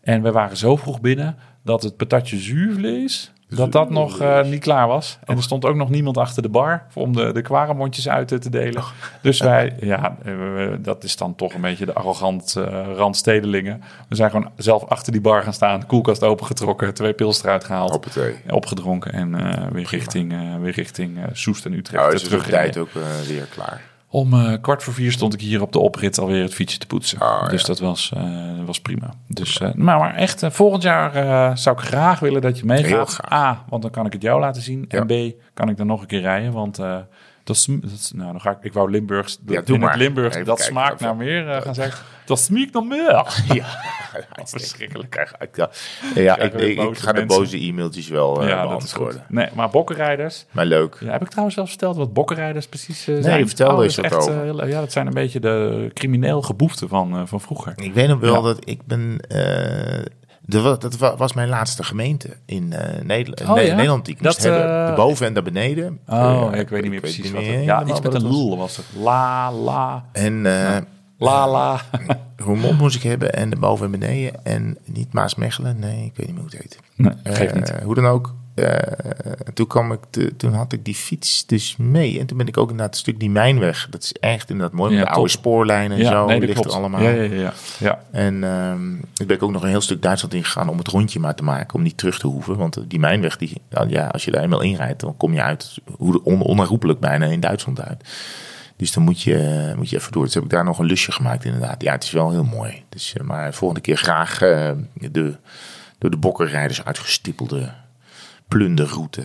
Speaker 1: En we waren zo vroeg binnen dat het patatje zuurvlees... Dat dat nog eh, niet klaar was. En er stond ook nog niemand achter de bar om de, de kwaremondjes uit eh, te delen.
Speaker 2: [laughs]
Speaker 1: Dus wij, ja, eh, we- dat is dan toch een beetje de arrogant eh, randstedelingen. We zijn gewoon zelf achter die bar gaan staan, koelkast opengetrokken, twee pils eruit gehaald,
Speaker 2: Hoppatee.
Speaker 1: opgedronken en eh, weer richting, eh, weer richting eh, Soest en Utrecht
Speaker 2: Nou,
Speaker 1: eh,
Speaker 2: is de
Speaker 1: teruggereden.
Speaker 2: tijd ook eh, weer klaar.
Speaker 1: Om eh, kwart voor vier stond ik hier op de oprit alweer het fietsje te poetsen.
Speaker 2: Oh,
Speaker 1: dus
Speaker 2: ja.
Speaker 1: dat was, eh, was prima. Dus, eh, maar, maar echt, eh, volgend jaar eh, zou ik graag willen dat je meegaat.
Speaker 2: Heel graag.
Speaker 1: A, want dan kan ik het jou laten zien.
Speaker 2: Ja.
Speaker 1: En B, kan ik dan nog een keer rijden. Want eh, dat, sm- dat is- nou, dan ga ik, ik wou Limburgs,
Speaker 2: Ja,
Speaker 1: dat-
Speaker 2: doe
Speaker 1: in het
Speaker 2: maar.
Speaker 1: Limburgs,
Speaker 2: Even
Speaker 1: dat
Speaker 2: kijken
Speaker 1: smaakt
Speaker 2: of-
Speaker 1: naar meer eh, gaan zeggen. Dat smiekt naar [laughs] meer.
Speaker 2: [laughs] Ja,
Speaker 1: Verschrikkelijk.
Speaker 2: Ik, ja, ja, ik,
Speaker 1: Krijgen we
Speaker 2: ik- ik
Speaker 1: boze
Speaker 2: ga de
Speaker 1: mensen.
Speaker 2: boze e-mailtjes wel eh,
Speaker 1: Ja, dat is
Speaker 2: beantwoorden.
Speaker 1: goed. Nee, maar bokkenrijders.
Speaker 2: Maar leuk.
Speaker 1: Ja, heb ik trouwens zelfs verteld wat bokkenrijders precies eh,
Speaker 2: Nee,
Speaker 1: zijn?
Speaker 2: vertel
Speaker 1: dat
Speaker 2: eens
Speaker 1: is
Speaker 2: wat
Speaker 1: echt,
Speaker 2: over.
Speaker 1: eh, heel- ja, dat zijn een beetje de crimineel geboeften van, eh, van vroeger.
Speaker 2: Ik weet nog wel
Speaker 1: Ja.
Speaker 2: dat ik ben... eh, de, wa- dat wa- was mijn laatste gemeente in eh, Nederland,
Speaker 1: Oh,
Speaker 2: Ne-
Speaker 1: ja?
Speaker 2: Nederland die ik moest
Speaker 1: Dat, eh,
Speaker 2: hebben. De boven en de beneden.
Speaker 1: Oh,
Speaker 2: Eh,
Speaker 1: ik weet niet meer precies wat.
Speaker 2: meer
Speaker 1: het- ja, iets
Speaker 2: helemaal
Speaker 1: met
Speaker 2: wat
Speaker 1: een
Speaker 2: het was.
Speaker 1: lul was het. La, la,
Speaker 2: En eh
Speaker 1: la, la.
Speaker 2: hoe mond moest ik hebben en de boven en beneden. En niet Maasmechelen. Nee, ik weet niet meer hoe het heet.
Speaker 1: Nee, geeft
Speaker 2: Eh,
Speaker 1: niet.
Speaker 2: hoe dan ook. eh, toen, kwam ik te- toen had ik die fiets dus mee. En toen ben ik ook inderdaad een stuk die mijnweg. Dat is echt inderdaad mooi.
Speaker 1: Ja,
Speaker 2: met de oude
Speaker 1: top.
Speaker 2: spoorlijnen en zo. ligt er allemaal.
Speaker 1: Ja, ja, ja. ja.
Speaker 2: En ehm ik ben ik ook nog een heel stuk Duitsland ingegaan om het rondje maar te maken. Om niet terug te hoeven. Want eh, die mijnweg, die, nou ja, als je daar eenmaal inrijdt, dan kom je uit, hoe de- on, onherroepelijk bijna, in Duitsland uit. Dus dan moet je, eh, moet je even door. Dus heb ik daar nog een lusje gemaakt inderdaad. Ja, het is wel heel mooi. Dus, eh, maar volgende keer graag eh, de, door de bokkerrijders uitgestippelde plunderroute.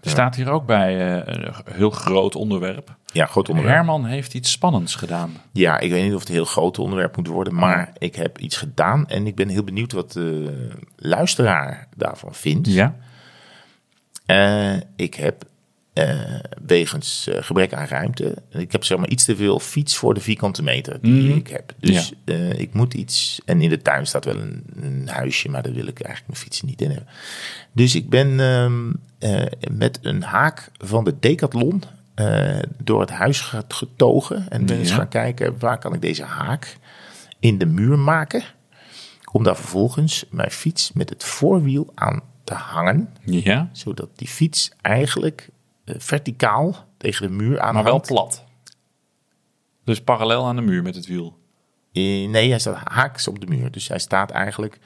Speaker 1: Er staat hier ook bij eh, een heel groot onderwerp.
Speaker 2: Ja, groot onderwerp.
Speaker 1: Herman heeft iets spannends gedaan.
Speaker 2: Ja, ik weet niet of het een heel groot onderwerp moet worden, maar ik heb iets gedaan en ik ben heel benieuwd wat de luisteraar daarvan vindt.
Speaker 1: Ja?
Speaker 2: Eh, ik heb eh, wegens eh, gebrek aan ruimte, ik heb zeg maar iets te veel fiets voor de vierkante meter die ik heb. Dus eh, ik moet iets, en in de tuin staat wel een, een huisje, maar daar wil ik eigenlijk mijn fiets niet in hebben. Dus ik ben ehm, eh, met een haak van de Decathlon eh, door het huis ge- getogen en ben eens
Speaker 1: Ja.
Speaker 2: gaan kijken waar kan ik deze haak in de muur maken. Om daar vervolgens mijn fiets met het voorwiel aan te hangen
Speaker 1: Ja?
Speaker 2: zodat die fiets eigenlijk eh, verticaal tegen de muur aan
Speaker 1: Maar wel plat. Dus parallel aan de muur met het wiel.
Speaker 2: Eh, Nee, hij staat haaks op de muur. Dus hij staat eigenlijk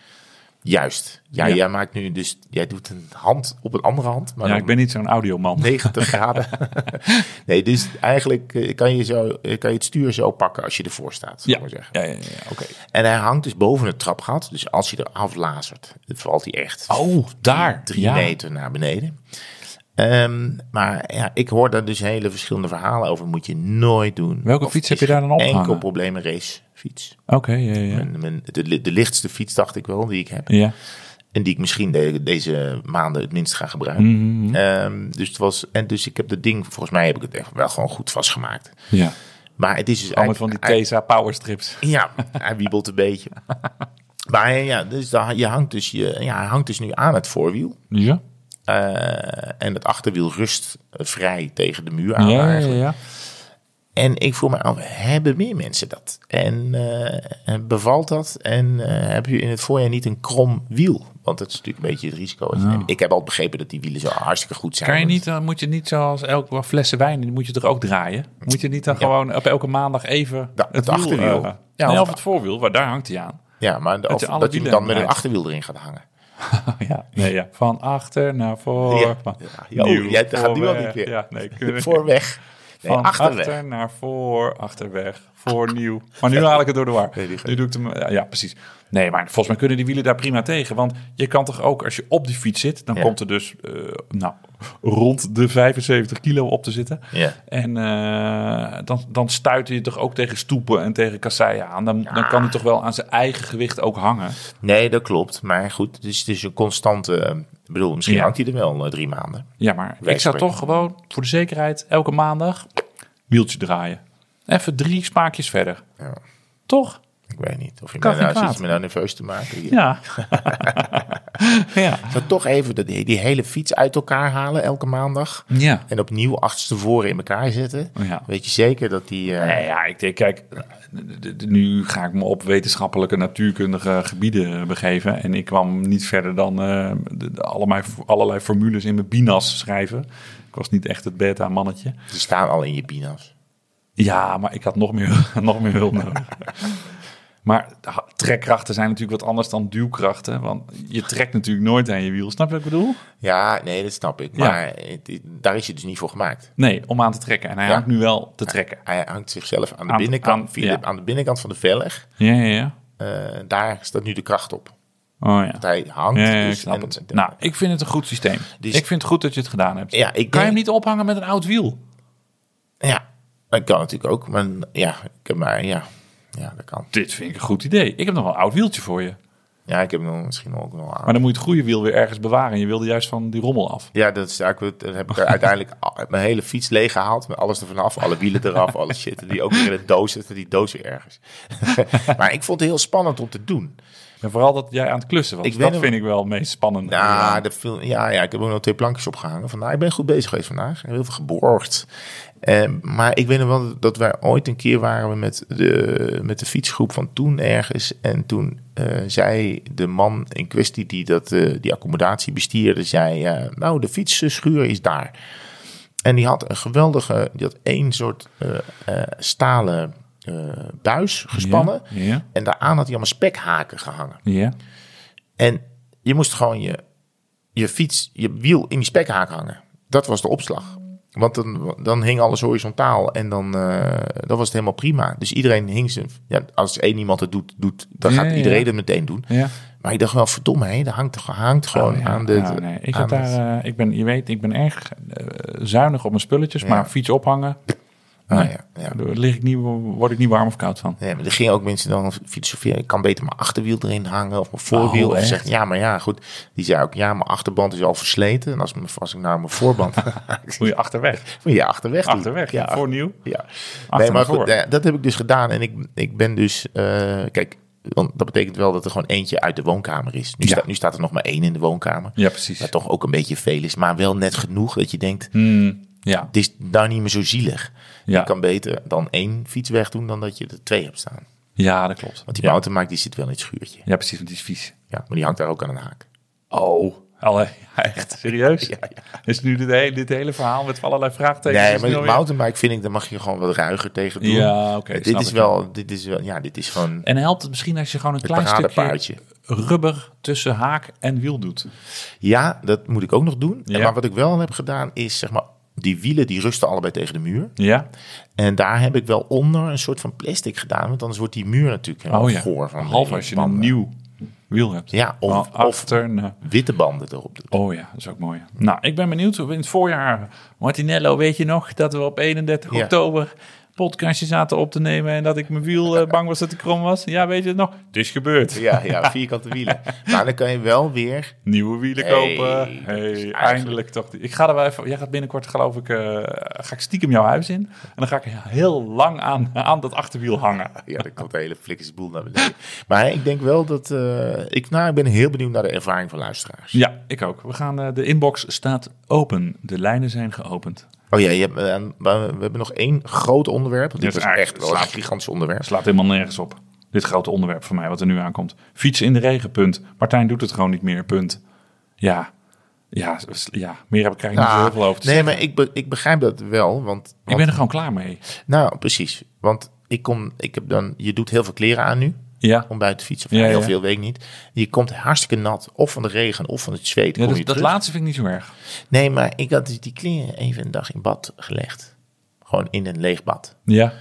Speaker 2: juist. Ja,
Speaker 1: Ja.
Speaker 2: jij maakt nu dus... Jij doet een hand op een andere hand, maar
Speaker 1: Ja,
Speaker 2: dan [laughs]
Speaker 1: ik ben niet zo'n audioman.
Speaker 2: 90
Speaker 1: [laughs]
Speaker 2: graden. nee, dus eigenlijk eh, kan je, zo, eh, kan je het stuur zo pakken als je ervoor staat. zou
Speaker 1: Ja,
Speaker 2: ik maar zeggen.
Speaker 1: ja, ja, ja, oké.
Speaker 2: En hij hangt dus boven het trapgat. Dus als je eraf lazert, dan valt hij echt
Speaker 1: Oh, daar.
Speaker 2: drie
Speaker 1: ja.
Speaker 2: meter naar beneden. Ehm, maar ja, ik hoor daar dus hele verschillende verhalen over. Moet je nooit doen.
Speaker 1: Welke
Speaker 2: Of
Speaker 1: fiets
Speaker 2: is
Speaker 1: heb je daar dan opgehangen?
Speaker 2: Enkel probleem een racefiets.
Speaker 1: Oké, ja, ja.
Speaker 2: Mijn- mijn- de, li- de lichtste fiets dacht ik wel die ik heb.
Speaker 1: Ja,
Speaker 2: En die ik misschien de- deze maanden het minst ga gebruiken.
Speaker 1: Mm-hmm.
Speaker 2: Ehm, dus het was, en dus ik heb dat ding, volgens mij heb ik het echt wel gewoon goed vastgemaakt.
Speaker 1: ja.
Speaker 2: Maar het is dus
Speaker 1: Allemaal van die
Speaker 2: eigenlijk-
Speaker 1: Tesa powerstrips.
Speaker 2: ja, hij wiebelt een
Speaker 1: [laughs]
Speaker 2: beetje. Maar ja, dus dan, je hangt dus je, ja, hij hangt dus nu aan het voorwiel.
Speaker 1: Ja?
Speaker 2: Eh, en het achterwiel rust vrij tegen de muur aan.
Speaker 1: Ja, ja,
Speaker 2: eigenlijk.
Speaker 1: ja.
Speaker 2: En ik vroeg me af, hebben meer mensen dat? En eh, en bevalt dat? En eh, heb je in het voorjaar niet een krom wiel? Want dat is natuurlijk een beetje het risico. wat je
Speaker 1: Nou.
Speaker 2: neemt. Ik heb al begrepen dat die wielen zo hartstikke goed zijn.
Speaker 1: Kan je
Speaker 2: Want-
Speaker 1: niet, dan moet je niet zoals elke flessen wijn, die moet je er ook draaien. Moet je niet dan gewoon op elke maandag even
Speaker 2: Da-
Speaker 1: het,
Speaker 2: het achterwiel.
Speaker 1: wiel, eh,
Speaker 2: Ja,
Speaker 1: nee,
Speaker 2: of-
Speaker 1: of het voorwiel, waar daar hangt hij aan.
Speaker 2: [laughs] Ja, maar de-
Speaker 1: Dat
Speaker 2: of
Speaker 1: je alle
Speaker 2: dat je hem
Speaker 1: wielen
Speaker 2: dan met een
Speaker 1: draait.
Speaker 2: achterwiel erin gaat hangen.
Speaker 1: ja, nee, ja. Van achter naar voren.
Speaker 2: Oh, Ja.
Speaker 1: Van-
Speaker 2: Ja,
Speaker 1: Nieuw,
Speaker 2: joh, jij gaat nu al
Speaker 1: voorweg.
Speaker 2: niet meer.
Speaker 1: Ja, nee,
Speaker 2: [laughs]
Speaker 1: kunnen-
Speaker 2: Voorweg. Nee,
Speaker 1: van
Speaker 2: achterweg.
Speaker 1: achter naar voor, achterweg, voornieuw. Maar nu haal ik het door de war.
Speaker 2: Nee, die gaat-
Speaker 1: Nu doe ik hem, ja, ja, precies. Nee, maar volgens mij kunnen die wielen daar prima tegen. Want je kan toch ook, als je op die fiets zit, dan
Speaker 2: Ja.
Speaker 1: komt er dus eh, nou, rond de 75 kilo op te zitten.
Speaker 2: Ja.
Speaker 1: En eh, dan, dan stuit je toch ook tegen stoepen en tegen kasseien aan. Dan, dan kan hij toch wel aan zijn eigen gewicht ook hangen.
Speaker 2: Nee, dat klopt. Maar goed, dus het is een constante... eh, Ik bedoel, misschien
Speaker 1: Ja.
Speaker 2: hangt hij er wel eh, drie maanden.
Speaker 1: Ja, maar ik zou
Speaker 2: spreken.
Speaker 1: toch gewoon voor de zekerheid elke maandag wieltje draaien. Even drie spaakjes verder.
Speaker 2: Ja.
Speaker 1: Toch?
Speaker 2: Ik weet niet of je
Speaker 1: Kan
Speaker 2: mij nou
Speaker 1: geen
Speaker 2: zit
Speaker 1: kwaad.
Speaker 2: me nou nerveus te maken. hier.
Speaker 1: Ja. [laughs] ja.
Speaker 2: Maar toch even dat- die hele fiets uit elkaar halen elke maandag.
Speaker 1: Ja.
Speaker 2: En opnieuw achterstevoren in elkaar zetten.
Speaker 1: Oh Ja.
Speaker 2: Weet je zeker dat die... eh,
Speaker 1: Nee, ja, ik denk, kijk, d- d- d- nu ga ik me op wetenschappelijke, natuurkundige gebieden begeven. En ik kwam niet verder dan eh, de- de- allerlei, allerlei formules in mijn binas schrijven. Ik was niet echt het beta-mannetje.
Speaker 2: Die staan al in je binas.
Speaker 1: Ja, maar ik had nog meer, [laughs] nog meer hulp nodig. Maar ha- trekkrachten zijn natuurlijk wat anders dan duwkrachten. Want je trekt natuurlijk nooit aan je wiel. Snap je wat ik bedoel?
Speaker 2: Ja, nee, dat snap ik.
Speaker 1: Ja.
Speaker 2: Maar het- het- daar is je dus niet voor gemaakt.
Speaker 1: Nee, om aan te trekken. En hij
Speaker 2: Ja.
Speaker 1: hangt nu wel te trekken.
Speaker 2: Hij hangt zichzelf aan de,
Speaker 1: Aan-
Speaker 2: binnenkant,
Speaker 1: aan-
Speaker 2: via de-
Speaker 1: ja.
Speaker 2: aan de binnenkant van de velg.
Speaker 1: Ja, ja, ja.
Speaker 2: Eh, daar staat nu de kracht op.
Speaker 1: Oh ja.
Speaker 2: Hij hangt.
Speaker 1: Ja, ja, ik
Speaker 2: dus
Speaker 1: snap
Speaker 2: en-
Speaker 1: het.
Speaker 2: en-
Speaker 1: nou, ik vind het een goed systeem.
Speaker 2: Dus-
Speaker 1: ik vind het goed dat je het gedaan hebt.
Speaker 2: Ja, ik
Speaker 1: Kan
Speaker 2: denk-
Speaker 1: je hem niet ophangen met een oud wiel?
Speaker 2: Ja, dat kan natuurlijk ook. Maar ja, ik heb maar ja. Ja, dat kan.
Speaker 1: Dit vind ik een goed idee. Ik heb nog wel een oud wieltje voor je.
Speaker 2: Ja, ik heb hem misschien ook nog aan.
Speaker 1: Maar dan moet je het goede wiel weer ergens bewaren. En je wilde juist van die rommel af.
Speaker 2: Ja, dat, is, eigenlijk- dat heb ik er uiteindelijk al- mijn hele fiets leeg gehaald. Met alles er vanaf, alle wielen eraf, alles shit. En die ook weer in de doos zitten, die doos weer ergens. [laughs] maar ik vond het heel spannend om te doen.
Speaker 1: En vooral dat jij aan het klussen was.
Speaker 2: Ik weet
Speaker 1: dat
Speaker 2: nog-
Speaker 1: vind ik wel het meest spannende.
Speaker 2: Nou, dat viel, ja, ja, ik heb ook nog twee plankjes opgehangen. Van, nou, ik ben goed bezig geweest vandaag. Ik heb heel veel geborgd. Eh, maar ik weet nog wel dat wij ooit een keer waren we met de, met de fietsgroep van toen ergens. En toen eh, zei de man in kwestie die dat, eh, die accommodatie bestierde, zei... eh, nou, de fietsschuur is daar. En die had een geweldige, die had één soort eh, eh, stalen eh, buis gespannen.
Speaker 1: Ja, ja.
Speaker 2: En daaraan had hij allemaal spekhaken gehangen.
Speaker 1: Ja.
Speaker 2: En je moest gewoon je, je fiets, je wiel in die spekhaak hangen. Dat was de opslag. Want dan, dan hing alles horizontaal en dan eh, dat was het helemaal prima. Dus iedereen hing zijn... Ja, als één iemand het doet, doet dan
Speaker 1: Ja,
Speaker 2: gaat
Speaker 1: ja,
Speaker 2: iedereen
Speaker 1: ja.
Speaker 2: het meteen doen.
Speaker 1: Ja.
Speaker 2: Maar ik dacht wel, verdomme, hè, dat hangt, hangt gewoon
Speaker 1: Oh, ja.
Speaker 2: aan de...
Speaker 1: Ja, nee. ik,
Speaker 2: aan
Speaker 1: zat daar,
Speaker 2: het-
Speaker 1: eh, ik ben, je weet, ik ben erg eh, zuinig op mijn spulletjes. Maar fiets ophangen,
Speaker 2: Ah,
Speaker 1: nee.
Speaker 2: ja, ja.
Speaker 1: daar lig ik niet, word ik niet warm of koud
Speaker 2: [laughs]
Speaker 1: van.
Speaker 2: Nee, maar er gingen ook mensen dan filosoferen. Ik kan beter mijn achterwiel erin hangen of mijn voorwiel.
Speaker 1: Oh,
Speaker 2: of
Speaker 1: echt?
Speaker 2: zeggen, ja, maar ja, goed. Die zei ook, ja, mijn achterband is al versleten. En als, mijn- als ik naar mijn
Speaker 1: [laughs]
Speaker 2: voorband...
Speaker 1: Moet je achterweg.
Speaker 2: moet je achterweg doen.
Speaker 1: Achterweg,
Speaker 2: ja.
Speaker 1: ja. voornieuw.
Speaker 2: Ja,
Speaker 1: Achter
Speaker 2: nee, maar
Speaker 1: en
Speaker 2: goed,
Speaker 1: voor.
Speaker 2: ja, dat heb ik dus gedaan. En ik, ik ben dus, eh, kijk, want dat betekent wel dat er gewoon eentje uit de woonkamer is. Nu,
Speaker 1: Ja.
Speaker 2: staat, nu staat er nog maar één in de woonkamer.
Speaker 1: Ja, precies.
Speaker 2: Wat toch ook een beetje veel is, maar wel net genoeg dat je denkt,
Speaker 1: Mm, Ja.
Speaker 2: het is daar niet meer zo zielig.
Speaker 1: Hm. Ja.
Speaker 2: Je kan beter dan één fiets wegdoen dan dat je er twee hebt staan.
Speaker 1: ja, dat klopt.
Speaker 2: Want die
Speaker 1: ja.
Speaker 2: mountainbike die zit wel in het schuurtje.
Speaker 1: ja, precies, want die is vies.
Speaker 2: Ja, maar die hangt daar ook aan een haak.
Speaker 1: Oh, [laughs] alle, echt [laughs] serieus?
Speaker 2: Ja, ja.
Speaker 1: Is nu dit hele, dit hele verhaal met allerlei vraagtekens?
Speaker 2: Nee,
Speaker 1: is nu
Speaker 2: maar die
Speaker 1: alweer-
Speaker 2: mountainbike vind ik, daar mag je gewoon wat ruiger tegen doen. Eh,
Speaker 1: Ja, oké,
Speaker 2: dit
Speaker 1: snap
Speaker 2: is
Speaker 1: ik.
Speaker 2: wel, dit is wel, ja, dit is gewoon
Speaker 1: En helpt het misschien als je gewoon een
Speaker 2: het
Speaker 1: klein stukje
Speaker 2: paradepaardje.
Speaker 1: rubber tussen haak en wiel doet?
Speaker 2: Ja, dat moet ik ook nog doen.
Speaker 1: Ja.
Speaker 2: Maar wat ik wel heb gedaan is, zeg maar, die wielen die rusten allebei tegen de muur.
Speaker 1: Ja?
Speaker 2: En daar heb ik wel onder een soort van plastic gedaan. Want anders wordt die muur natuurlijk helemaal
Speaker 1: Oh ja,
Speaker 2: goor van.
Speaker 1: half als je een
Speaker 2: banden.
Speaker 1: nieuw wiel hebt.
Speaker 2: Ja, of-
Speaker 1: Van
Speaker 2: of-
Speaker 1: achter naar-
Speaker 2: Witte banden
Speaker 1: [laughs]
Speaker 2: erop doet.
Speaker 1: Oh ja, dat is ook mooi. Nou, ik ben benieuwd. In het voorjaar, Martinello, weet je nog dat we op 31
Speaker 2: Ja.
Speaker 1: oktober podcastje zaten op te nemen en dat ik mijn wiel eh, bang was dat ik krom was? Ja, weet je het nog? Het is gebeurd.
Speaker 2: Ja, ja, vierkante wielen. Maar dan kan je wel weer...
Speaker 1: Nieuwe wielen
Speaker 2: Hey,
Speaker 1: kopen.
Speaker 2: dat
Speaker 1: Hey,
Speaker 2: is eigenlijk-
Speaker 1: eindelijk toch. die- Ik ga er wel even. Jij gaat binnenkort, geloof ik, eh, ga ik stiekem jouw huis in. En dan ga ik heel lang aan, aan dat achterwiel hangen.
Speaker 2: Ja, dan komt de hele flikkerse boel naar beneden. Maar ik denk wel dat... eh, ik, nou, ik ben heel benieuwd naar de ervaring van luisteraars.
Speaker 1: Ja, ik ook. We gaan, eh, de inbox staat open. De lijnen zijn geopend.
Speaker 2: Oh ja, je hebt, eh, maar we hebben nog één groot onderwerp. Want dit
Speaker 1: Ja,
Speaker 2: was
Speaker 1: het is
Speaker 2: echt wel een
Speaker 1: eigenlijk-
Speaker 2: gigantisch onderwerp.
Speaker 1: Slaat helemaal nergens op. Dit grote onderwerp voor mij, wat er nu aankomt. Fietsen in de regen, punt. Martijn doet het gewoon niet meer, punt. Ja, ja, s- ja. meer heb ik eigenlijk niet zo
Speaker 2: Ja,
Speaker 1: heel veel over te
Speaker 2: Ah, nee,
Speaker 1: zeggen.
Speaker 2: maar ik, be- ik begrijp dat wel. Want,
Speaker 1: Ik
Speaker 2: want
Speaker 1: ben er gewoon klaar mee.
Speaker 2: Nou, precies. Want ik kom, ik heb dan, je doet heel veel kleren aan nu.
Speaker 1: Ja.
Speaker 2: om buiten te fietsen. Of
Speaker 1: Ja,
Speaker 2: heel
Speaker 1: ja.
Speaker 2: veel, weet ik niet. Je komt hartstikke nat, of van de regen, of van het zweet.
Speaker 1: Ja,
Speaker 2: kom
Speaker 1: dat,
Speaker 2: je
Speaker 1: dat
Speaker 2: terug.
Speaker 1: laatste vind ik niet zo erg.
Speaker 2: Nee, maar ik had dus die kleren even een dag in bad gelegd. Gewoon in een leeg bad.
Speaker 1: Ja.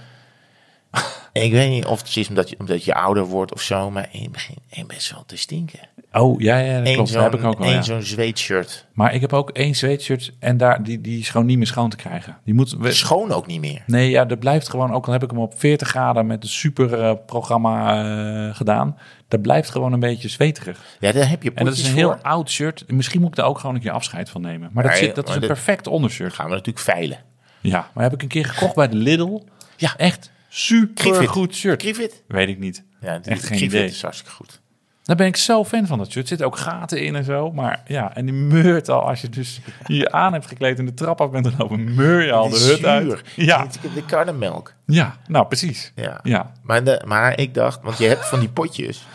Speaker 2: En ik weet niet of het is omdat je, omdat je ouder wordt of zo, maar je begint en eh, best wel te stinken.
Speaker 1: Oh, ja, ja dat
Speaker 2: Eén
Speaker 1: klopt. Dat heb ik
Speaker 2: zo'n-
Speaker 1: ook wel,
Speaker 2: één
Speaker 1: ja.
Speaker 2: zo'n zweetshirt.
Speaker 1: Maar ik heb ook één zweetshirt en daar, die, die is gewoon niet meer schoon te krijgen. Die moet... we-
Speaker 2: Schoon ook niet meer.
Speaker 1: Nee, ja, dat blijft gewoon, ook al heb ik hem op 40 graden met een super eh, programma eh, gedaan, dat blijft gewoon een beetje zweterig.
Speaker 2: Ja, daar heb je
Speaker 1: En dat is
Speaker 2: potjes
Speaker 1: een heel
Speaker 2: voor.
Speaker 1: oud shirt. Misschien moet ik daar ook gewoon een keer afscheid van nemen. Maar dat,
Speaker 2: Nee,
Speaker 1: zit, dat
Speaker 2: maar
Speaker 1: is een
Speaker 2: dit-
Speaker 1: perfect ondershirt.
Speaker 2: gaan we natuurlijk veilen.
Speaker 1: Ja, maar heb ik een keer gekocht bij de Lidl.
Speaker 2: Ja.
Speaker 1: echt super
Speaker 2: Griffith.
Speaker 1: goed shirt.
Speaker 2: Griffith?
Speaker 1: Weet ik niet.
Speaker 2: Ja, die
Speaker 1: Echt geen
Speaker 2: Griffith
Speaker 1: idee.
Speaker 2: is hartstikke goed.
Speaker 1: Daar ben ik zo fan van dat shirt. Er zitten ook gaten in en zo. Maar ja, en die meurt al. Als je dus je aan hebt gekleed en de trap af bent gelopen, meur je al de
Speaker 2: Die
Speaker 1: hut uit.
Speaker 2: zuur.
Speaker 1: Ja,
Speaker 2: Die- De karnemelk.
Speaker 1: ja, nou precies.
Speaker 2: Ja.
Speaker 1: Ja,
Speaker 2: Maar, de, maar ik dacht, want je hebt van die potjes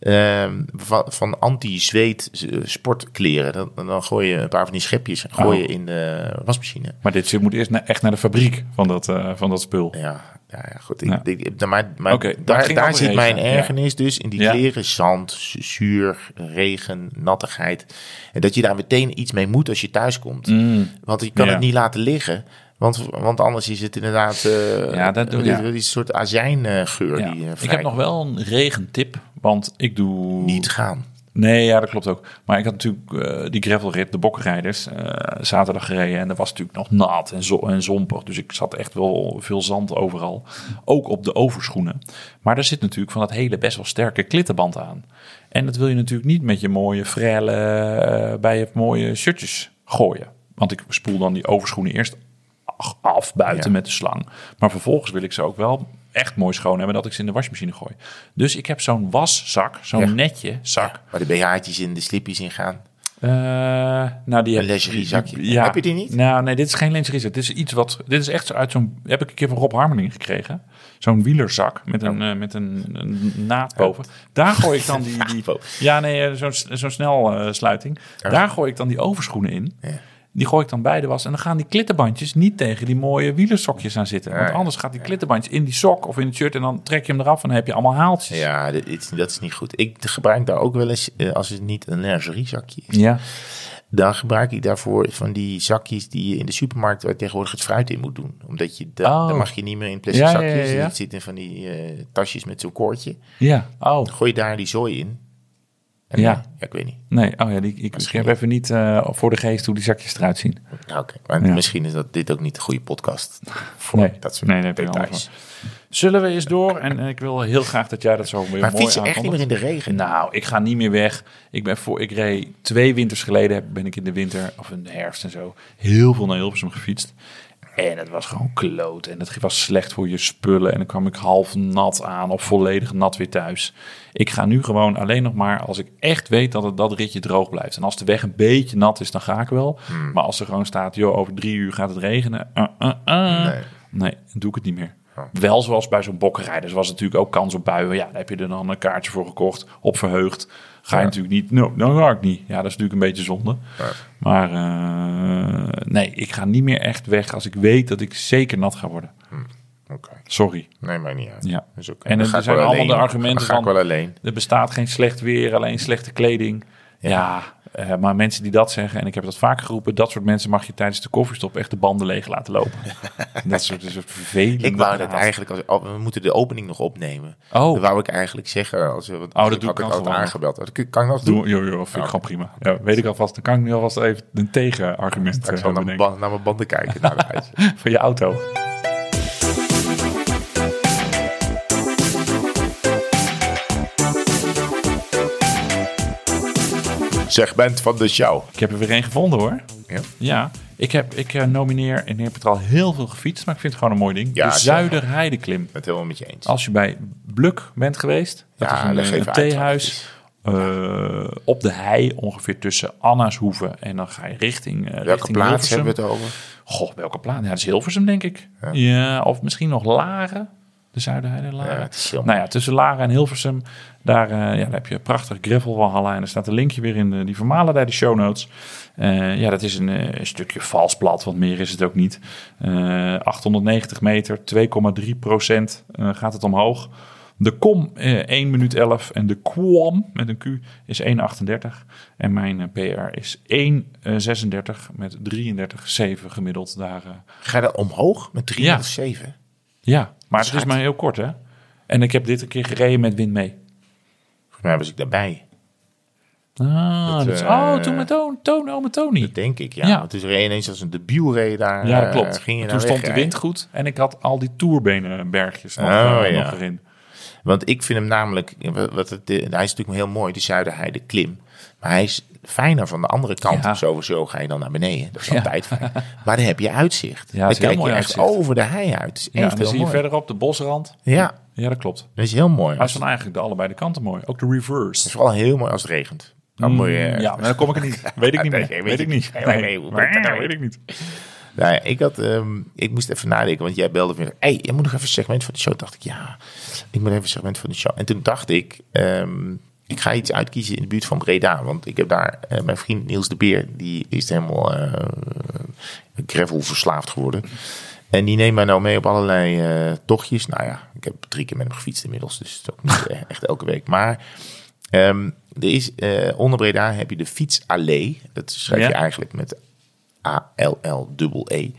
Speaker 2: ehm, van, van anti-zweet eh, sportkleren. Dan, dan gooi je een paar van die schepjes gooi je
Speaker 1: Oh.
Speaker 2: in de wasmachine.
Speaker 1: Maar dit shit moet eerst na- echt naar de fabriek van dat, eh, van dat spul.
Speaker 2: Ja, ja, ja, goed. Ik,
Speaker 1: Ja.
Speaker 2: ik- nou, maar maar
Speaker 1: Oké, maar het
Speaker 2: daar,
Speaker 1: ging
Speaker 2: daar
Speaker 1: over
Speaker 2: zit
Speaker 1: regen,
Speaker 2: mijn
Speaker 1: ja.
Speaker 2: ergernis dus in die
Speaker 1: Ja.
Speaker 2: kleren. Zand, zu- zuur, regen, nattigheid. En dat je daar meteen iets mee moet als je thuis komt. Want je kan
Speaker 1: Mm. Ja.
Speaker 2: het niet laten liggen. Want, want anders is het inderdaad eh
Speaker 1: Ja, dat doe-
Speaker 2: dit-
Speaker 1: ja.
Speaker 2: dit is een soort azijngeur.
Speaker 1: Ja.
Speaker 2: die eh,
Speaker 1: Ik heb
Speaker 2: vrij-
Speaker 1: nog wel een regentip, want ik doe...
Speaker 2: niet gaan.
Speaker 1: Nee, ja, dat klopt ook. Maar ik had natuurlijk eh, die gravelrit, de bokkenrijders, eh, zaterdag gereden. En dat was natuurlijk nog nat en, zo en zompig. Dus ik zat echt wel veel zand overal. Ook op de overschoenen. Maar daar zit natuurlijk van dat hele best wel sterke klittenband aan. En dat wil je natuurlijk niet met je mooie frelle, eh, bij je mooie shirtjes gooien. Want ik spoel dan die overschoenen eerst ach- af buiten
Speaker 2: Ja.
Speaker 1: met de slang. Maar vervolgens wil ik ze ook wel echt mooi schoon hebben dat ik ze in de wasmachine gooi. Dus ik heb zo'n waszak, zo'n
Speaker 2: Ja.
Speaker 1: netje zak.
Speaker 2: Waar de BH'tjes in, de slippies in gaan.
Speaker 1: Eh, nou, die
Speaker 2: Een lingeriezakje.
Speaker 1: die- ja.
Speaker 2: Heb je die niet?
Speaker 1: Nou, nee, dit is geen lingeriezak. Dit is iets wat. Dit is echt zo uit zo'n. Heb ik een keer van Rob Harmeling gekregen. Zo'n wielerzak met een,
Speaker 2: Oh.
Speaker 1: eh, met een, een naad boven. Daar gooi ik dan
Speaker 2: [laughs]
Speaker 1: die. die
Speaker 2: boven.
Speaker 1: ja, nee, eh, zo'n zo'n snelsluiting. Daar gooi ik dan die overschoenen in. Die gooi ik dan bij de was. En dan gaan die klittenbandjes niet tegen die mooie wielersokjes aan zitten. Want
Speaker 2: Nee.
Speaker 1: anders gaat die klittenbandjes in die sok of in het shirt. En dan trek je hem eraf en dan heb je allemaal haaltjes.
Speaker 2: Ja, dit, is- dat is niet goed. Ik gebruik daar ook wel eens, eh, als het niet een lingeriezakje is,
Speaker 1: ja.
Speaker 2: dan gebruik ik daarvoor van die zakjes die je in de supermarkt waar tegenwoordig het fruit in moet doen. Omdat je da-
Speaker 1: Oh.
Speaker 2: daar mag je niet meer in plastic
Speaker 1: Ja, ja, ja,
Speaker 2: zakjes.
Speaker 1: ja.
Speaker 2: Het zit in van die eh, tasjes met zo'n koordje.
Speaker 1: ja. Oh.
Speaker 2: Dan gooi je daar die zooi in. En
Speaker 1: Ja.
Speaker 2: dan- ja, ik weet niet.
Speaker 1: Nee, oh ja, die, ik, ik heb even niet eh, voor de geest hoe die zakjes eruit zien.
Speaker 2: Nou, oké. Maar
Speaker 1: Ja.
Speaker 2: misschien is dat dit ook niet de goede podcast voor
Speaker 1: Nee.
Speaker 2: dat soort
Speaker 1: Nee, daar heb je
Speaker 2: details.
Speaker 1: alles Zullen we eens door? En, eh, ik wil heel graag dat jij dat zo weer mooi
Speaker 2: Maar fiets je echt niet meer
Speaker 1: aankondigt.
Speaker 2: in de regen?
Speaker 1: Nou, ik ga niet meer weg. Ik ben voor, ik reed twee winters geleden, heb- ben ik in de winter of in de herfst en zo heel veel naar Hilversum gefietst. En het was gewoon kloot en het was slecht voor je spullen. En dan kwam ik half nat aan of volledig nat weer thuis. Ik ga nu gewoon alleen nog maar als ik echt weet dat het, dat ritje droog blijft. En als de weg een beetje nat is, dan ga ik wel. Maar als er gewoon staat, joh, over drie uur gaat het regenen. eh, eh, eh.
Speaker 2: Nee.
Speaker 1: Nee, dan doe ik het niet meer.
Speaker 2: Oh.
Speaker 1: Wel zoals bij zo'n bokkenrijders was het natuurlijk ook kans op buien. Ja, daar heb je er dan een kaartje voor gekocht, op verheugd. Ga je natuurlijk niet, no, nou ga ik niet. Ja, dat is natuurlijk een beetje zonde. Maar eh, nee, ik ga niet meer echt weg als ik weet dat ik zeker nat ga worden.
Speaker 2: Oké.
Speaker 1: Sorry.
Speaker 2: Nee, maar niet uit.
Speaker 1: Ja.
Speaker 2: Dat is oké.
Speaker 1: En
Speaker 2: Dan
Speaker 1: er
Speaker 2: ga ik
Speaker 1: zijn
Speaker 2: wel
Speaker 1: allemaal
Speaker 2: alleen.
Speaker 1: de argumenten
Speaker 2: Dan ga ik
Speaker 1: van-
Speaker 2: wel alleen.
Speaker 1: Er bestaat geen slecht weer, alleen slechte kleding. Ja, eh, maar mensen die dat zeggen, en ik heb dat vaak geroepen, dat soort mensen mag je tijdens de koffiestop echt de banden leeg laten
Speaker 2: [laughs]
Speaker 1: lopen. dat soort, dat soort vervelende
Speaker 2: Ik wou dat
Speaker 1: haast.
Speaker 2: eigenlijk als oh, we moeten de opening nog opnemen.
Speaker 1: Oh.
Speaker 2: Dat wou ik eigenlijk zeggen als we want
Speaker 1: Oh, dat
Speaker 2: ik
Speaker 1: doe
Speaker 2: had
Speaker 1: ik
Speaker 2: ik
Speaker 1: dan
Speaker 2: altijd
Speaker 1: gewoon.
Speaker 2: aangebeld. Dat kan- kan ik nog doen.
Speaker 1: Doe, joh, joh, vind ik gewoon prima. Ja, weet ik alvast. Dan kan ik nu alvast even een tegenargument
Speaker 2: Ik
Speaker 1: eh,
Speaker 2: zal naar
Speaker 1: bedenken
Speaker 2: mijn, band, naar mijn banden kijken. naar
Speaker 1: [laughs]
Speaker 2: de uitzending.
Speaker 1: van je auto.
Speaker 2: Segment van de show.
Speaker 1: Ik heb er weer één gevonden hoor.
Speaker 2: Ja.
Speaker 1: Ja, ik, heb, ik eh, nomineer en ik heb het al heel veel gefietst, maar ik vind het gewoon een mooi ding.
Speaker 2: Ja,
Speaker 1: de
Speaker 2: zeker.
Speaker 1: Zuiderheideklim.
Speaker 2: Het helemaal met je eens.
Speaker 1: Als je bij Bluk bent geweest, dat
Speaker 2: Ja, leg
Speaker 1: is een, een
Speaker 2: even uit wat het
Speaker 1: theehuis
Speaker 2: is.
Speaker 1: eh, op de hei, ongeveer tussen Annashoeven en dan ga je richting. eh,
Speaker 2: Welke
Speaker 1: richting
Speaker 2: plaats
Speaker 1: Hilversum.
Speaker 2: hebben we het over?
Speaker 1: Goh, welke plaats? Ja, dat is Hilversum, denk ik. Ja, of misschien nog Laren. De Zuiderheide Laren.
Speaker 2: Ja, het is heel
Speaker 1: nou ja, tussen Laren en Hilversum. Daar, eh, ja, daar heb je prachtig gravelwalhalla. En daar staat een linkje weer in de, die vermalen daar, de show notes. Eh, ja, dat is een, eh, een stukje vals plat, want meer is het ook niet. Eh, 890 meter, 2,3 procent eh, gaat het omhoog. De com eh 1 minuut 11 en de quam met een Q is 1,38. En mijn eh, PR is 1,36 met 33,7 gemiddeld daar. eh.
Speaker 2: Ga je dat omhoog met 3
Speaker 1: Ja.
Speaker 2: of 7?
Speaker 1: ja, maar het is
Speaker 2: Schat.
Speaker 1: maar heel kort hè. En ik heb dit een keer gereden met wind mee.
Speaker 2: Volgens mij was ik daarbij.
Speaker 1: Ah,
Speaker 2: Dat,
Speaker 1: dat is-
Speaker 2: eh,
Speaker 1: oh, toen met Toon, Toon, oh met Tony.
Speaker 2: Dat denk ik, ja.
Speaker 1: Ja.
Speaker 2: Want toen reed je ineens als een debiel reed daar.
Speaker 1: Ja, dat
Speaker 2: eh,
Speaker 1: klopt.
Speaker 2: Ging je
Speaker 1: toen
Speaker 2: daar
Speaker 1: stond de
Speaker 2: wegrijden.
Speaker 1: wind goed en ik had al die toerbenenbergjes nog,
Speaker 2: Oh,
Speaker 1: eh,
Speaker 2: ja.
Speaker 1: nog erin.
Speaker 2: Want ik vind hem namelijk, wat- wat het, hij is natuurlijk heel mooi, de Zuiderheide klim. Maar hij is fijner van de andere kant.
Speaker 1: Ja.
Speaker 2: Sowieso ga je dan naar beneden. Dat is altijd fijn. Maar dan heb je uitzicht.
Speaker 1: Ja, het
Speaker 2: dan
Speaker 1: is heel
Speaker 2: kijk je
Speaker 1: mooi
Speaker 2: echt
Speaker 1: uitzicht.
Speaker 2: over de hei uit. Het is
Speaker 1: Ja, en
Speaker 2: echt
Speaker 1: dan
Speaker 2: heel
Speaker 1: zie je
Speaker 2: mooi.
Speaker 1: verderop de bosrand.
Speaker 2: Ja,
Speaker 1: Ja, dat klopt.
Speaker 2: dat is heel mooi.
Speaker 1: Maar
Speaker 2: Het
Speaker 1: ze zijn eigenlijk de allebei de kanten mooi. Ook de reverse.
Speaker 2: is vooral heel mooi als het regent. Dan moet je...
Speaker 1: Mm, Ja, maar dan kom ik er
Speaker 2: [laughs]
Speaker 1: niet. Weet ik niet
Speaker 2: Nee,
Speaker 1: meer.
Speaker 2: nee,
Speaker 1: Weet ik niet.
Speaker 2: Nee, nee, nee,
Speaker 1: Nee,
Speaker 2: hoe
Speaker 1: maar-
Speaker 2: moet ik dat nou
Speaker 1: weet ik niet.
Speaker 2: Nou ja, ik, had, ehm, ik moest even nadenken, want jij belde me. hey, je moet nog even een segment van de show. Dacht ik, ja, ik moet even een segment van de show. En toen dacht ik, ehm, ik ga iets uitkiezen in de buurt van Breda. Want ik heb daar eh, mijn vriend Niels de Beer, die is helemaal eh gravel verslaafd geworden. En die neemt mij nou mee op allerlei eh, tochtjes. Nou ja, ik heb drie keer met hem gefietst inmiddels, dus het is ook niet eh, echt elke week. Maar ehm, er is, eh, onder Breda heb je de fietsallee. E. Dat schrijf
Speaker 1: Ja.
Speaker 2: je eigenlijk met A-L-L-E. E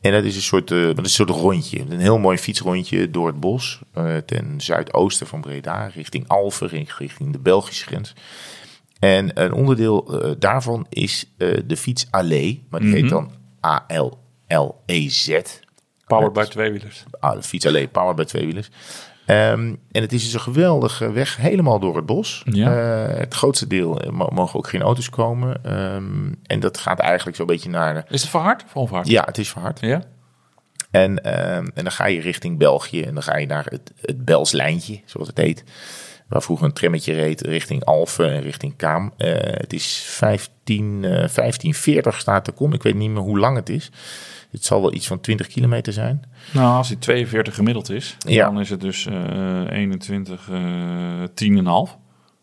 Speaker 2: En dat is een soort, eh, dat is een soort rondje. Een heel mooi fietsrondje door het bos. eh, ten zuidoosten van Breda, richting Alphen, richt- richting de Belgische grens. En een onderdeel eh, daarvan is eh, de fietsallee. E, Maar die heet dan E A-L-L-E-Z.
Speaker 1: Powered by tweewielers.
Speaker 2: Ah, de fiets alleen power bij tweewielers. Ehm en het is dus een geweldige weg helemaal door het bos.
Speaker 1: Ja.
Speaker 2: Eh, het grootste deel eh, mo- mogen ook geen auto's komen. Ehm, en dat gaat eigenlijk zo'n beetje naar... eh,
Speaker 1: Is het verhard of onverhard?
Speaker 2: Ja, het is verhard.
Speaker 1: Ja?
Speaker 2: En, ehm, en dan ga je richting België en dan ga je naar het, het Belslijntje, zoals het heet. Waar vroeger een trammetje reed richting Alphen en richting Kaam. Eh, het is 15, eh 1540 staat de kom. Ik weet niet meer hoe lang het is. Het zal wel iets van 20 kilometer zijn.
Speaker 1: Nou, als die 42 gemiddeld is,
Speaker 2: Ja.
Speaker 1: dan is het dus eh 21, eh 10,5.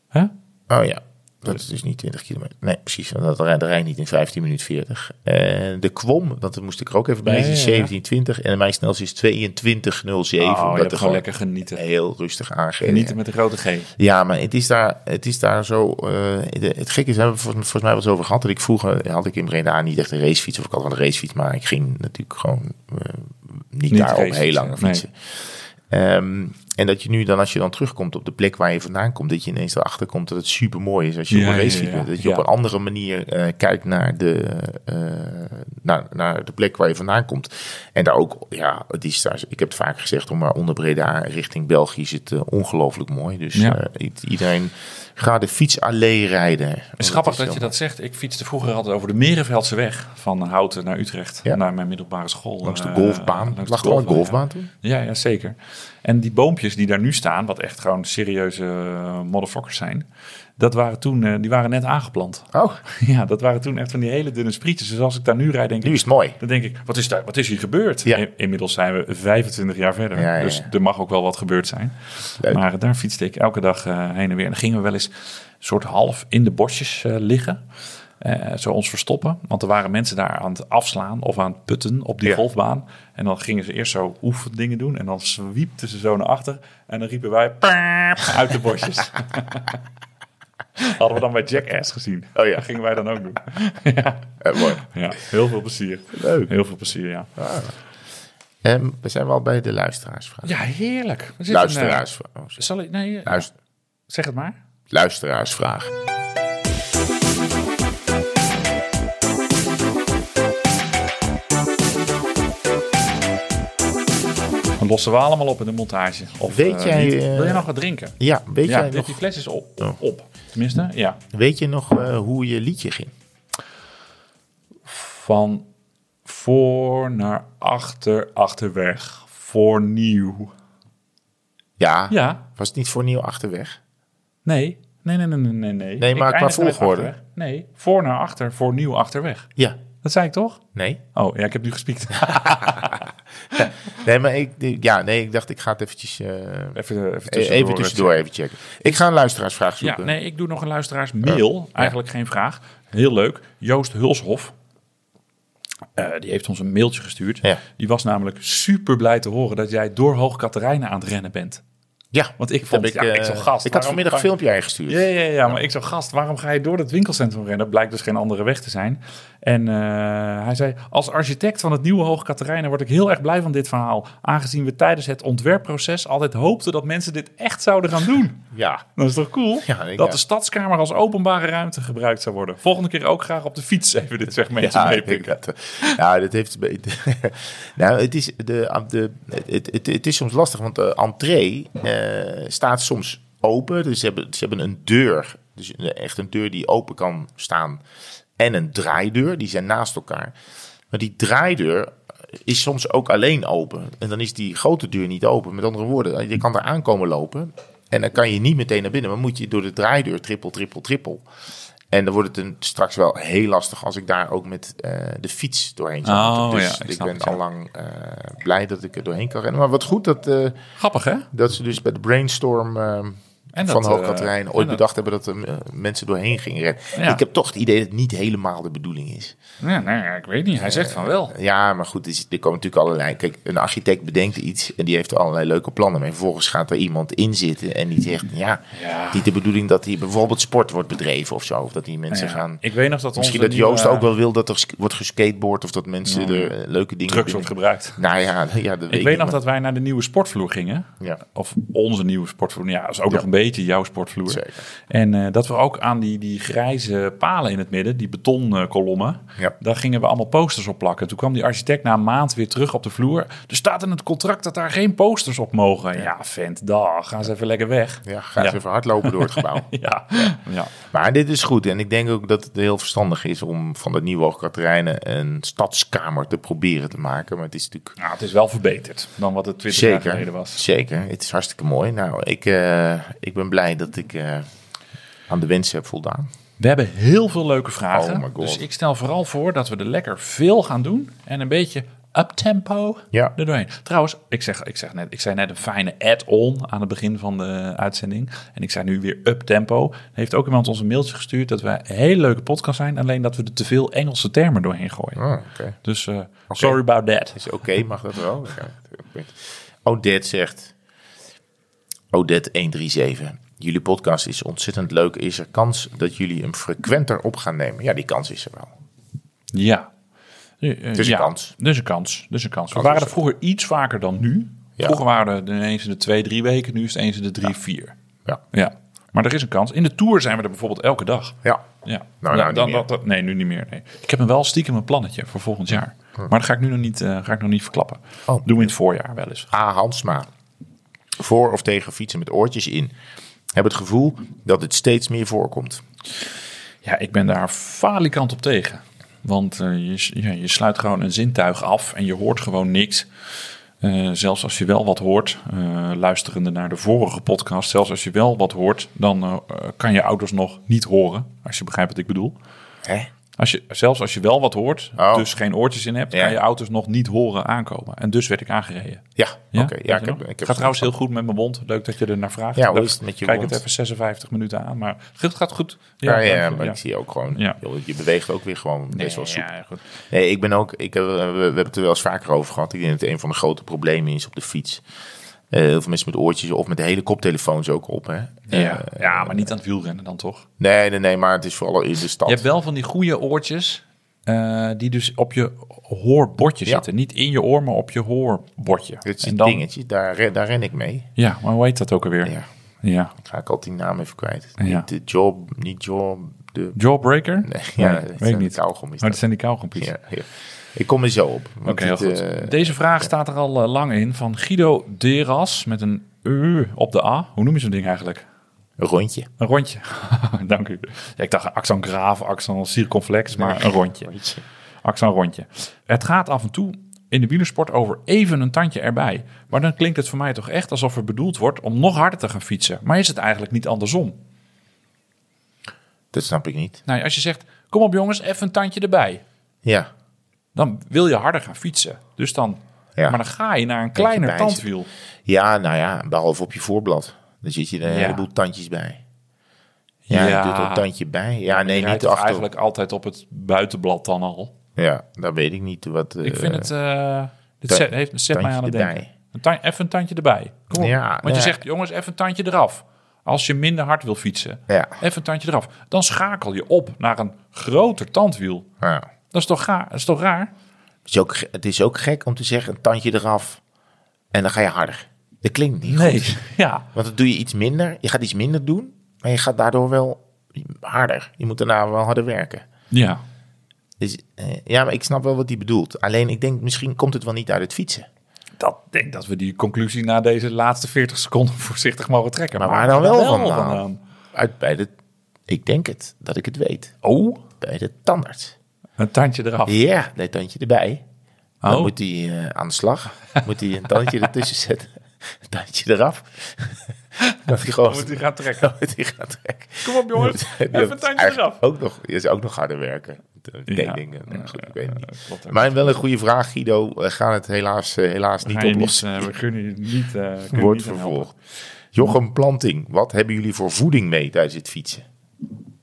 Speaker 1: Hè?
Speaker 2: Oh ja, dat is dus niet 20 kilometer. Nee, precies. want Dat rijdt rij niet in 15 minuten 40. En de kwom, want dat moest ik er ook even bij,
Speaker 1: Ja,
Speaker 2: is
Speaker 1: ja, ja.
Speaker 2: 1720. En mijn snelste is 22.07. omdat
Speaker 1: oh, je hebt
Speaker 2: er
Speaker 1: gewoon
Speaker 2: gewoon
Speaker 1: lekker genieten.
Speaker 2: heel rustig aangeeft.
Speaker 1: Genieten met de grote G.
Speaker 2: Ja, maar het is daar, het is daar zo. eh, de- het gekke is, we hebben het volgens, volgens mij wel eens over gehad. Dat ik vroeger had ik in Breda niet echt een racefiets. Of ik had wel een racefiets, maar ik ging natuurlijk gewoon eh, niet,
Speaker 1: Niet
Speaker 2: daar op
Speaker 1: racefietsen,
Speaker 2: heel lang
Speaker 1: nee.
Speaker 2: fietsen. Ehm, en dat je nu dan, als je dan terugkomt op de plek waar je vandaan komt, dat je ineens erachter komt dat het super mooi is als je
Speaker 1: Ja,
Speaker 2: op een
Speaker 1: ja,
Speaker 2: racefiets
Speaker 1: ja,
Speaker 2: bent. Dat je
Speaker 1: ja.
Speaker 2: op een andere manier eh, kijkt naar de, eh, naar, naar de plek waar je vandaan komt. En daar ook, ja, het is daar, ik heb het vaak gezegd, maar onder Breda richting België is het eh, ongelooflijk mooi. Dus
Speaker 1: Ja.
Speaker 2: eh, i- iedereen ga de fiets alleen rijden.
Speaker 1: Het is grappig dat je dat zegt. Ik fietste vroeger altijd over de Merenveldse weg van Houten naar Utrecht,
Speaker 2: Ja.
Speaker 1: naar mijn middelbare school.
Speaker 2: Langs de
Speaker 1: eh,
Speaker 2: golfbaan.
Speaker 1: langs de
Speaker 2: Lag er al een
Speaker 1: golfbaan, ja.
Speaker 2: golfbaan toen?
Speaker 1: Ja, ja, zeker. En die boompjes die daar nu staan, wat echt gewoon serieuze eh, motherfuckers zijn, dat waren toen, eh, die waren net aangeplant.
Speaker 2: Oh,
Speaker 1: [laughs] ja, dat waren toen echt van die hele dunne sprietjes. Dus als ik daar nu rijd, denk
Speaker 2: nu
Speaker 1: ik,
Speaker 2: is het mooi.
Speaker 1: dan denk ik, wat is, daar, wat is hier gebeurd?
Speaker 2: Ja.
Speaker 1: In- inmiddels zijn we 25 jaar verder,
Speaker 2: Ja, ja, ja.
Speaker 1: dus er mag ook wel wat gebeurd zijn.
Speaker 2: Leuk.
Speaker 1: Maar eh, daar fietste ik elke dag eh, heen en weer. En dan gingen we wel eens soort half in de bosjes eh, liggen. Eh, zo ons verstoppen. Want er waren mensen daar aan het afslaan of aan het putten op die
Speaker 2: Ja.
Speaker 1: golfbaan. En dan gingen ze eerst zo oefendingen doen. En dan zwiepten ze zo naar achter. En dan riepen wij "Paap" uit de bosjes. [laughs] Hadden we dan bij Jackass gezien.
Speaker 2: Oh ja.
Speaker 1: Dat gingen wij dan
Speaker 2: [laughs]
Speaker 1: ook doen.
Speaker 2: Eh, mooi.
Speaker 1: Ja, heel veel plezier.
Speaker 2: Leuk.
Speaker 1: Heel veel plezier, ja.
Speaker 2: Ehm, we zijn wel bij de luisteraarsvraag.
Speaker 1: Ja, heerlijk. Er zit een, eh,
Speaker 2: Luisteraarsvraag. Oh, sorry.
Speaker 1: zal ik, nee, eh,
Speaker 2: Luister-
Speaker 1: zeg het maar.
Speaker 2: luisteraarsvraag.
Speaker 1: Dan lossen we allemaal op in de montage. Of,
Speaker 2: Weet
Speaker 1: eh,
Speaker 2: jij,
Speaker 1: niet.
Speaker 2: eh,
Speaker 1: Wil je nog wat drinken?
Speaker 2: Ja, weet,
Speaker 1: Ja,
Speaker 2: jij
Speaker 1: dit-
Speaker 2: nog, Oh.
Speaker 1: die fles is op. op, op. Tenminste, ja.
Speaker 2: weet je nog eh, hoe je liedje ging?
Speaker 1: Van voor naar achter, achterweg. Voor nieuw.
Speaker 2: Ja,
Speaker 1: Ja,
Speaker 2: was het niet voor nieuw achterweg?
Speaker 1: nee. Nee, nee, nee, nee, nee. Nee,
Speaker 2: Nee,
Speaker 1: Ik
Speaker 2: maar qua
Speaker 1: eindig met
Speaker 2: volgorde.
Speaker 1: achterweg. Nee, voor naar achter, voor nieuw achterweg.
Speaker 2: Ja.
Speaker 1: Dat zei ik toch?
Speaker 2: Nee?
Speaker 1: Oh, ja, ik heb nu gespiekt. [laughs]
Speaker 2: Nee, maar ik, ja, nee, ik dacht ik ga het eventjes, eh,
Speaker 1: even, even tussendoor.
Speaker 2: even tussendoor even checken. Ik ga een luisteraarsvraag
Speaker 1: Ja,
Speaker 2: zoeken.
Speaker 1: nee, ik doe nog een luisteraars
Speaker 2: Eh,
Speaker 1: mail. Eigenlijk geen vraag. Heel leuk. Joost Hulshof. Eh, die heeft ons een mailtje gestuurd.
Speaker 2: Ja.
Speaker 1: Die was namelijk super blij te horen dat jij door Hoog Katerijnen aan het rennen bent.
Speaker 2: Ja,
Speaker 1: Want ik vond, ja, ik
Speaker 2: eh,
Speaker 1: zo'n gast.
Speaker 2: Ik
Speaker 1: waarom
Speaker 2: had vanmiddag een
Speaker 1: ga je-
Speaker 2: filmpje ingestuurd.
Speaker 1: Ja, ja, ja, maar ik zo'n gast, waarom ga je door dat winkelcentrum rennen? Dat blijkt dus geen andere weg te zijn. En eh, hij zei, als architect van het nieuwe Hoog Katerijnen word ik heel erg blij van dit verhaal. Aangezien we tijdens het ontwerpproces altijd hoopten dat mensen dit echt zouden gaan doen.
Speaker 2: Ja.
Speaker 1: Dat is toch cool?
Speaker 2: Ja, ik-
Speaker 1: dat
Speaker 2: ja.
Speaker 1: de stadskamer als openbare ruimte gebruikt zou worden. Volgende keer ook graag op de fiets even dit segment
Speaker 2: Ja, ik denk
Speaker 1: meepikken.
Speaker 2: dat. eh, Nou, dat heeft. [laughs] nou, het is, de, de, het, het, het is soms lastig, want de entree eh, staat soms open. Dus ze hebben, ze hebben een deur. Dus echt een deur die open kan staan. En een draaideur, die zijn naast elkaar. Maar die draaideur eh, is soms ook alleen open. En dan is die grote deur niet open. Met andere woorden, eh, je kan er aankomen lopen. En dan kan je niet meteen naar binnen. Maar moet je door de draaideur trippel, trippel, trippel. En dan wordt het een, straks wel heel lastig als ik daar ook met eh, de fiets doorheen zou
Speaker 1: Oh,
Speaker 2: moeten.
Speaker 1: ja,
Speaker 2: Dus
Speaker 1: ik
Speaker 2: ik
Speaker 1: snap
Speaker 2: ben
Speaker 1: het, ja.
Speaker 2: allang eh, blij dat ik er doorheen kan rennen. Maar wat goed dat, eh,
Speaker 1: Grappig, hè?
Speaker 2: dat ze dus bij de brainstorm eh,
Speaker 1: En
Speaker 2: van
Speaker 1: dat,
Speaker 2: Hoog
Speaker 1: eh,
Speaker 2: Katerijn
Speaker 1: en
Speaker 2: ooit
Speaker 1: dat-
Speaker 2: bedacht hebben dat er eh, mensen doorheen gingen rennen.
Speaker 1: Ja.
Speaker 2: Ik heb toch het idee dat het niet helemaal de bedoeling is.
Speaker 1: Ja, nee, ik weet niet. Hij zegt van wel.
Speaker 2: Ja, maar goed, is- er komen natuurlijk allerlei. Kijk, een architect bedenkt iets en die heeft er allerlei leuke plannen. Maar vervolgens gaat er iemand in zitten en die zegt: Ja,
Speaker 1: Ja.
Speaker 2: niet de bedoeling dat hier bijvoorbeeld sport wordt bedreven of zo. Of dat die mensen
Speaker 1: Ja,
Speaker 2: gaan.
Speaker 1: Ik weet nog dat
Speaker 2: Misschien
Speaker 1: onze
Speaker 2: dat Joost
Speaker 1: nieuwe eh,
Speaker 2: ook wel wil dat er sk- wordt geskateboard of dat mensen er eh, leuke dingen
Speaker 1: drugs wordt
Speaker 2: binnen-
Speaker 1: gebruikt.
Speaker 2: Nou ja, ja dat
Speaker 1: Ik weet nog dat wij naar de nieuwe sportvloer gingen.
Speaker 2: Ja.
Speaker 1: Of onze nieuwe sportvloer. Ja, dat is ook nog een beetje jouw sportvloer.
Speaker 2: Zeker.
Speaker 1: En eh, dat we ook aan die, die grijze palen in het midden, die betonkolommen,
Speaker 2: Ja.
Speaker 1: daar gingen we allemaal posters op plakken. Toen kwam die architect na een maand weer terug op de vloer. Er staat in het contract dat daar geen posters op mogen. Ja, vent, dag, gaan ze even lekker weg.
Speaker 2: Ja, ga eens
Speaker 1: Ja.
Speaker 2: even hardlopen door het gebouw.
Speaker 1: [laughs] Ja, ja.
Speaker 2: Maar dit is goed. En ik denk ook dat het heel verstandig is om van dat nieuwe Hoogkaterijnen een stadskamer te proberen te maken. Maar het is natuurlijk
Speaker 1: Nou, het is wel verbeterd dan wat het 20 jaar
Speaker 2: Zeker,
Speaker 1: geleden was.
Speaker 2: zeker. Het is hartstikke mooi. Nou, ik, eh, ik ben blij dat ik eh, aan de wensen heb voldaan.
Speaker 1: We hebben heel veel leuke vragen.
Speaker 2: Oh my God.
Speaker 1: Dus ik stel vooral voor dat we er lekker veel gaan doen. En een beetje uptempo
Speaker 2: Ja.
Speaker 1: er doorheen. Trouwens, ik, zeg, ik, zeg net, ik zei net een fijne add-on aan het begin van de uitzending. En ik zei nu weer uptempo. Er Heeft ook iemand ons een mailtje gestuurd dat we een hele leuke podcast zijn. Alleen dat we er te veel Engelse termen doorheen gooien.
Speaker 2: Oh, oké.
Speaker 1: Dus eh, sorry about that.
Speaker 2: Is oké, mag dat wel? Oké. Odette zegt... Odette 137. Jullie podcast is ontzettend leuk. Is er kans dat jullie hem frequenter op gaan nemen? Ja, die kans is er wel.
Speaker 1: Ja. Eh, eh,
Speaker 2: is een kans.
Speaker 1: Dus een kans. Dus een kans. We waren er
Speaker 2: is
Speaker 1: vroeger iets vaker dan nu.
Speaker 2: Ja.
Speaker 1: Vroeger waren we er eens in de twee, drie weken. Nu is het eens in de drie, vier.
Speaker 2: Ja.
Speaker 1: Ja, maar er is een kans. In de Tour zijn we er bijvoorbeeld elke dag.
Speaker 2: Ja.
Speaker 1: Ja.
Speaker 2: nou,
Speaker 1: Ja,
Speaker 2: niet meer.
Speaker 1: dat- nee, nu niet meer. Nee. Ik heb hem wel stiekem een plannetje voor volgend jaar. Maar dat ga ik nu nog niet, eh, ga ik nog niet verklappen.
Speaker 2: Oh.
Speaker 1: Doen we in het voorjaar wel eens.
Speaker 2: A. Hansma. Voor of tegen fietsen met oortjes in. Heb het gevoel dat het steeds meer voorkomt.
Speaker 1: Ja, ik ben daar falikant op tegen. Want eh, je, s- ja, je sluit gewoon een zintuig af en je hoort gewoon niks. Eh, zelfs als je wel wat hoort, eh, luisterende naar de vorige podcast, zelfs als je wel wat hoort, dan eh, eh, kan je ouders nog niet horen. Als je begrijpt wat ik bedoel.
Speaker 2: Hè?
Speaker 1: Als je, zelfs als je wel wat hoort,
Speaker 2: Oh.
Speaker 1: dus geen oortjes in hebt,
Speaker 2: Ja.
Speaker 1: kan je auto's nog niet horen aankomen. En dus werd ik aangereden.
Speaker 2: Ja, oké. Ja,
Speaker 1: Weet
Speaker 2: ik
Speaker 1: je
Speaker 2: heb,
Speaker 1: nog?
Speaker 2: ik heb
Speaker 1: gaat trouwens heel goed met mijn wond. Leuk dat je er naar vraagt.
Speaker 2: Ja, hoe
Speaker 1: Ik
Speaker 2: is het met je
Speaker 1: Kijk
Speaker 2: wond?
Speaker 1: het even 56 minuten aan, maar het gaat goed.
Speaker 2: Ja, ja,
Speaker 1: dank je.
Speaker 2: maar ik zie ook gewoon,
Speaker 1: Ja.
Speaker 2: joh, je beweegt ook weer gewoon best wel soepel.
Speaker 1: ja, goed.
Speaker 2: Nee, ik ben ook, ik, heb- we, we hebben het er wel eens vaker over gehad. Ik denk dat het een van de grote problemen is op de fiets. Eh, heel veel mensen met oortjes of met de hele koptelefoons ook op. Hè?
Speaker 1: Ja.
Speaker 2: Eh,
Speaker 1: ja, maar niet aan het wielrennen dan toch?
Speaker 2: nee, nee, nee, maar het is vooral in de stad.
Speaker 1: Je hebt wel van die goede oortjes, eh, die dus op je hoorbordje
Speaker 2: Ja.
Speaker 1: zitten. Niet in je oor, maar op je hoorbordje.
Speaker 2: Dit is
Speaker 1: En
Speaker 2: een
Speaker 1: dan-
Speaker 2: dingetje, daar, ren- daar ren ik mee.
Speaker 1: Ja, maar hoe heet dat ook alweer?
Speaker 2: Ja,
Speaker 1: Ja.
Speaker 2: ga ik al die naam even kwijt.
Speaker 1: Ja.
Speaker 2: Niet de job, niet job, de...
Speaker 1: Jawbreaker?
Speaker 2: Nee, ja,
Speaker 1: Nee,
Speaker 2: dat
Speaker 1: weet
Speaker 2: zijn
Speaker 1: ik
Speaker 2: de
Speaker 1: niet.
Speaker 2: Kauwgom is
Speaker 1: Oh, dat
Speaker 2: dat.
Speaker 1: zijn die kauwgompies.
Speaker 2: Ja, ja. Ik kom er zo op. want
Speaker 1: Oké, heel
Speaker 2: dit,
Speaker 1: goed.
Speaker 2: eh,
Speaker 1: Deze vraag staat er al eh, lang in van Guido Deras met een U op de A. Hoe noem je zo'n ding eigenlijk?
Speaker 2: een rondje.
Speaker 1: Een rondje. [laughs] Dank u. Ja, ik dacht accent graaf, accent circonflex, maar een rondje. Accent rondje. Het gaat af en toe in de wielersport over even een tandje erbij. Maar dan klinkt het voor mij toch echt alsof er bedoeld wordt om nog harder te gaan fietsen. Maar is het eigenlijk niet andersom?
Speaker 2: Dat snap ik niet.
Speaker 1: Nou, als je zegt, kom op jongens, even een tandje erbij.
Speaker 2: Ja,
Speaker 1: Dan wil je harder gaan fietsen. Dus dan,
Speaker 2: Ja.
Speaker 1: maar dan ga je naar een kleiner
Speaker 2: bijzit.
Speaker 1: tandwiel.
Speaker 2: Ja, nou ja, behalve op je voorblad. Dan zit je er een
Speaker 1: Ja.
Speaker 2: heleboel tandjes bij. Ja,
Speaker 1: Ja.
Speaker 2: je doet er een tandje bij. Ja,
Speaker 1: Je
Speaker 2: nee,
Speaker 1: rijdt
Speaker 2: niet
Speaker 1: toch
Speaker 2: achter.
Speaker 1: eigenlijk altijd op het buitenblad dan al.
Speaker 2: Ja, daar weet ik niet wat. eh,
Speaker 1: Ik vind het, eh, dit
Speaker 2: ta-
Speaker 1: zet, heeft, zet mij aan
Speaker 2: tandje
Speaker 1: het denken.
Speaker 2: erbij.
Speaker 1: Een ta- even een tandje erbij. Kom op.
Speaker 2: Ja,
Speaker 1: Want je
Speaker 2: ja.
Speaker 1: zegt, jongens, even een tandje eraf. Als je minder hard wil fietsen,
Speaker 2: Ja.
Speaker 1: even een tandje eraf. Dan schakel je op naar een groter tandwiel.
Speaker 2: Ja.
Speaker 1: Dat is toch, ga- dat is toch raar?
Speaker 2: Het, is ook, ge- het is ook gek om te zeggen, een tandje eraf en dan ga je harder. Dat klinkt niet goed.
Speaker 1: Ja.
Speaker 2: Want dan doe je iets minder. Je gaat iets minder doen, maar je gaat daardoor wel harder. Je moet daarna wel harder werken.
Speaker 1: Ja.
Speaker 2: Dus, eh, ja, maar ik snap wel wat die bedoelt. Alleen ik denk, misschien komt het wel niet uit het fietsen.
Speaker 1: Dat ik denk dat we die conclusie na deze laatste 40 seconden [laughs] voorzichtig mogen trekken.
Speaker 2: Maar waar dan wel vandaan?
Speaker 1: vandaan?
Speaker 2: Uit bij de, ik denk het, dat ik het weet.
Speaker 1: Oh,
Speaker 2: Bij de tandarts.
Speaker 1: een tandje eraf.
Speaker 2: Ja, dat tandje erbij. Dan
Speaker 1: Oh.
Speaker 2: moet hij eh, aan de slag. Moet hij een
Speaker 1: [laughs]
Speaker 2: tandje ertussen zetten. Een tandje eraf. dat hij gewoon...
Speaker 1: Dan moet hij gaan trekken.
Speaker 2: moet hij gaan trekken.
Speaker 1: Kom op
Speaker 2: [laughs]
Speaker 1: jongens,
Speaker 2: Die
Speaker 1: even een
Speaker 2: had
Speaker 1: tandje
Speaker 2: eigenlijk
Speaker 1: eraf.
Speaker 2: Ook nog, is ook nog harder werken. Ik
Speaker 1: Ja.
Speaker 2: denk dingen. Nou, goed, ik weet het niet.
Speaker 1: Klopt ook.
Speaker 2: Maar wel een goede vraag, Guido. We gaan het helaas, eh, helaas niet
Speaker 1: Ga je
Speaker 2: oplossen.
Speaker 1: eh, we kunnen je niet... eh, kunnen je
Speaker 2: Wordt
Speaker 1: niet aan
Speaker 2: vervolgd. Jochem Planting, wat hebben jullie voor voeding mee tijdens het fietsen?
Speaker 1: helpen.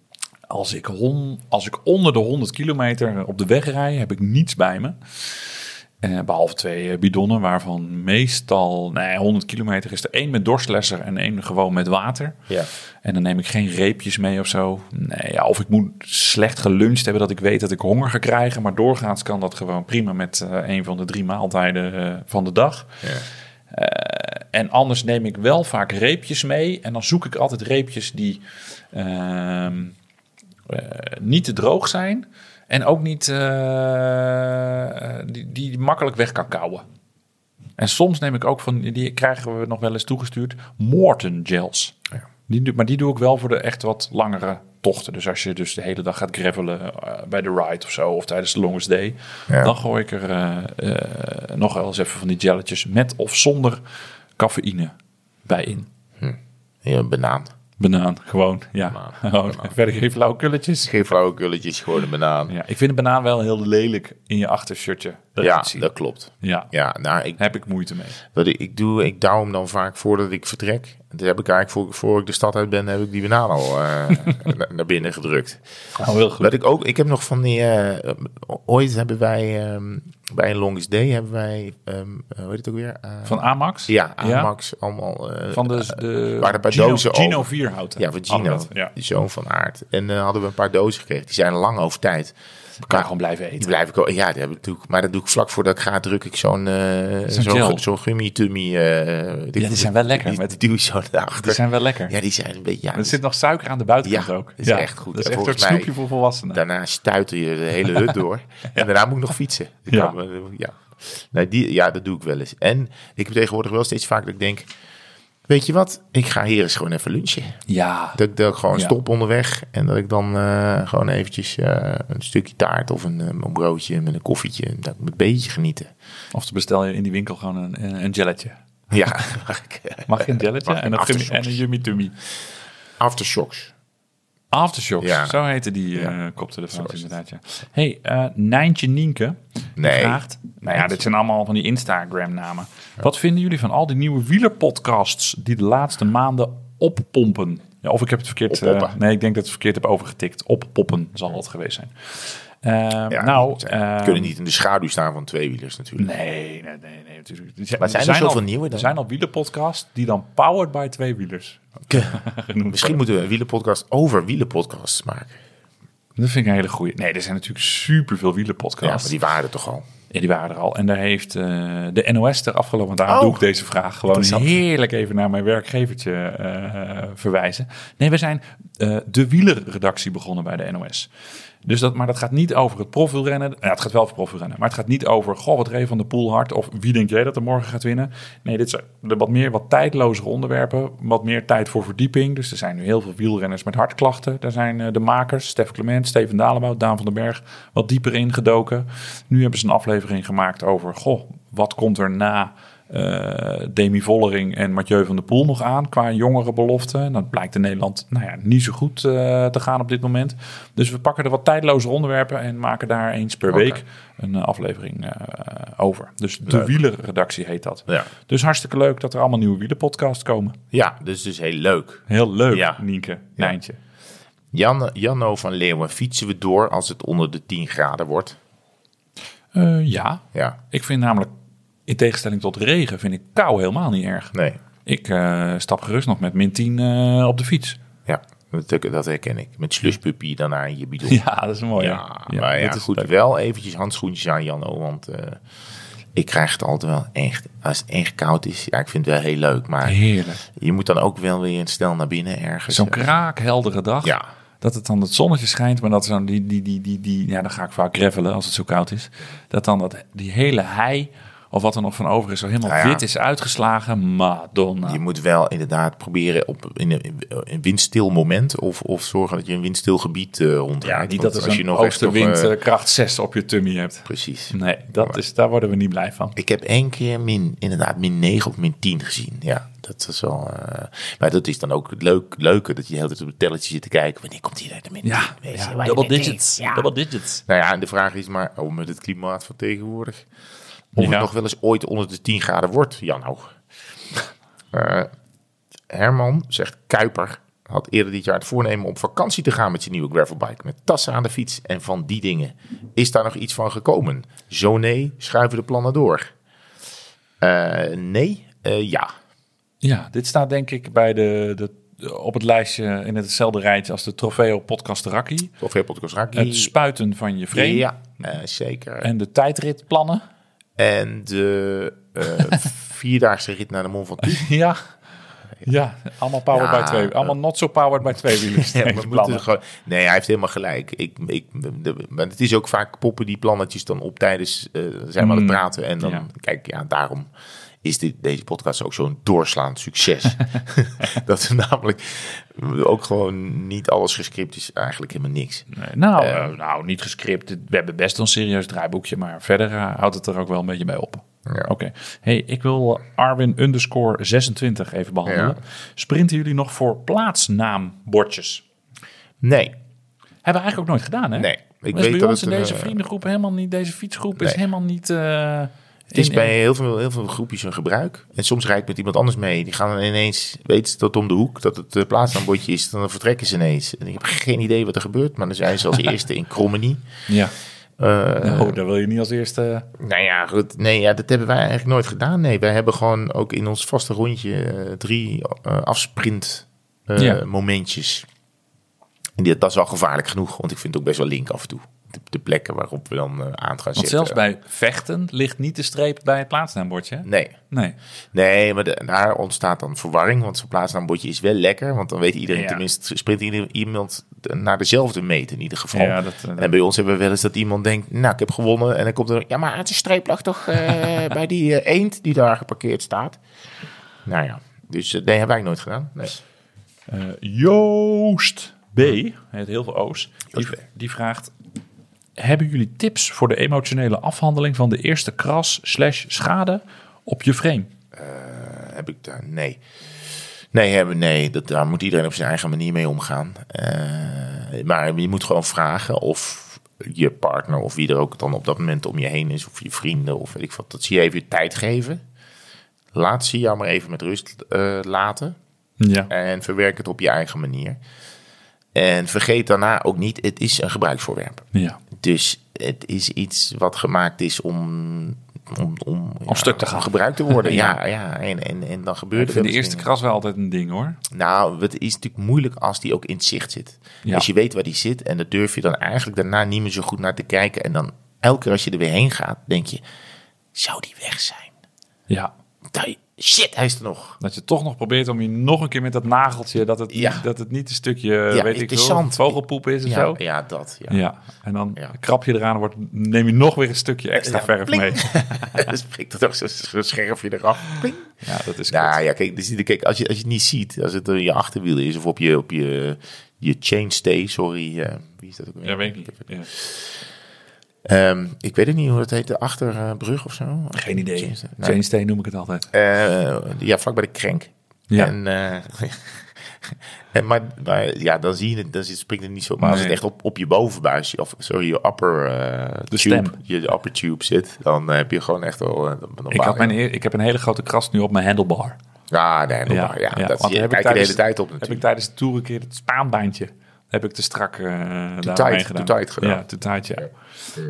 Speaker 1: Als ik, hon, als ik onder de 100 kilometer op de weg rij, heb ik niets bij me. Eh, behalve twee eh, bidonnen, waarvan meestal... Nee, 100 kilometer is er één met dorstlesser en één gewoon met water.
Speaker 2: Ja.
Speaker 1: En dan neem ik geen reepjes mee of zo. Nee, ja, of ik moet slecht geluncht hebben dat ik weet dat ik honger ga krijgen. Maar doorgaans kan dat gewoon prima met eh, een van de drie maaltijden eh, van de dag. Eh, en anders neem ik wel vaak reepjes mee. En dan zoek ik altijd reepjes die ehm, eh, niet te droog zijn. En ook niet eh, die, die makkelijk weg kan kouwen. En soms neem ik ook van, die krijgen we nog wel eens toegestuurd, Morton gels. Die, doe- maar die doe ik wel voor de echt wat langere tochten. Dus als je dus de hele dag gaat gravelen eh, bij de ride of zo, of tijdens de longest day,
Speaker 2: Ja.
Speaker 1: dan gooi ik er eh, eh, nog wel eens even van die gelletjes met of zonder cafeïne bij in.
Speaker 2: Ja, een banaan.
Speaker 1: Banaan, gewoon, ja.
Speaker 2: Banaan,
Speaker 1: [laughs] Gewoon, Verder geen flauwe kulletjes.
Speaker 2: Geen flauwekulletjes, gewoon een banaan. Ja,
Speaker 1: Ja, ik vind een banaan wel heel lelijk in je achtershirtje. Dat ja,
Speaker 2: dat, klopt.
Speaker 1: ja. ja,
Speaker 2: Ja, nou, ik,
Speaker 1: heb ik moeite mee.
Speaker 2: wat ik, ik doe, ik douw hem dan vaak voordat ik vertrek. Dat heb ik eigenlijk voor, voor ik de stad uit ben, heb ik die banaan al eh,
Speaker 1: [laughs]
Speaker 2: na- naar binnen gedrukt.
Speaker 1: Oh, heel goed.
Speaker 2: Wat ik ook, ik heb nog van die. eh, ooit hebben wij ehm, bij een Longest Day hebben wij. ehm eh, hoe heet het ook weer? Eh,
Speaker 1: Van Amax?
Speaker 2: ja, Amax, allemaal. eh,
Speaker 1: Van de, de
Speaker 2: waren een paar
Speaker 1: Gino,
Speaker 2: dozen
Speaker 1: Gino
Speaker 2: over.
Speaker 1: Vierhouten.
Speaker 2: ja, van Gino,
Speaker 1: Hadden we dat, Ja.
Speaker 2: die zoon van Aard. En eh, hadden we een paar dozen gekregen. Die zijn lang over tijd.
Speaker 1: Kan
Speaker 2: Maar
Speaker 1: gewoon blijven
Speaker 2: Die
Speaker 1: eten.
Speaker 2: blijf ik ook. Ja, die heb ik natuurlijk. Maar dat doe ik vlak voordat ik ga, druk ik zo'n eh
Speaker 1: Zo'n
Speaker 2: zo'n
Speaker 1: gel.
Speaker 2: zo'n gummy tummy. eh
Speaker 1: Ja, die zijn wel lekker,
Speaker 2: Die,
Speaker 1: met-
Speaker 2: die duw ik zo naar achter.
Speaker 1: Die zijn wel lekker.
Speaker 2: Ja, die zijn een beetje. Ja,
Speaker 1: er zit nog suiker aan de buitenkant
Speaker 2: Ja,
Speaker 1: ook.
Speaker 2: is echt goed.
Speaker 1: Dat is
Speaker 2: En
Speaker 1: echt een
Speaker 2: volgens
Speaker 1: soort snoepje
Speaker 2: mij-
Speaker 1: voor volwassenen.
Speaker 2: Daarna stuitte je de hele hut
Speaker 1: [laughs]
Speaker 2: door. En daarna moet ik nog fietsen. Ik
Speaker 1: Ja.
Speaker 2: kan me- ja. Nee, die, ja, dat doe ik wel eens. En ik heb tegenwoordig wel steeds vaak dat ik denk... Weet je wat? Ik ga hier eens gewoon even lunchen.
Speaker 1: Ja,
Speaker 2: Dat, ik- dat ik gewoon
Speaker 1: Ja.
Speaker 2: stop onderweg. En dat ik dan eh, gewoon eventjes eh, een stukje taart of een, eh, een broodje met een koffietje. en Dat ik een beetje genieten.
Speaker 1: of dan bestel je in die winkel gewoon een, een, een gelletje.
Speaker 2: Ja, [laughs] mag ik- eh,
Speaker 1: Mag je een gelletje
Speaker 2: Mag ik
Speaker 1: en, een gummi-
Speaker 2: aftershocks?
Speaker 1: en een yummy tummy.
Speaker 2: aftershocks.
Speaker 1: Aftershocks,
Speaker 2: Ja.
Speaker 1: zo heette die eh
Speaker 2: Ja.
Speaker 1: koptelefoons
Speaker 2: Zo is het.
Speaker 1: inderdaad. Ja. hey, eh, Nijntje Nienke die
Speaker 2: Nee.
Speaker 1: vraagt... Nou ja, dit zijn allemaal van die Instagram-namen. Wat vinden jullie van al die nieuwe wielerpodcasts die de laatste maanden oppompen? Ja, of ik heb het verkeerd... eh,
Speaker 2: Oppoppen.
Speaker 1: nee, ik denk dat ik het verkeerd heb overgetikt. Oppoppen zal het geweest zijn. Eh,
Speaker 2: Ja,
Speaker 1: nou,
Speaker 2: ze
Speaker 1: eh,
Speaker 2: kunnen niet in de schaduw staan van tweewielers natuurlijk.
Speaker 1: Nee, nee, nee, nee natuurlijk. niet.
Speaker 2: Maar zijn er
Speaker 1: al-
Speaker 2: zoveel nieuwe dan?
Speaker 1: Er zijn al wielerpodcasts die dan powered by tweewielers [laughs] genoemd
Speaker 2: Misschien moeten we een wielenpodcast over wielenpodcasts maken.
Speaker 1: Dat vind ik een hele goeie. Nee, er zijn natuurlijk superveel
Speaker 2: Ja,
Speaker 1: wielerpodcasts.
Speaker 2: maar die waren er toch al.
Speaker 1: Ja, die waren er al. En daar heeft eh, de NOS er afgelopen dagen,
Speaker 2: Oh.
Speaker 1: doe ik deze vraag gewoon
Speaker 2: Interessant.
Speaker 1: heerlijk even naar mijn werkgevertje eh, verwijzen. Nee, we zijn eh, de wielerredactie begonnen bij de NOS. Dus dat, maar dat gaat niet over het profielrennen. Ja, het gaat wel over profielrennen. Maar het gaat niet over, goh, wat reed van de pool hard. Of wie denk jij dat er morgen gaat winnen? Nee, dit zijn de wat meer, wat tijdlozere onderwerpen. Wat meer tijd voor verdieping. Dus er zijn nu heel veel wielrenners met hartklachten. Daar zijn eh, de makers, Stef Clement, Steven Dalenboud, Daan van den Berg, wat dieper ingedoken. Nu hebben ze een aflevering gemaakt over, goh, wat komt er na eh, Demi Vollering en Mathieu van der Poel nog aan qua jongere belofte. En dat blijkt in Nederland nou ja, niet zo goed eh, te gaan op dit moment. Dus we pakken er wat tijdloze onderwerpen en maken daar eens per
Speaker 2: Oké.
Speaker 1: week een eh, aflevering eh, over. Dus de wielerredactie heet dat.
Speaker 2: Ja.
Speaker 1: Dus hartstikke leuk dat er allemaal nieuwe wielerpodcasts komen.
Speaker 2: Ja, dus dus heel leuk.
Speaker 1: Heel leuk,
Speaker 2: Ja.
Speaker 1: Nienke, Nijntje.
Speaker 2: Jan, Janno van Leeuwen, fietsen we door als het onder de 10 graden wordt?
Speaker 1: Eh, ja,
Speaker 2: Ja,
Speaker 1: ik vind namelijk In tegenstelling tot regen vind ik kou helemaal niet erg.
Speaker 2: Nee,
Speaker 1: Ik eh, stap gerust nog met min 10 eh, op de fiets.
Speaker 2: ja, dat, dat herken ik. Met slushpuppy daarna in je bidon.
Speaker 1: [laughs] Ja, dat is mooi. hè?
Speaker 2: Ja, maar ja,
Speaker 1: dat is
Speaker 2: goed,
Speaker 1: leuk.
Speaker 2: wel eventjes handschoentjes aan Janno, want eh, ik krijg het altijd wel echt, als het echt koud is, ja, ik vind het wel heel leuk, maar
Speaker 1: Heerlijk.
Speaker 2: je moet dan ook wel weer snel naar binnen ergens.
Speaker 1: Zo'n
Speaker 2: Eh,
Speaker 1: kraakheldere dag.
Speaker 2: Ja,
Speaker 1: Dat het dan het zonnetje schijnt, maar dat zo'n die, die, die, die, die, ja, dan ga ik vaak gravelen als het zo koud is. Dat dan dat, die hele hei, of wat er nog van over is, zo helemaal
Speaker 2: Nou ja.
Speaker 1: wit is uitgeslagen. Madonna.
Speaker 2: je moet wel inderdaad proberen op in een, in een windstil moment of, of zorgen dat je een windstil gebied eh
Speaker 1: ja,
Speaker 2: rondrijdt.
Speaker 1: niet
Speaker 2: want
Speaker 1: dat er
Speaker 2: als je
Speaker 1: zo'n
Speaker 2: nog echt
Speaker 1: oostenwind
Speaker 2: nog, eh,
Speaker 1: eh, kracht 6 op je tummy hebt.
Speaker 2: precies.
Speaker 1: Nee, dat is, daar worden we niet blij van.
Speaker 2: Ik heb één keer min, inderdaad, min 9 of min 10 gezien. Ja, dat is wel. eh, maar dat is dan ook het leuk, leuke dat je de hele tijd op het telletje zit te kijken. Wanneer komt hij naar de min 10?
Speaker 1: Ja,
Speaker 2: Weet je,
Speaker 1: ja,
Speaker 2: wanneer
Speaker 1: double
Speaker 2: min 10?
Speaker 1: digits.
Speaker 2: Ja.
Speaker 1: Double digits.
Speaker 2: Nou ja, en de vraag is maar, oh, met het klimaat van tegenwoordig, of
Speaker 1: Ja.
Speaker 2: het nog wel eens ooit onder de 10 graden wordt, Jan Hoog. Eh, Herman zegt, Kuiper had eerder dit jaar het voornemen om op vakantie te gaan met zijn nieuwe gravelbike. Met tassen aan de fiets en van die dingen. Is daar nog iets van gekomen? Zo nee, schuiven de plannen door. Eh, nee, Eh, ja.
Speaker 1: Ja, dit staat denk ik bij de, de, op het lijstje in hetzelfde rijtje als de Trofeo Podcast Raki.
Speaker 2: Of heel podcast raak.
Speaker 1: Het spuiten van je frame
Speaker 2: Ja, eh, zeker. En,
Speaker 1: en de tijdritplannen.
Speaker 2: de
Speaker 1: [laughs]
Speaker 2: eh, vierdaagse rit naar de Mont Ventoux.
Speaker 1: Ja. Ja, allemaal powered
Speaker 2: Ja,
Speaker 1: by twee. Allemaal not so powered by [laughs] twee wielers.
Speaker 2: [laughs] Ja, we moeten gewoon, nee, hij heeft helemaal gelijk. Ik, ik, de- maar het is ook vaak poppen die plannetjes dan op tijdens eh, zijn we aan het
Speaker 1: Mm.
Speaker 2: praten. En dan,
Speaker 1: Ja.
Speaker 2: kijk, ja, daarom is dit, deze podcast ook zo'n doorslaand
Speaker 1: [laughs]
Speaker 2: succes. [laughs] dat er namelijk ook gewoon niet alles gescript is, eigenlijk helemaal niks.
Speaker 1: Nee, nou, eh, nou, niet gescript. We hebben best een serieus draaiboekje, maar verder eh, houdt het er ook wel een beetje bij op.
Speaker 2: Ja.
Speaker 1: Oké. Hey, ik wil Arwin underscore 26 even behandelen.
Speaker 2: Ja.
Speaker 1: Sprinten jullie nog voor plaatsnaambordjes?
Speaker 2: Nee,
Speaker 1: Hebben we eigenlijk ook nooit gedaan, hè?
Speaker 2: nee.
Speaker 1: Ik
Speaker 2: Ik
Speaker 1: is
Speaker 2: weet
Speaker 1: bij
Speaker 2: dat
Speaker 1: ons
Speaker 2: het
Speaker 1: in
Speaker 2: een,
Speaker 1: deze
Speaker 2: eh,
Speaker 1: vriendengroep helemaal niet, deze fietsgroep is
Speaker 2: Nee.
Speaker 1: helemaal niet... eh,
Speaker 2: Het is
Speaker 1: in-
Speaker 2: bij heel veel, heel veel groepjes een gebruik. En soms rijd ik met iemand anders mee. Die gaan dan ineens, weten ze dat om de hoek, dat het eh, plaatsaanbodje is. Dan vertrekken ze ineens. En ik heb geen idee wat er gebeurt. Maar dan
Speaker 1: [laughs]
Speaker 2: zijn ze als eerste in Krommenie.
Speaker 1: Ja,
Speaker 2: Eh,
Speaker 1: oh, daar wil je niet als eerste...
Speaker 2: Nou ja, goed. Nee, ja, dat hebben wij eigenlijk nooit gedaan. Nee, wij hebben gewoon ook in ons vaste rondje eh, drie eh, afsprint eh,
Speaker 1: Ja.
Speaker 2: momentjes. En dit, dat is al gevaarlijk genoeg. Want ik vind het ook best wel link af en toe. De, de plekken waarop we dan eh, aan gaan
Speaker 1: Want
Speaker 2: zitten.
Speaker 1: zelfs bij vechten ligt niet de streep bij het plaatsnaambordje, hè?
Speaker 2: Nee.
Speaker 1: Nee.
Speaker 2: Nee, maar de- daar ontstaat dan verwarring. Want zo'n plaatsnaambordje is wel lekker. Want dan weet iedereen,
Speaker 1: Ja.
Speaker 2: tenminste, sprint ieder- iemand naar dezelfde meet in ieder geval.
Speaker 1: Ja, dat, eh,
Speaker 2: en bij ons hebben we wel eens dat iemand denkt, nou, ik heb gewonnen. En dan komt er, ja, maar het is streeplag
Speaker 1: [laughs]
Speaker 2: toch eh, bij die eh, eend die daar geparkeerd staat. Nou ja, dus eh, nee, hebben wij nooit gedaan. Nee.
Speaker 1: Eh, Joost B, hij heet heel veel O's, die,
Speaker 2: Joost B.
Speaker 1: die vraagt... Hebben jullie tips voor de emotionele afhandeling van de eerste kras slash schade op je frame?
Speaker 2: heb ik daar. Nee. Nee, hebben, nee dat, daar moet iedereen op zijn eigen manier mee omgaan. Eh, maar je moet gewoon vragen of je partner of wie er ook dan op dat moment om je heen is, of je vrienden of weet ik wat, dat ze je even tijd geven. Laat ze jou maar even met rust eh, laten
Speaker 1: Ja.
Speaker 2: en verwerk het op je eigen manier. En vergeet daarna ook niet, het is een gebruiksvoorwerp.
Speaker 1: ja.
Speaker 2: Dus het is iets wat gemaakt is om, om, om, ja,
Speaker 1: stuk te gaan.
Speaker 2: om gebruikt te
Speaker 1: [laughs]
Speaker 2: worden. ja, ja. En, en, en dan gebeurt
Speaker 1: Ik
Speaker 2: er
Speaker 1: vind de
Speaker 2: wel eens
Speaker 1: eerste
Speaker 2: dingen.
Speaker 1: kras wel altijd een ding hoor.
Speaker 2: Nou, het is natuurlijk moeilijk als die ook in het zicht zit.
Speaker 1: Ja.
Speaker 2: Als je weet waar die zit en daar durf je dan eigenlijk daarna niet meer zo goed naar te kijken. En dan elke keer als je er weer heen gaat, denk je, zou die weg zijn?
Speaker 1: Ja.
Speaker 2: Die- Shit, hij is er nog.
Speaker 1: Dat je toch nog probeert om je nog een keer met dat nageltje, dat het,
Speaker 2: Ja.
Speaker 1: dat het niet een stukje, weet
Speaker 2: het
Speaker 1: ik
Speaker 2: is
Speaker 1: veel,
Speaker 2: zand.
Speaker 1: vogelpoep is of
Speaker 2: ja,
Speaker 1: zo.
Speaker 2: ja, dat. Ja.
Speaker 1: Ja. en dan
Speaker 2: Ja.
Speaker 1: krap je eraan, wordt, neem je nog weer een stukje extra
Speaker 2: Ja,
Speaker 1: verf
Speaker 2: pling. [laughs]
Speaker 1: mee.
Speaker 2: dan spreekt er toch zo'n zo'n scherfje eraf. Pling.
Speaker 1: Ja, dat is kut.
Speaker 2: Nou ja, kijk, dus, kijk als, je, als je het niet ziet, als het in je achterwiel is of op je, op je, je chainstay, sorry. eh, wie is dat ook weer?
Speaker 1: Ja, weet ik niet. Ja.
Speaker 2: Ehm, ik weet het niet hoe dat heet, de achterbrug of zo.
Speaker 1: Geen idee.
Speaker 2: Chainstay.
Speaker 1: Chainsteen
Speaker 2: Nou,
Speaker 1: noem ik het altijd.
Speaker 2: Eh, ja, vlak bij de krenk.
Speaker 1: Ja.
Speaker 2: En, eh, [laughs] en maar, maar ja, dan zie je het, dan zit- springt het niet zo. Maar als
Speaker 1: Nee.
Speaker 2: het echt op, op je bovenbuis, of sorry, je upper eh, tube,
Speaker 1: stem.
Speaker 2: je upper tube zit, dan heb je gewoon echt wel. eh, dan- dan
Speaker 1: Ik,
Speaker 2: baal
Speaker 1: had
Speaker 2: je.
Speaker 1: mijn, eer- ik heb een hele grote kras nu op mijn handlebar.
Speaker 2: Ja, nee, dan baal je. ja, dat
Speaker 1: want
Speaker 2: je
Speaker 1: heb
Speaker 2: kijkt er de
Speaker 1: tijdens-
Speaker 2: hele tijd op
Speaker 1: Heb ik
Speaker 2: natuurlijk.
Speaker 1: tijdens de tour een keer het spaanbaantje, heb ik te strak eh daarmee
Speaker 2: tight,
Speaker 1: gedaan.
Speaker 2: te tight gedaan.
Speaker 1: Ja, te tight, ja.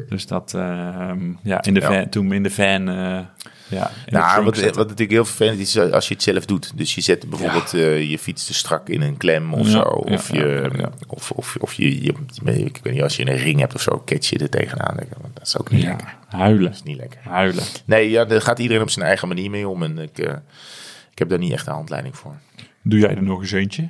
Speaker 1: Dus dat, ehm, ja, in de
Speaker 2: Ja.
Speaker 1: van, toen we in de van eh, Ja, in de
Speaker 2: Nou,
Speaker 1: trunk
Speaker 2: wat, wat
Speaker 1: zetten.
Speaker 2: natuurlijk heel vervelend is eh, als je het zelf doet. Dus je zet bijvoorbeeld eh, je fiets te strak in een klem of
Speaker 1: Ja,
Speaker 2: zo.
Speaker 1: ja,
Speaker 2: Of,
Speaker 1: ja,
Speaker 2: je,
Speaker 1: ja, ja.
Speaker 2: of, of, of je, je, ik weet niet, als je een ring hebt of zo, catch je er tegenaan. Dat is ook niet
Speaker 1: ja.
Speaker 2: lekker.
Speaker 1: Huilen.
Speaker 2: Dat is niet lekker.
Speaker 1: Huilen.
Speaker 2: Nee, ja, daar gaat iedereen op zijn eigen manier mee om. En ik, eh, ik heb daar niet echt een handleiding voor.
Speaker 1: Doe jij er nog eens eentje?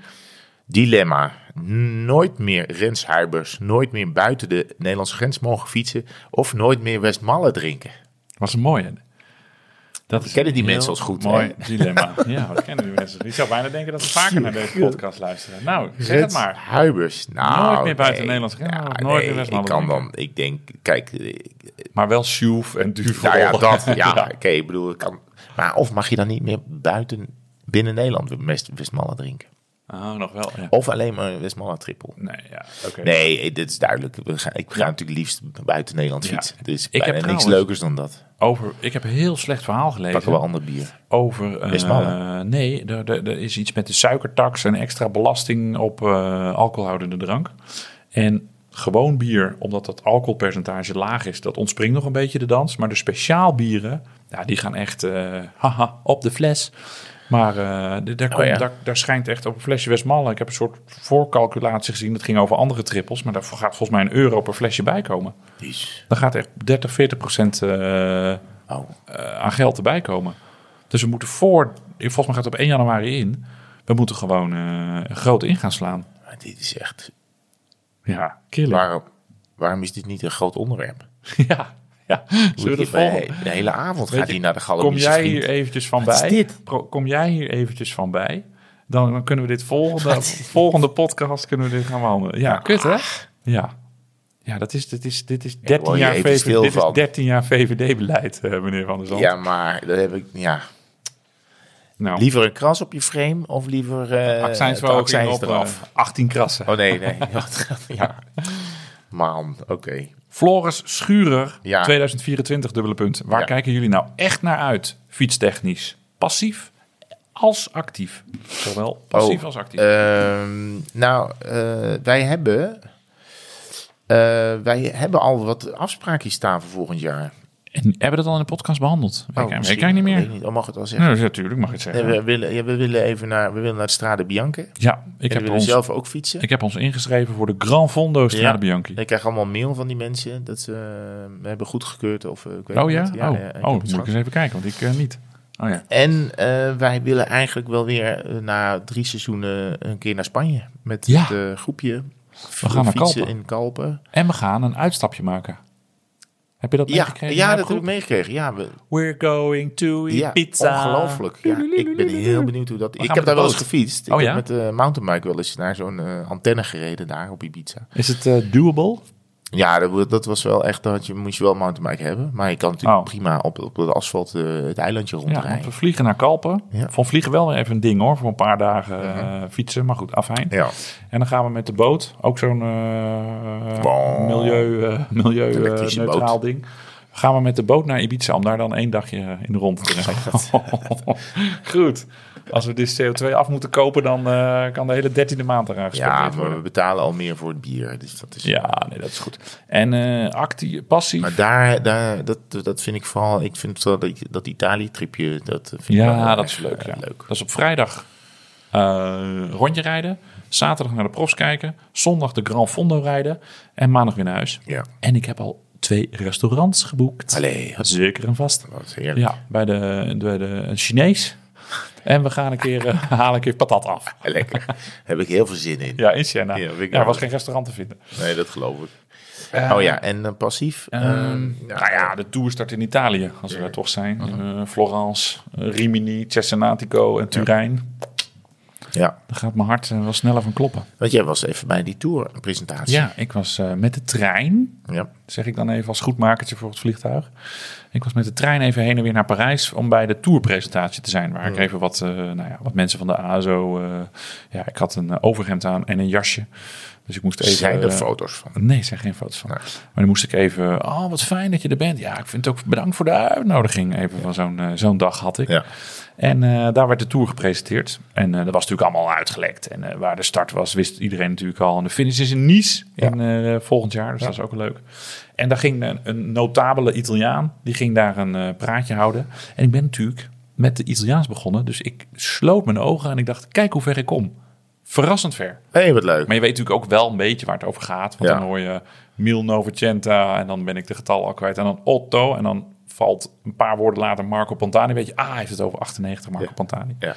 Speaker 2: Dilemma. Nooit meer renshuibers, nooit meer buiten de Nederlandse grens mogen fietsen of nooit meer Westmalle drinken.
Speaker 1: Was een mooie. Dat is
Speaker 2: kennen die
Speaker 1: een
Speaker 2: mensen
Speaker 1: heel
Speaker 2: als goed,
Speaker 1: Mooi dilemma. ja, we kennen die mensen. Ik zou bijna denken dat ze vaker naar deze podcast luisteren. Nou, zeg het maar.
Speaker 2: Huibers. Nou,
Speaker 1: Nooit meer buiten de Nederlandse grens,
Speaker 2: Ja,
Speaker 1: nooit meer
Speaker 2: nee,
Speaker 1: Westmalle
Speaker 2: Ik kan
Speaker 1: drinken.
Speaker 2: dan, ik denk, kijk, eh,
Speaker 1: Maar wel Sjoef en Duvel.
Speaker 2: nou ja, dat,
Speaker 1: [laughs]
Speaker 2: ja, oké, ik bedoel, ik kan. Maar of mag je dan niet meer buiten, binnen Nederland West, Westmalle drinken?
Speaker 1: Oh, nog wel. Ja.
Speaker 2: Of alleen maar Westmalle trippel?
Speaker 1: Nee, ja, oké.
Speaker 2: Nee, eh, dit is duidelijk. We gaan, ik ga natuurlijk liefst buiten Nederland
Speaker 1: Ja.
Speaker 2: fietsen. Dus
Speaker 1: Ik
Speaker 2: ik
Speaker 1: heb
Speaker 2: bijna niks
Speaker 1: trouwens-
Speaker 2: leukers dan dat.
Speaker 1: Over, ik heb een heel slecht verhaal
Speaker 2: Pakken we
Speaker 1: gelezen
Speaker 2: ander bier.
Speaker 1: over... eh,
Speaker 2: Westmalle.
Speaker 1: nee, er, er, er is iets met de suikertax en extra belasting op eh, alcoholhoudende drank. En gewoon bier, omdat dat alcoholpercentage laag is, dat ontspringt nog een beetje de dans. Maar de speciaal bieren, ja, die gaan echt eh, haha, op de fles. Maar eh, d- daar, komt,
Speaker 2: Oh ja.
Speaker 1: daar, daar schijnt echt op een flesje Westmalle. Ik heb een soort voorcalculatie gezien. Dat ging over andere trippels. Maar daar gaat volgens mij een euro per flesje bij komen. Dan gaat echt 30, 40 procent eh,
Speaker 2: Oh.
Speaker 1: eh, aan geld erbij komen. Dus we moeten voor, volgens mij gaat het op 1 januari in, we moeten gewoon eh groot in gaan slaan.
Speaker 2: Maar dit is echt...
Speaker 1: Ja, killer.
Speaker 2: Waarom, waarom is dit niet een groot onderwerp?
Speaker 1: [laughs] Ja, ja. Zullen we
Speaker 2: Moet
Speaker 1: dat
Speaker 2: je bij-
Speaker 1: volgen?
Speaker 2: de hele avond
Speaker 1: Weet
Speaker 2: gaat
Speaker 1: je,
Speaker 2: hij naar de galerie.
Speaker 1: Kom jij hier eventjes van
Speaker 2: Wat is
Speaker 1: bij?
Speaker 2: dit?
Speaker 1: Pro- Kom jij hier eventjes van bij? Dan, dan kunnen we dit volgende, volgende podcast kunnen we dit gaan behandelen. Ja, kut hè? Ja. Ja, dat is, dit is, dit is 13
Speaker 2: word je
Speaker 1: jaar
Speaker 2: even
Speaker 1: VVD,
Speaker 2: stil
Speaker 1: dit is
Speaker 2: van.
Speaker 1: 13 jaar VVD-beleid, eh, meneer Van der Zand.
Speaker 2: Ja, maar dat heb ik... Ja.
Speaker 1: nou,
Speaker 2: Liever een kras op je frame of liever... eh het
Speaker 1: accijnsverhoging
Speaker 2: accijns
Speaker 1: op eh, 18 krassen.
Speaker 2: Oh
Speaker 1: [laughs]
Speaker 2: nee, [laughs] nee. ja. Man, oké.
Speaker 1: Floris Schurer,
Speaker 2: Ja.
Speaker 1: 2024, dubbele punt. Waar
Speaker 2: Ja.
Speaker 1: kijken jullie nou echt naar uit, fietstechnisch? Passief als actief. Zowel passief
Speaker 2: Oh,
Speaker 1: als actief.
Speaker 2: Ehm, nou, eh, wij hebben... eh, wij hebben al wat afspraakjes staan voor volgend jaar. Oh,
Speaker 1: en hebben we dat al in de podcast behandeld? Weet ik- weet
Speaker 2: misschien-
Speaker 1: ik niet meer.
Speaker 2: Weet niet. Oh, mag het wel zeggen?
Speaker 1: Nee, natuurlijk mag ik het
Speaker 2: Nee,
Speaker 1: zeggen.
Speaker 2: we, willen, ja, we willen even naar, we willen naar de Strade Bianche.
Speaker 1: ja,
Speaker 2: Ik
Speaker 1: ik
Speaker 2: en we
Speaker 1: heb,
Speaker 2: willen
Speaker 1: ons,
Speaker 2: zelf ook fietsen.
Speaker 1: ik heb ons ingeschreven voor de Gran Fondo Strade
Speaker 2: Ja.
Speaker 1: Bianchi.
Speaker 2: Ik krijg allemaal mail van die mensen dat ze eh, me hebben goedgekeurd. Of, eh, ik weet
Speaker 1: Oh
Speaker 2: het
Speaker 1: ja?
Speaker 2: niet.
Speaker 1: oh,
Speaker 2: ja, ik heb
Speaker 1: oh
Speaker 2: het
Speaker 1: moet ik
Speaker 2: gehad.
Speaker 1: eens even kijken, want ik eh, niet. Oh ja.
Speaker 2: En eh, wij willen eigenlijk wel weer eh, na drie seizoenen een keer naar Spanje. Met
Speaker 1: Ja.
Speaker 2: het eh, groepje. We
Speaker 1: gaan naar
Speaker 2: fietsen
Speaker 1: Kalpen.
Speaker 2: in Kalpen.
Speaker 1: En we gaan een uitstapje maken. Heb je dat
Speaker 2: Ja,
Speaker 1: meegekregen?
Speaker 2: ja
Speaker 1: in
Speaker 2: dat
Speaker 1: de
Speaker 2: heb ik
Speaker 1: groep?
Speaker 2: meegekregen. Ja, we,
Speaker 1: We're going to eat
Speaker 2: ja,
Speaker 1: pizza.
Speaker 2: Ongelooflijk. Ja, ik ben heel benieuwd hoe dat...
Speaker 1: gaan met
Speaker 2: Ik heb
Speaker 1: de
Speaker 2: daar wel eens
Speaker 1: boot.
Speaker 2: gefietst. Ik
Speaker 1: Oh,
Speaker 2: heb
Speaker 1: ja?
Speaker 2: met de mountainbike wel eens naar zo'n eh, antenne gereden daar op Ibiza.
Speaker 1: Is het eh, doable?
Speaker 2: Ja, dat, wo- dat was wel echt, dat je, moest je wel een mountainbike hebben. Maar je kan natuurlijk
Speaker 1: Oh.
Speaker 2: prima op, op het asfalt eh, het eilandje
Speaker 1: Ja, want
Speaker 2: rondrijden.
Speaker 1: we vliegen naar Kalpen.
Speaker 2: Ja. Mhm.
Speaker 1: Van vliegen wel weer even een ding hoor, voor een paar dagen eh, fietsen. Maar goed, afijn.
Speaker 2: Ja,
Speaker 1: En dan gaan we met de boot, ook zo'n eh,
Speaker 2: Wow.
Speaker 1: milieu, eh milieu eh,
Speaker 2: Elektrische
Speaker 1: neutraal
Speaker 2: boot.
Speaker 1: ding. Gaan we met de boot naar Ibiza om daar dan één dagje in de rond te rijden. [laughs] goed. Als we dit CO2 af moeten kopen, dan eh, kan de hele dertiende maand eraan gespendeerd
Speaker 2: ja
Speaker 1: worden.
Speaker 2: maar we betalen al meer voor het bier. Dus dat is...
Speaker 1: eh, Ja, nee, dat is goed. En eh actie, passie.
Speaker 2: Maar daar, daar dat, dat vind ik vooral... Ik vind wel dat, dat Italië-tripje, dat vind ik wel
Speaker 1: Ja,
Speaker 2: heel
Speaker 1: dat
Speaker 2: erg,
Speaker 1: is leuk.
Speaker 2: eh,
Speaker 1: Ja.
Speaker 2: leuk.
Speaker 1: Dat is op vrijdag eh, rondje rijden. Zaterdag naar de profs kijken. Zondag de Gran Fondo rijden. En maandag weer naar huis.
Speaker 2: Ja.
Speaker 1: En ik heb al twee restaurants geboekt.
Speaker 2: Allee, dat is-
Speaker 1: Zeker en vast.
Speaker 2: dat is heerlijk.
Speaker 1: Ja, bij de, bij de een Chinees. En we gaan een keer, eh, [laughs] halen een keer patat af.
Speaker 2: Lekker. Heb ik heel veel zin in.
Speaker 1: Ja, in China.
Speaker 2: Ja,
Speaker 1: Ja,
Speaker 2: vind ik
Speaker 1: er
Speaker 2: wel
Speaker 1: was
Speaker 2: leuk.
Speaker 1: geen restaurant te vinden.
Speaker 2: Nee, dat geloof ik. oh ja, en eh, passief? Ehm,
Speaker 1: Nou ja, de tour start in Italië, als we daar toch zijn. Eh, Florence, eh, Rimini, Cesenatico en Turijn.
Speaker 2: ja.
Speaker 1: Daar gaat mijn hart eh, wel sneller van kloppen.
Speaker 2: Want jij was even bij die tour, een presentatie.
Speaker 1: Ja, ik was eh, met de trein,
Speaker 2: ja.
Speaker 1: zeg ik dan even als goedmakertje voor het vliegtuig. Ik was met de trein even heen en weer naar Parijs om bij de tourpresentatie te zijn. Waar ik even wat, eh, nou ja, wat mensen van de ASO... eh, ja, ik had een eh, overhemd aan en een jasje. Dus ik moest even...
Speaker 2: Zijn er
Speaker 1: eh,
Speaker 2: foto's van?
Speaker 1: Nee, er zijn geen foto's van. Maar dan moest ik even... Oh, wat fijn dat je er bent. Ja, ik vind het ook bedankt voor de uitnodiging. Even van zo'n eh, zo'n dag had ik.
Speaker 2: Ja.
Speaker 1: En eh, daar werd de tour gepresenteerd. En eh, dat was natuurlijk allemaal uitgelekt. En eh, waar de start was, wist iedereen natuurlijk al. En de finish is in Nice in, eh, volgend jaar. Dus dat is ook leuk. En daar ging een, een notabele Italiaan, die ging daar een eh, praatje houden. En ik ben natuurlijk met de Italiaans begonnen. Dus ik sloot mijn ogen en ik dacht, kijk hoe ver ik kom. Verrassend ver.
Speaker 2: hey, wat leuk.
Speaker 1: Maar je weet natuurlijk ook wel een beetje waar het over gaat. Want
Speaker 2: Ja.
Speaker 1: dan hoor je Mil Novecenta en dan ben ik de getallen al kwijt. En dan Otto en dan valt een paar woorden later Marco Pantani. Weet je, ah, hij heeft het over 98 Marco
Speaker 2: Ja.
Speaker 1: Pantani.
Speaker 2: Ja.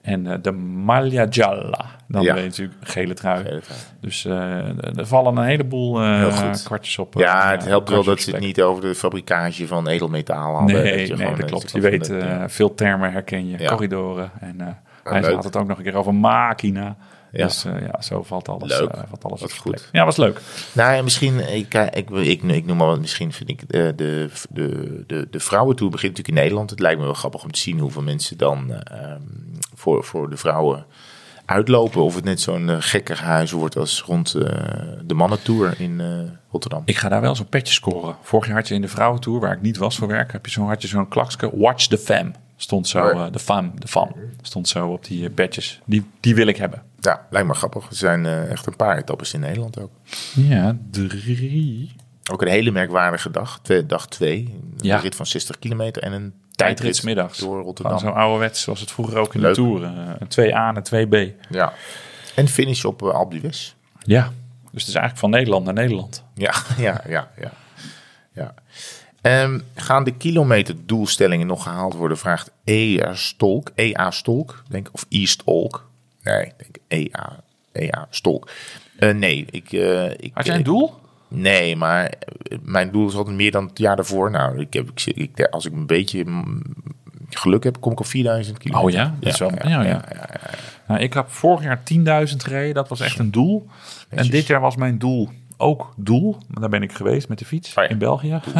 Speaker 1: En eh, de Maglia Gialla, dan
Speaker 2: Ja.
Speaker 1: ben je natuurlijk gele trui.
Speaker 2: Gele trui.
Speaker 1: Dus eh, er vallen een heleboel eh,
Speaker 2: Heel goed.
Speaker 1: kwartjes op.
Speaker 2: Ja, het
Speaker 1: eh,
Speaker 2: helpt wel
Speaker 1: kwartjes
Speaker 2: dat
Speaker 1: op
Speaker 2: ze
Speaker 1: plek.
Speaker 2: het niet over de fabricage van edelmetaal hadden.
Speaker 1: Nee, nee,
Speaker 2: je
Speaker 1: dat,
Speaker 2: gewoon een
Speaker 1: klopt. Je
Speaker 2: soort van
Speaker 1: weet,
Speaker 2: het,
Speaker 1: eh, veel termen herken je,
Speaker 2: Ja.
Speaker 1: corridoren. En eh, hij
Speaker 2: leuk.
Speaker 1: had het ook nog een keer over machina.
Speaker 2: Ja.
Speaker 1: Dus eh, ja, zo valt alles,
Speaker 2: Leuk.
Speaker 1: eh, valt alles op
Speaker 2: Wat
Speaker 1: zijn
Speaker 2: goed.
Speaker 1: plek. Ja, was leuk.
Speaker 2: Nou, en misschien, ik, ik, ik, ik noem maar wat, misschien vind ik eh, de, de, de, de vrouwentour begint natuurlijk in Nederland. Het lijkt me wel grappig om te zien hoeveel mensen dan eh, ehm, voor, voor de vrouwen uitlopen. Of het net zo'n eh, gekke huis wordt als rond eh, de mannentour in eh, Rotterdam.
Speaker 1: Ik ga daar wel zo'n petje scoren. Vorig jaar had je in de vrouwentour, waar ik niet was voor werk, heb je zo'n had je zo'n klakske. Watch the fam. Stond zo,
Speaker 2: Oh ja.
Speaker 1: eh, de fam, de fam. Stond zo op die eh, badges. Die, die wil ik hebben.
Speaker 2: Ja, lijkt me grappig. Er zijn eh, echt een paar etappes in Nederland ook.
Speaker 1: Ja, drie.
Speaker 2: Ook een hele merkwaardige dag, twee, dag twee. Een
Speaker 1: Ja.
Speaker 2: rit van 60 kilometer en een tijdrit
Speaker 1: Tijdritsmiddags.
Speaker 2: door
Speaker 1: Gewoon Zo'n
Speaker 2: Rotterdam.
Speaker 1: ouderwets, zoals het vroeger ook in
Speaker 2: Leuk.
Speaker 1: de toeren. Een 2A en een 2B.
Speaker 2: Ja. En finish op eh, Alpe d'Huez.
Speaker 1: Ja. Dus het is eigenlijk van Nederland naar Nederland.
Speaker 2: Ja, [laughs] ja, ja, ja. ja. Ehm, gaan de kilometerdoelstellingen nog gehaald worden? Vraagt EA Stolk. EA Stolk, denk ik, of E Stolk. Nee, ik denk E EA, EA Stolk. Eh, nee, ik, eh, ik.
Speaker 1: Had jij een doel?
Speaker 2: Nee, maar eh, mijn doel is altijd meer dan het jaar daarvoor. Nou, ik heb, ik, zit- ik, als ik een beetje mm, geluk heb, kom ik op 4000 kilometer.
Speaker 1: Oh ja? Dat is wel- ja, ja. Nou, ik heb vorig jaar 10.000 gereden. Dat was echt een doel. En dit jaar was mijn doel ook doel. Maar Daar ben ik geweest met de fiets
Speaker 2: Oh ja.
Speaker 1: in België. [laughs]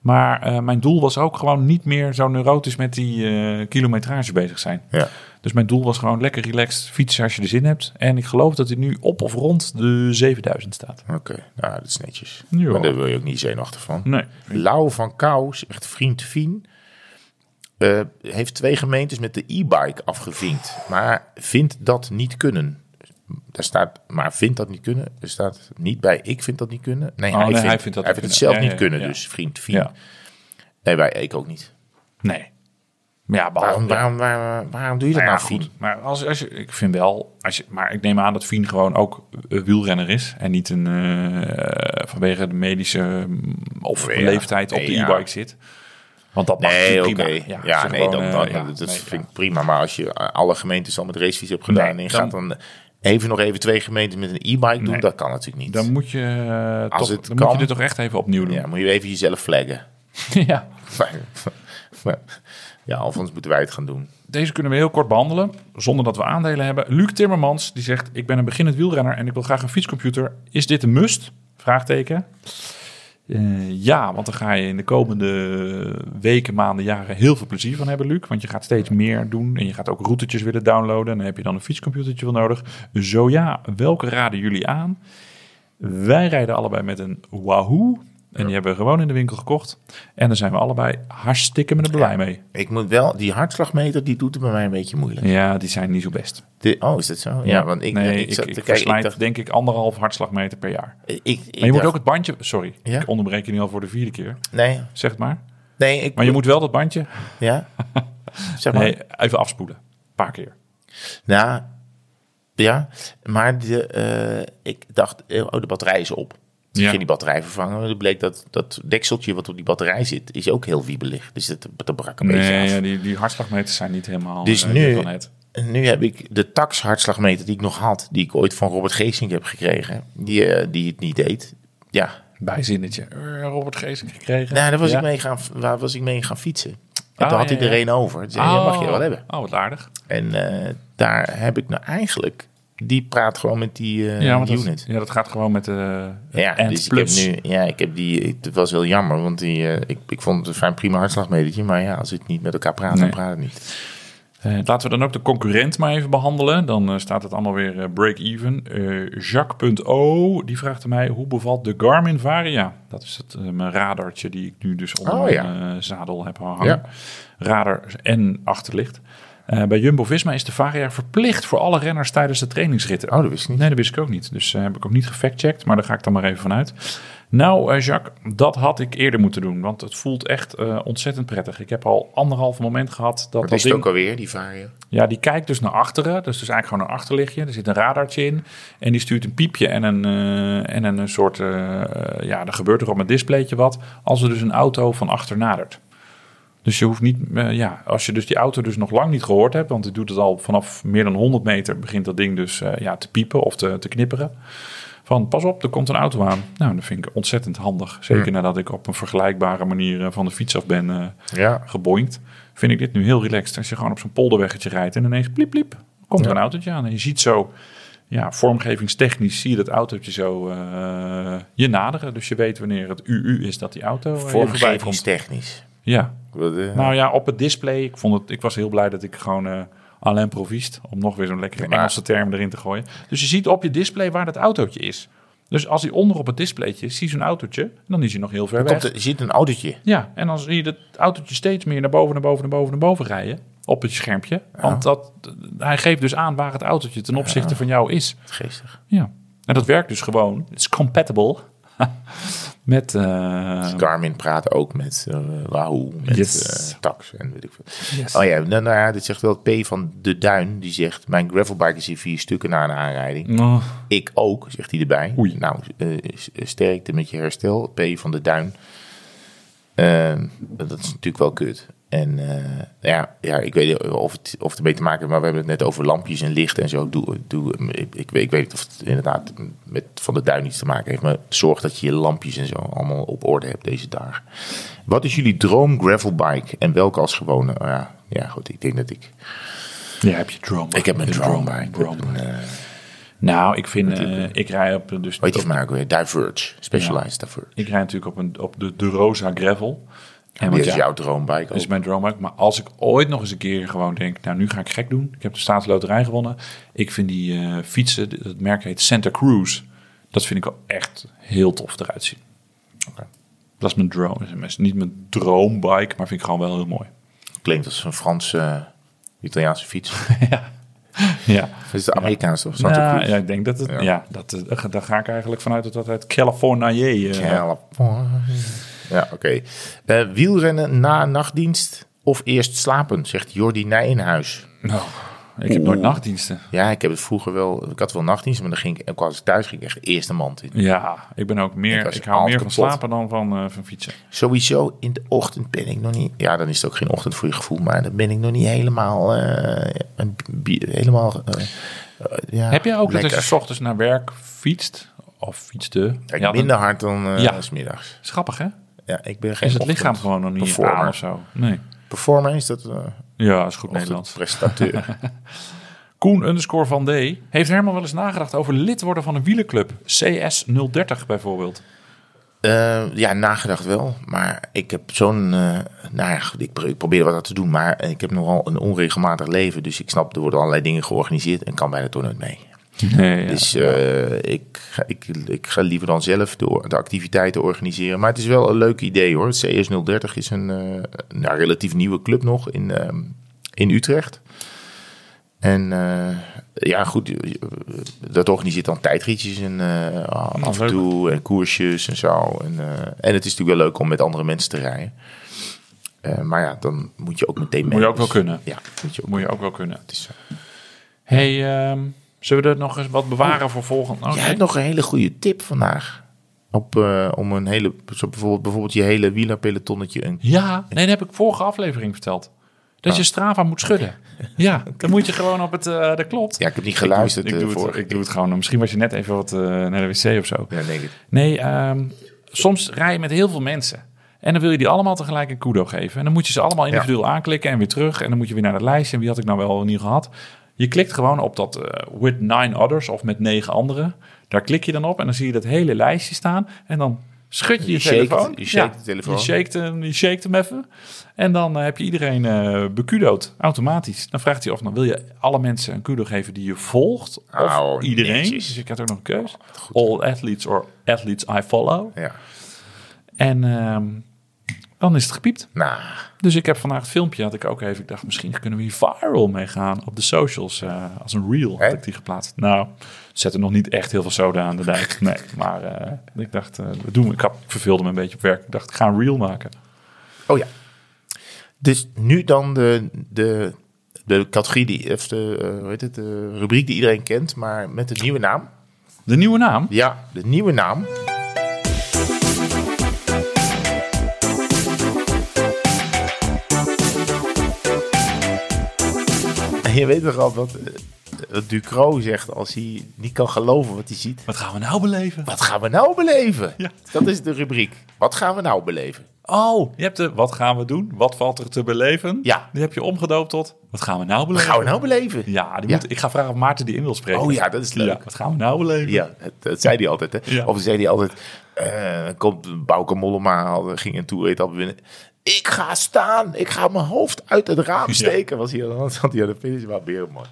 Speaker 1: maar eh, mijn doel was ook gewoon niet meer zo neurotisch met die eh, kilometrage bezig zijn.
Speaker 2: Ja.
Speaker 1: Dus mijn doel was gewoon lekker relaxed fietsen als je er zin hebt. En ik geloof dat hij nu op of rond de 7000 staat.
Speaker 2: Oké, nou, dat is netjes.
Speaker 1: Ja.
Speaker 2: Maar daar wil je ook niet zenuwachtig van.
Speaker 1: Nee.
Speaker 2: Lau van Kouw, echt vriend Fien, eh, heeft twee gemeentes met de e-bike afgevinkt. Maar vindt dat niet kunnen. Daar staat, maar vindt dat niet kunnen. Er staat niet bij, ik vind dat niet kunnen. Nee,
Speaker 1: Oh,
Speaker 2: hij,
Speaker 1: nee,
Speaker 2: vindt,
Speaker 1: hij vindt dat
Speaker 2: hij
Speaker 1: niet
Speaker 2: vindt het
Speaker 1: kunnen.
Speaker 2: zelf
Speaker 1: Ja,
Speaker 2: niet
Speaker 1: ja,
Speaker 2: kunnen,
Speaker 1: ja.
Speaker 2: dus vriend Fien.
Speaker 1: Ja.
Speaker 2: Nee, wij, ik ook niet.
Speaker 1: Nee. Maar Oh, Ja, behalve-
Speaker 2: Waarom, waarom, waarom, waarom doe je dat
Speaker 1: Nou
Speaker 2: nou,
Speaker 1: ja,
Speaker 2: Fien?
Speaker 1: goed. Maar als, als je, ik vind wel, als je, maar ik neem aan dat Fien gewoon ook eh, wielrenner is. En niet een, eh, vanwege de medische mm, of
Speaker 2: Nee, ja.
Speaker 1: leeftijd op de
Speaker 2: Nee, ja.
Speaker 1: e-bike zit. Want dat mag
Speaker 2: Nee, oké.
Speaker 1: natuurlijk prima.
Speaker 2: Ja,
Speaker 1: als je
Speaker 2: nee,
Speaker 1: gewoon,
Speaker 2: dan,
Speaker 1: eh,
Speaker 2: dan,
Speaker 1: ja,
Speaker 2: dat
Speaker 1: nee,
Speaker 2: vind ik
Speaker 1: ja.
Speaker 2: prima. Maar als je eh, alle gemeentes al met racefiets hebt gedaan... en
Speaker 1: Nee,
Speaker 2: je
Speaker 1: dan-
Speaker 2: gaat dan even nog even twee gemeenten met een e-bike doen...
Speaker 1: Nee.
Speaker 2: dat kan natuurlijk niet.
Speaker 1: Dan moet je, eh,
Speaker 2: Als
Speaker 1: toch,
Speaker 2: het
Speaker 1: dan
Speaker 2: kan.
Speaker 1: moet je dit toch echt even opnieuw doen. [laughs]
Speaker 2: ja,
Speaker 1: Ja.
Speaker 2: moet je even jezelf flaggen.
Speaker 1: [laughs]
Speaker 2: Maar- maar- ja, alvast moeten wij het gaan doen.
Speaker 1: Deze kunnen we heel kort behandelen, zonder dat we aandelen hebben. Luc Timmermans, die zegt, ik ben een beginnend wielrenner en ik wil graag een fietscomputer. Is dit een must? Vraagteken. Eh, ja, want dan ga je in de komende weken, maanden, jaren heel veel plezier van hebben, Luc. Want je gaat steeds meer doen en je gaat ook routetjes willen downloaden. En dan heb je dan een fietscomputertje wel nodig. Zo ja, welke raden jullie aan? Wij rijden allebei met een Wahoo. En die hebben we gewoon in de winkel gekocht. En daar zijn we allebei hartstikke met blij mee.
Speaker 2: Ik moet wel, die hartslagmeter, die doet het bij mij een beetje moeilijk.
Speaker 1: Ja, die zijn niet zo best.
Speaker 2: De- oh, is dat zo? Ja, want ik,
Speaker 1: nee,
Speaker 2: ik, zat te
Speaker 1: ik,
Speaker 2: kijken, ik
Speaker 1: verslijt,
Speaker 2: dacht-
Speaker 1: denk ik anderhalf hartslagmeter per jaar. Maar
Speaker 2: ik- ik
Speaker 1: je moet
Speaker 2: dacht-
Speaker 1: ook het bandje... Sorry,
Speaker 2: Ja?
Speaker 1: ik onderbreek je nu al voor de vierde keer.
Speaker 2: Nee,
Speaker 1: Zeg het maar.
Speaker 2: nee, ik
Speaker 1: Maar je moet wel dat bandje [laughs]
Speaker 2: Ja? Zeg maar.
Speaker 1: nee, even afspoelen. Een paar keer.
Speaker 2: Nou, ja, maar de, eh, ik dacht, eh, oh, de batterij is op. Dus Ik
Speaker 1: Ja.
Speaker 2: ging die batterij vervangen. maar Het bleek dat dat dekseltje wat op die batterij zit, is ook heel wiebelig. Dus dat, dat brak een beetje
Speaker 1: Nee,
Speaker 2: af.
Speaker 1: ja, die, die hartslagmeters zijn niet helemaal...
Speaker 2: Dus
Speaker 1: eh,
Speaker 2: nu-
Speaker 1: van het.
Speaker 2: En nu heb ik de tax-hartslagmeter die ik nog had, die ik ooit van Robert Geesink heb gekregen, die, eh, die het niet deed. Ja,
Speaker 1: Bijzinnetje. Eh, Robert Geesink gekregen.
Speaker 2: nou, daar was,
Speaker 1: Ja.
Speaker 2: ik mee gaan, waar was ik mee gaan fietsen. En
Speaker 1: Ah,
Speaker 2: toen had
Speaker 1: ja,
Speaker 2: hij er
Speaker 1: ja.
Speaker 2: een over. Toen zei hij, ja, mag je wel hebben.
Speaker 1: Oh, wat aardig.
Speaker 2: En eh, daar heb ik nou eigenlijk, die praat gewoon met die eh,
Speaker 1: ja, want
Speaker 2: unit.
Speaker 1: dat, ja, dat gaat gewoon met de...
Speaker 2: Ja,
Speaker 1: en
Speaker 2: dus
Speaker 1: plus.
Speaker 2: ik heb nu, ja, ik heb die, het was heel jammer, want die, eh, ik, ik vond het een fijn prima hartslagmetertje, maar ja, als het niet met elkaar praat,
Speaker 1: Nee.
Speaker 2: dan praat het niet.
Speaker 1: Eh, laten we dan ook de concurrent maar even behandelen. Dan eh, staat het allemaal weer eh, break-even. Eh Jacques.o, die vraagt aan mij, hoe bevalt de Garmin Varia? Dat is het, eh, mijn radartje die ik nu dus onder
Speaker 2: Oh,
Speaker 1: mijn
Speaker 2: ja.
Speaker 1: eh, zadel heb hangen.
Speaker 2: Ja.
Speaker 1: Radar en achterlicht. Eh, bij Jumbo-Visma is de Varia verplicht voor alle renners tijdens de trainingsritten.
Speaker 2: Oh, dat wist ik niet.
Speaker 1: Nee, dat wist ik ook niet. Dus eh, heb ik ook niet gefactcheckt, maar daar ga ik dan maar even vanuit. Nou, eh, Jacques, dat had ik eerder moeten doen. Want het voelt echt eh, ontzettend prettig. Ik heb al anderhalf moment gehad dat
Speaker 2: Wat
Speaker 1: dat
Speaker 2: is het
Speaker 1: ding...
Speaker 2: ook alweer, die varia?
Speaker 1: Ja, die kijkt dus naar achteren. Dus, dus eigenlijk gewoon een achterlichtje. Er zit een radartje in. En die stuurt een piepje en een, eh, en een soort... eh, eh, ja, er gebeurt er op mijn displaytje wat. Als er dus een auto van achter nadert. Dus je hoeft niet... eh, ja, als je dus die auto dus nog lang niet gehoord hebt... want die doet het al vanaf meer dan 100 meter... begint dat ding dus eh, ja, te piepen of te, te knipperen. Van pas op, er komt een auto aan. Nou, dat vind ik ontzettend handig. Zeker nadat ik op een vergelijkbare manier eh, van de fiets af ben... eh,
Speaker 2: Ja.
Speaker 1: geboinkt. Vind ik dit nu heel relaxed. Als je gewoon op zo'n polderweggetje rijdt en ineens pliep pliep, komt er een autootje aan. En je ziet zo, ja, vormgevingstechnisch zie je dat autootje zo eh, je naderen. Dus je weet wanneer het UU is dat die auto eh, je voorbij komt.
Speaker 2: Vormgevingstechnisch.
Speaker 1: Ja,
Speaker 2: Wat, eh,
Speaker 1: nou ja, op het display. Ik, vond het, ik was heel blij dat ik gewoon eh Alain Provist, om nog weer zo'n lekkere
Speaker 2: Maar-
Speaker 1: Engelse term erin te gooien. Dus je ziet op je display waar dat autootje is. Dus als hij onder op het displaytje is, zie je zo'n autootje. En dan is hij nog heel ver weg.
Speaker 2: komt er, je ziet een autootje.
Speaker 1: Ja, en dan zie je dat autootje steeds meer naar boven, naar boven, naar boven, naar boven rijden. Op het schermpje. Want dat, hij geeft dus aan waar het autootje ten opzichte van jou is.
Speaker 2: Geestig.
Speaker 1: Ja. En dat werkt dus gewoon. Het is compatible. [laughs] met. eh,
Speaker 2: Garmin Dus praat ook met eh, Wahoo, met
Speaker 1: Yes.
Speaker 2: eh, Tax en weet ik veel.
Speaker 1: yes.
Speaker 2: Oh ja, nou, nou ja, dit zegt wel P van De Duin. Die zegt, mijn gravelbike is in vier stukken na een aanrijding.
Speaker 1: Oh,
Speaker 2: Ik ook, zegt hij erbij.
Speaker 1: Oei.
Speaker 2: Nou, eh, s- sterkte met je herstel. P van de Duin. Eh, dat is natuurlijk wel kut. En eh, ja, ja, ik weet niet of het, of het ermee te maken heeft, maar we hebben het net over lampjes en licht en zo. Ik Doe, doe, ik, ik, weet- ik weet niet of het inderdaad met Van de Duin iets te maken heeft, maar zorg dat je je lampjes en zo allemaal op orde hebt deze dagen. Wat is jullie droom gravelbike en welke als gewone? Ah, ja, ja, goed, ik denk dat ik...
Speaker 1: ja, heb je drone.
Speaker 2: Ik heb mijn
Speaker 1: Een
Speaker 2: drone.
Speaker 1: drone.
Speaker 2: eh,
Speaker 1: Nou, ik vind. eh, ik rij op. Dus
Speaker 2: Weet je van mij ook weer? Diverge. Specialized Diverge.
Speaker 1: ik rij natuurlijk op, een, op de, de Rosa Gravel. En
Speaker 2: Dit
Speaker 1: want
Speaker 2: is
Speaker 1: ja, Dus
Speaker 2: jouw droombike
Speaker 1: Dat is
Speaker 2: ook.
Speaker 1: mijn droombike. Maar als ik ooit nog eens een keer gewoon denk... nou, nu ga ik gek doen. Ik heb de staatsloterij gewonnen. Ik vind die eh, fietsen, d- het merk heet Santa Cruz... dat vind ik wel echt heel tof eruit zien.
Speaker 2: Oké.
Speaker 1: Dat is mijn droom. Dat is Niet mijn droombike, maar vind ik gewoon wel heel
Speaker 2: [laughs]
Speaker 1: mooi.
Speaker 2: Klinkt als een Franse, eh, Italiaanse
Speaker 1: [laughs]
Speaker 2: fiets.
Speaker 1: Ja,
Speaker 2: Of is het Amerikaans of Santa
Speaker 1: Nou,
Speaker 2: Cruz?
Speaker 1: ja ik denk dat het... Ja,
Speaker 2: Ja.
Speaker 1: dat, eh, daar ga ik eigenlijk vanuit dat dat uit Californië... eh,
Speaker 2: California. Ja, oké. Eh, wielrennen na een nachtdienst of eerst slapen, zegt Jordi Nijenhuis.
Speaker 1: nou, ik heb nooit nachtdiensten.
Speaker 2: Ja, ik heb het vroeer wel... Ik had wel nachtdienst, maar dan ging ik, ook als ik thuis ging, echt eerst de mand in.
Speaker 1: Ja, ik ben ook meer...
Speaker 2: Ik
Speaker 1: Ik, hou
Speaker 2: was
Speaker 1: meer van
Speaker 2: altijd kapot.
Speaker 1: slapen dan van, eh, van fietsen.
Speaker 2: Sowieso in de ochtend ben ik nog niet... Ja, dan is het ook geen ochtend voor je gevoel, maar dan ben ik nog niet helemaal... eh, een bi- helemaal eh, eh, ja,
Speaker 1: Heb jij ook dat
Speaker 2: lekker.
Speaker 1: als je 's ochtends naar werk fietst... Of fietste.
Speaker 2: Kijk,
Speaker 1: ja, dan-
Speaker 2: minder hard dan eh
Speaker 1: Ja.
Speaker 2: s middags.
Speaker 1: is grappig, hè?
Speaker 2: Ja, ik ben geen
Speaker 1: Is het
Speaker 2: ochtend-
Speaker 1: lichaam gewoon nog niet
Speaker 2: performer.
Speaker 1: aan of zo? Nee.
Speaker 2: Performer is dat... eh,
Speaker 1: Ja, is goed
Speaker 2: Of de
Speaker 1: Nederlands. [laughs]
Speaker 2: presentateur.
Speaker 1: Koen underscore van D heeft helemaal wel eens nagedacht over lid worden van een wielenclub. CS030 bijvoorbeeld.
Speaker 2: Eh, ja, nagedacht wel. Maar ik heb zo'n. eh nou ja, goed, ik pro- ik probeer wat aan te doen. Maar ik heb nogal een onregelmatig leven. Dus ik snap, er worden allerlei dingen georganiseerd. En kan bijna toch nooit mee.
Speaker 1: Nee, ja.
Speaker 2: Dus eh, ik, ga- ik, ik ga liever dan zelf de, de activiteiten organiseren. Maar het is wel een leuk idee hoor. CS030 is een eh, nou, relatief nieuwe club nog in, ehm, in Utrecht. En eh, ja, goed, eh, dat organiseert dan tijdritjes en eh, af en
Speaker 1: Nou, leuk.
Speaker 2: toe en koersjes en zo. En, eh, en het is natuurlijk wel leuk om met andere mensen te rijden. Eh, maar ja, dan moet je ook meteen mee.
Speaker 1: Moet je ook wel
Speaker 2: Dus-
Speaker 1: kunnen.
Speaker 2: Ja, moet je ook.
Speaker 1: Moet je ook wel kunnen.
Speaker 2: Het is zo.
Speaker 1: hey, ehm, zullen we er nog eens wat bewaren voor volgend? Oké.
Speaker 2: Oh. Jij hebt nog een hele goede tip vandaag. Op, eh, om een hele, zo bijvoorbeeld, bijvoorbeeld je hele wielerpelotonnetje. Een,
Speaker 1: Ja, nee, dat heb ik vorige aflevering verteld. Dat
Speaker 2: Oh.
Speaker 1: je Strava moet schudden.
Speaker 2: [laughs]
Speaker 1: Ja, dan moet je gewoon op het... eh, dat klopt.
Speaker 2: ja, ik heb niet geluisterd. eh,
Speaker 1: ik, doe het, ik doe het gewoon. Misschien was je net even wat eh, naar de wc of zo.
Speaker 2: Ja, denk ik.
Speaker 1: Nee, ehm, soms rij je met heel veel mensen. En dan wil je die allemaal tegelijk een kudo geven. En dan moet je ze allemaal individueel aanklikken en weer terug. En dan moet je weer naar het lijstje. En wie had ik nou wel en niet gehad? Je klikt gewoon op dat eh, with nine others of met negen anderen. Daar klik je dan op en dan zie je dat hele lijstje staan. En dan schud je je,
Speaker 2: Je shaked-
Speaker 1: telefoon.
Speaker 2: je shaked de telefoon.
Speaker 1: Je shaked, hem, je shaked hem even. En dan eh, heb je iedereen eh bekudood, automatisch. Dan vraagt hij of dan wil je alle mensen een kudo geven die je volgt. Of
Speaker 2: Oh,
Speaker 1: iedereen.
Speaker 2: netjes.
Speaker 1: Dus ik had ook nog een
Speaker 2: Oh,
Speaker 1: keus. All athletes or athletes I follow.
Speaker 2: Ja.
Speaker 1: En ehm, Dan is het gepiept.
Speaker 2: Nou,
Speaker 1: Dus ik heb vandaag het filmpje, had ik ook even. Ik dacht, misschien kunnen we hier viral mee gaan op de socials. eh, als een reel had
Speaker 2: Hè?
Speaker 1: ik die geplaatst. Nou, zet er nog niet echt heel veel soda aan de
Speaker 2: [laughs]
Speaker 1: dijk. Nee, maar eh, ik dacht, eh, we doen. Ik, had, ik verveelde me een beetje op werk. Ik dacht, ik ga een reel maken.
Speaker 2: oh ja. Dus nu dan de, de, de categorie, die, of de, eh, hoe heet het, de rubriek die iedereen kent, maar met een nieuwe naam.
Speaker 1: De nieuwe naam.
Speaker 2: Ja, de nieuwe naam. En je weet toch al wat, eh, wat Ducro zegt als hij niet kan geloven wat hij ziet.
Speaker 1: Wat gaan we nou beleven?
Speaker 2: Wat gaan we nou beleven?
Speaker 1: Ja.
Speaker 2: Dat is de rubriek. Wat gaan we nou beleven?
Speaker 1: Oh, je hebt de wat gaan we doen? Wat valt er te beleven?
Speaker 2: Ja.
Speaker 1: Die heb je omgedoopt tot wat gaan we nou
Speaker 2: Wat
Speaker 1: beleven?
Speaker 2: gaan we nou beleven?
Speaker 1: Ja, die
Speaker 2: Ja.
Speaker 1: Moet, ik ga vragen of Maarten die in wil spreken.
Speaker 2: Oh ja, dat is leuk.
Speaker 1: Ja, wat gaan we nou beleven?
Speaker 2: Ja, dat, dat zei hij altijd. Hè?
Speaker 1: Ja.
Speaker 2: Of zei hij altijd, eh, komt Bouke Mollema, had- ging een toerrit al winnen. Ik ga staan, ik ga mijn hoofd uit het raam steken. Was hij aan, [laughs] had hij aan de finish, maar weer mooi.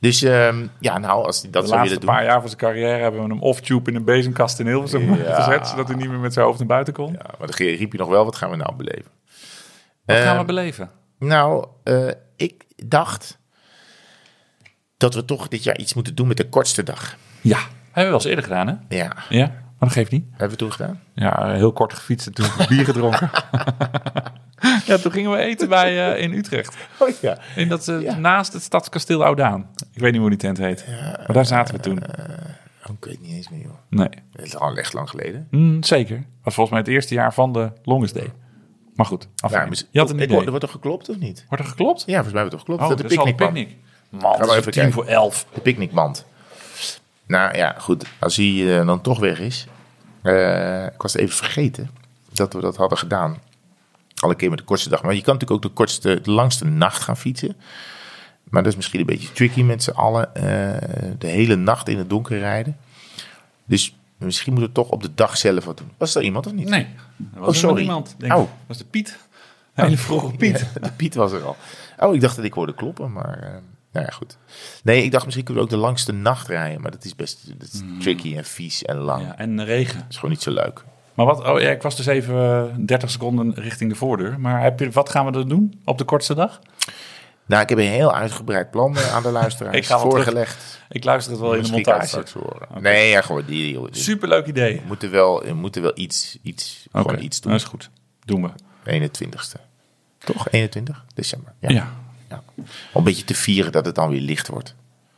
Speaker 2: Dus ehm, ja, nou, als hij dat
Speaker 1: De
Speaker 2: zou
Speaker 1: laatste
Speaker 2: willen
Speaker 1: paar
Speaker 2: doen.
Speaker 1: jaar van zijn carrière hebben we hem off-tube in een bezemkast in Hilversum
Speaker 2: Ja.
Speaker 1: [laughs] gezet. Zodat hij niet meer met zijn hoofd naar buiten kon.
Speaker 2: Ja, maar dan ge- riep je nog wel, wat gaan we nou beleven?
Speaker 1: Wat gaan we
Speaker 2: Ehm,
Speaker 1: beleven?
Speaker 2: Nou, eh, ik dacht dat we toch dit jaar iets moeten doen met de kortste dag.
Speaker 1: Ja, hebben we wel eens eerder gedaan hè?
Speaker 2: Ja,
Speaker 1: Ja, maar dat geeft niet.
Speaker 2: hebben we toen gedaan?
Speaker 1: Ja, heel kort gefietst en toen bier gedronken. [laughs] ja, toen gingen we eten bij, eh, in Utrecht.
Speaker 2: Oh ja.
Speaker 1: In dat, eh,
Speaker 2: Ja.
Speaker 1: Naast het stadskasteel Oudaan. Ik weet niet hoe die tent heet. maar daar zaten we toen.
Speaker 2: Oh, ik weet het niet eens meer, joh.
Speaker 1: Nee.
Speaker 2: Het is al echt lang geleden.
Speaker 1: Mm, zeker. Was volgens mij het eerste jaar van de Longest Day. Maar goed.
Speaker 2: Ja,
Speaker 1: afijn.
Speaker 2: maar-
Speaker 1: je had een
Speaker 2: Ik
Speaker 1: idee.
Speaker 2: hoor-
Speaker 1: Wordt
Speaker 2: Er wordt toch geklopt of niet?
Speaker 1: er geklopt?
Speaker 2: Ja, volgens mij wordt er geklopt.
Speaker 1: Oh,
Speaker 2: dat
Speaker 1: dat
Speaker 2: de
Speaker 1: is al een
Speaker 2: picknick kwam.
Speaker 1: picknick. Man,
Speaker 2: Gaan we
Speaker 1: het is
Speaker 2: even
Speaker 1: om tien
Speaker 2: kijken.
Speaker 1: voor elf.
Speaker 2: De picknickmand. Nou ja, goed. Als hij eh, dan toch weg is. Eh, ik was even vergeten dat we dat hadden gedaan. Alle keer met de kortste dag. Maar je kan natuurlijk ook de kortste, de langste nacht gaan fietsen. Maar dat is misschien een beetje tricky met z'n allen. eh, de hele nacht in het donker rijden. Dus misschien moeten we toch op de dag zelf wat doen. Was er iemand of niet?
Speaker 1: Nee. Er was
Speaker 2: Oh, sorry.
Speaker 1: iemand. Denk ik.
Speaker 2: Oh.
Speaker 1: Dat was de Piet. Een Hele vroege Piet.
Speaker 2: Ja, [laughs] de Piet was er al. Oh, ik dacht dat ik hoorde kloppen, maar eh, nou ja, goed. Nee, ik dacht misschien kunnen we ook de langste nacht rijden, maar dat is best dat is tricky en vies en lang.
Speaker 1: Mm. Ja, en regen.
Speaker 2: Dat is gewoon niet zo leuk.
Speaker 1: Maar wat, oh ja, ik was dus even eh, 30 seconden richting de voordeur. Maar heb je, wat gaan we dan doen op de kortste dag?
Speaker 2: Nou, ik heb een heel uitgebreid plan
Speaker 1: [laughs]
Speaker 2: eh, aan de luisteraars
Speaker 1: Ik ga wel
Speaker 2: voorgelegd.
Speaker 1: Ik luister het wel in de
Speaker 2: Misschien kan je het
Speaker 1: montage.
Speaker 2: straks horen. Nee, ja, gewoon die. die- die-
Speaker 1: Superleuk idee.
Speaker 2: We moeten wel, we moeten wel iets, iets,
Speaker 1: Oké,
Speaker 2: gewoon iets doen.
Speaker 1: dat is goed. Doen we.
Speaker 2: 21ste. Toch? 21 december. Ja.
Speaker 1: Ja,
Speaker 2: ja. Om een beetje te vieren dat het dan weer licht wordt.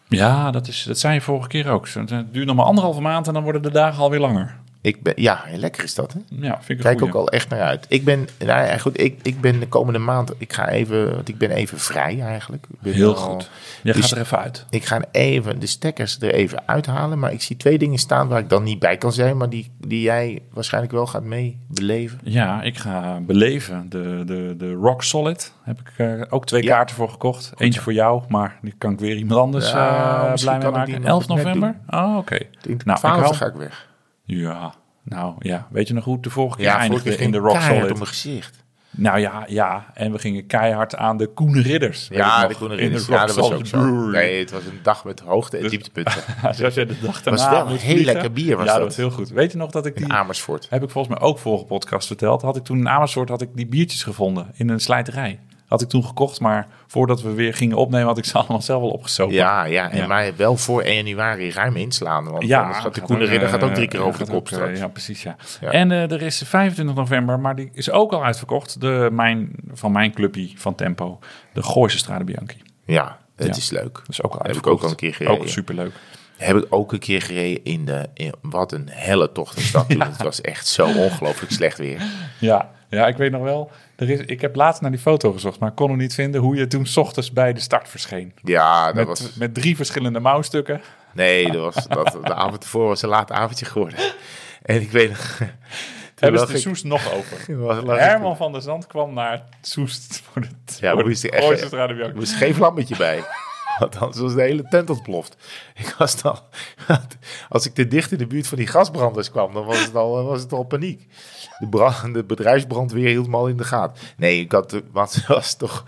Speaker 1: ja dat, is, dat zei je vorige keer ook. Zo, Het duurt nog maar anderhalve maand en dan worden de dagen alweer langer.
Speaker 2: Ik ben, ja, lekker is dat, hè?
Speaker 1: Ja, vind ik een
Speaker 2: Kijk ook
Speaker 1: goeie.
Speaker 2: al echt naar uit. Ik ben, nou ja, goed, ik, ik ben de komende maand, ik ga even, want ik ben even vrij eigenlijk. Ik ben
Speaker 1: Heel
Speaker 2: al-
Speaker 1: goed. Je
Speaker 2: Dus-
Speaker 1: gaat er even uit.
Speaker 2: Ik ga even de stekkers er even uithalen, maar ik zie twee dingen staan waar ik dan niet bij kan zijn, maar die, die jij waarschijnlijk wel gaat mee beleven.
Speaker 1: Ja, ik ga beleven. De, de, de Rock Solid heb ik eh, ook twee
Speaker 2: Ja.
Speaker 1: kaarten voor gekocht. Eentje voor jou, maar die kan ik weer iemand anders
Speaker 2: Ja,
Speaker 1: eh,
Speaker 2: misschien
Speaker 1: blij mee
Speaker 2: kan ik die
Speaker 1: maken.
Speaker 2: nog
Speaker 1: 11
Speaker 2: net
Speaker 1: november? Oh, oké.
Speaker 2: In de
Speaker 1: Nou, ik
Speaker 2: 12
Speaker 1: hou-
Speaker 2: ga ik weg.
Speaker 1: Ja, nou ja. Weet je nog goed? De vorige keer
Speaker 2: vorige
Speaker 1: eindigde
Speaker 2: keer
Speaker 1: in de
Speaker 2: ging
Speaker 1: Rock
Speaker 2: keihard
Speaker 1: Solid.
Speaker 2: op mijn gezicht.
Speaker 1: Nou ja, ja. En we gingen keihard aan de Koen Ridders. weet ik
Speaker 2: Ja,
Speaker 1: nog,
Speaker 2: de Groene
Speaker 1: in
Speaker 2: Ridders.
Speaker 1: Rock
Speaker 2: Ja, dat was
Speaker 1: Solid
Speaker 2: ook zo.
Speaker 1: Brewery. [laughs]
Speaker 2: Nee, het was een dag met hoogte en
Speaker 1: Dus- [laughs]
Speaker 2: dieptepunten.
Speaker 1: Zoals jij de dag daarna
Speaker 2: wel
Speaker 1: moet
Speaker 2: een heel
Speaker 1: vliegen.
Speaker 2: lekker bier, was
Speaker 1: ja,
Speaker 2: dat.
Speaker 1: dat was heel goed. Weet je nog dat ik die...
Speaker 2: In Amersfoort.
Speaker 1: Heb ik volgens mij ook vorige podcast verteld. Had ik toen in Amersfoort had ik die biertjes gevonden in een slijterij. Had ik toen gekocht, maar voordat we weer gingen opnemen had ik ze [laughs] allemaal zelf al opgezopen.
Speaker 2: Ja, ja, en
Speaker 1: Ja.
Speaker 2: maar wel voor 1 januari ruim inslaan, want
Speaker 1: Ja,
Speaker 2: anders gaat de
Speaker 1: ook,
Speaker 2: Koene Ridder
Speaker 1: eh,
Speaker 2: gaat ook drie keer
Speaker 1: ja,
Speaker 2: over de
Speaker 1: gaat
Speaker 2: kop
Speaker 1: ook, eh,
Speaker 2: straks.
Speaker 1: Ja, precies, ja.
Speaker 2: Ja.
Speaker 1: En eh, er is 25 november, maar die is ook al uitverkocht. De, mijn, van mijn clubje van Tempo, de Gooise Strade Bianchi.
Speaker 2: Ja, het
Speaker 1: Ja.
Speaker 2: is leuk.
Speaker 1: Dat is ook al
Speaker 2: Heb ik
Speaker 1: uitverkocht.
Speaker 2: ook al een keer gereden.
Speaker 1: Ook superleuk.
Speaker 2: Heb ik ook een keer gereden in de... In, wat een helle tocht
Speaker 1: [laughs]
Speaker 2: is dat toen. Het was echt zo ongelooflijk slecht weer.
Speaker 1: Ja, ja, ik weet nog wel. Er is, ik heb laatst naar die foto gezocht, maar kon hem niet vinden hoe je toen 's ochtends bij de start verscheen.
Speaker 2: Ja, dat
Speaker 1: Met,
Speaker 2: was...
Speaker 1: met drie verschillende mouwstukken.
Speaker 2: Nee, dat was, dat, de avond ervoor was een laat avondje geworden. En ik weet nog... [laughs] toen
Speaker 1: hebben ze
Speaker 2: lag
Speaker 1: de
Speaker 2: ik-
Speaker 1: Soest nog over.
Speaker 2: [laughs] toen was- lag ik-
Speaker 1: Herman van der Zand kwam naar Soest voor het
Speaker 2: Ja,
Speaker 1: voor
Speaker 2: moest
Speaker 1: de
Speaker 2: hij echt-
Speaker 1: Gooise Strade Bianchi.
Speaker 2: Er moest geen vlammetje bij. Want anders was de hele tent ontploft. Ik was dan, als ik te dicht in de buurt van die gasbranders kwam, dan was het al, was het al paniek. De, brand, de bedrijfsbrandweer hield me al in de gaten. Nee, ik had, wat was toch.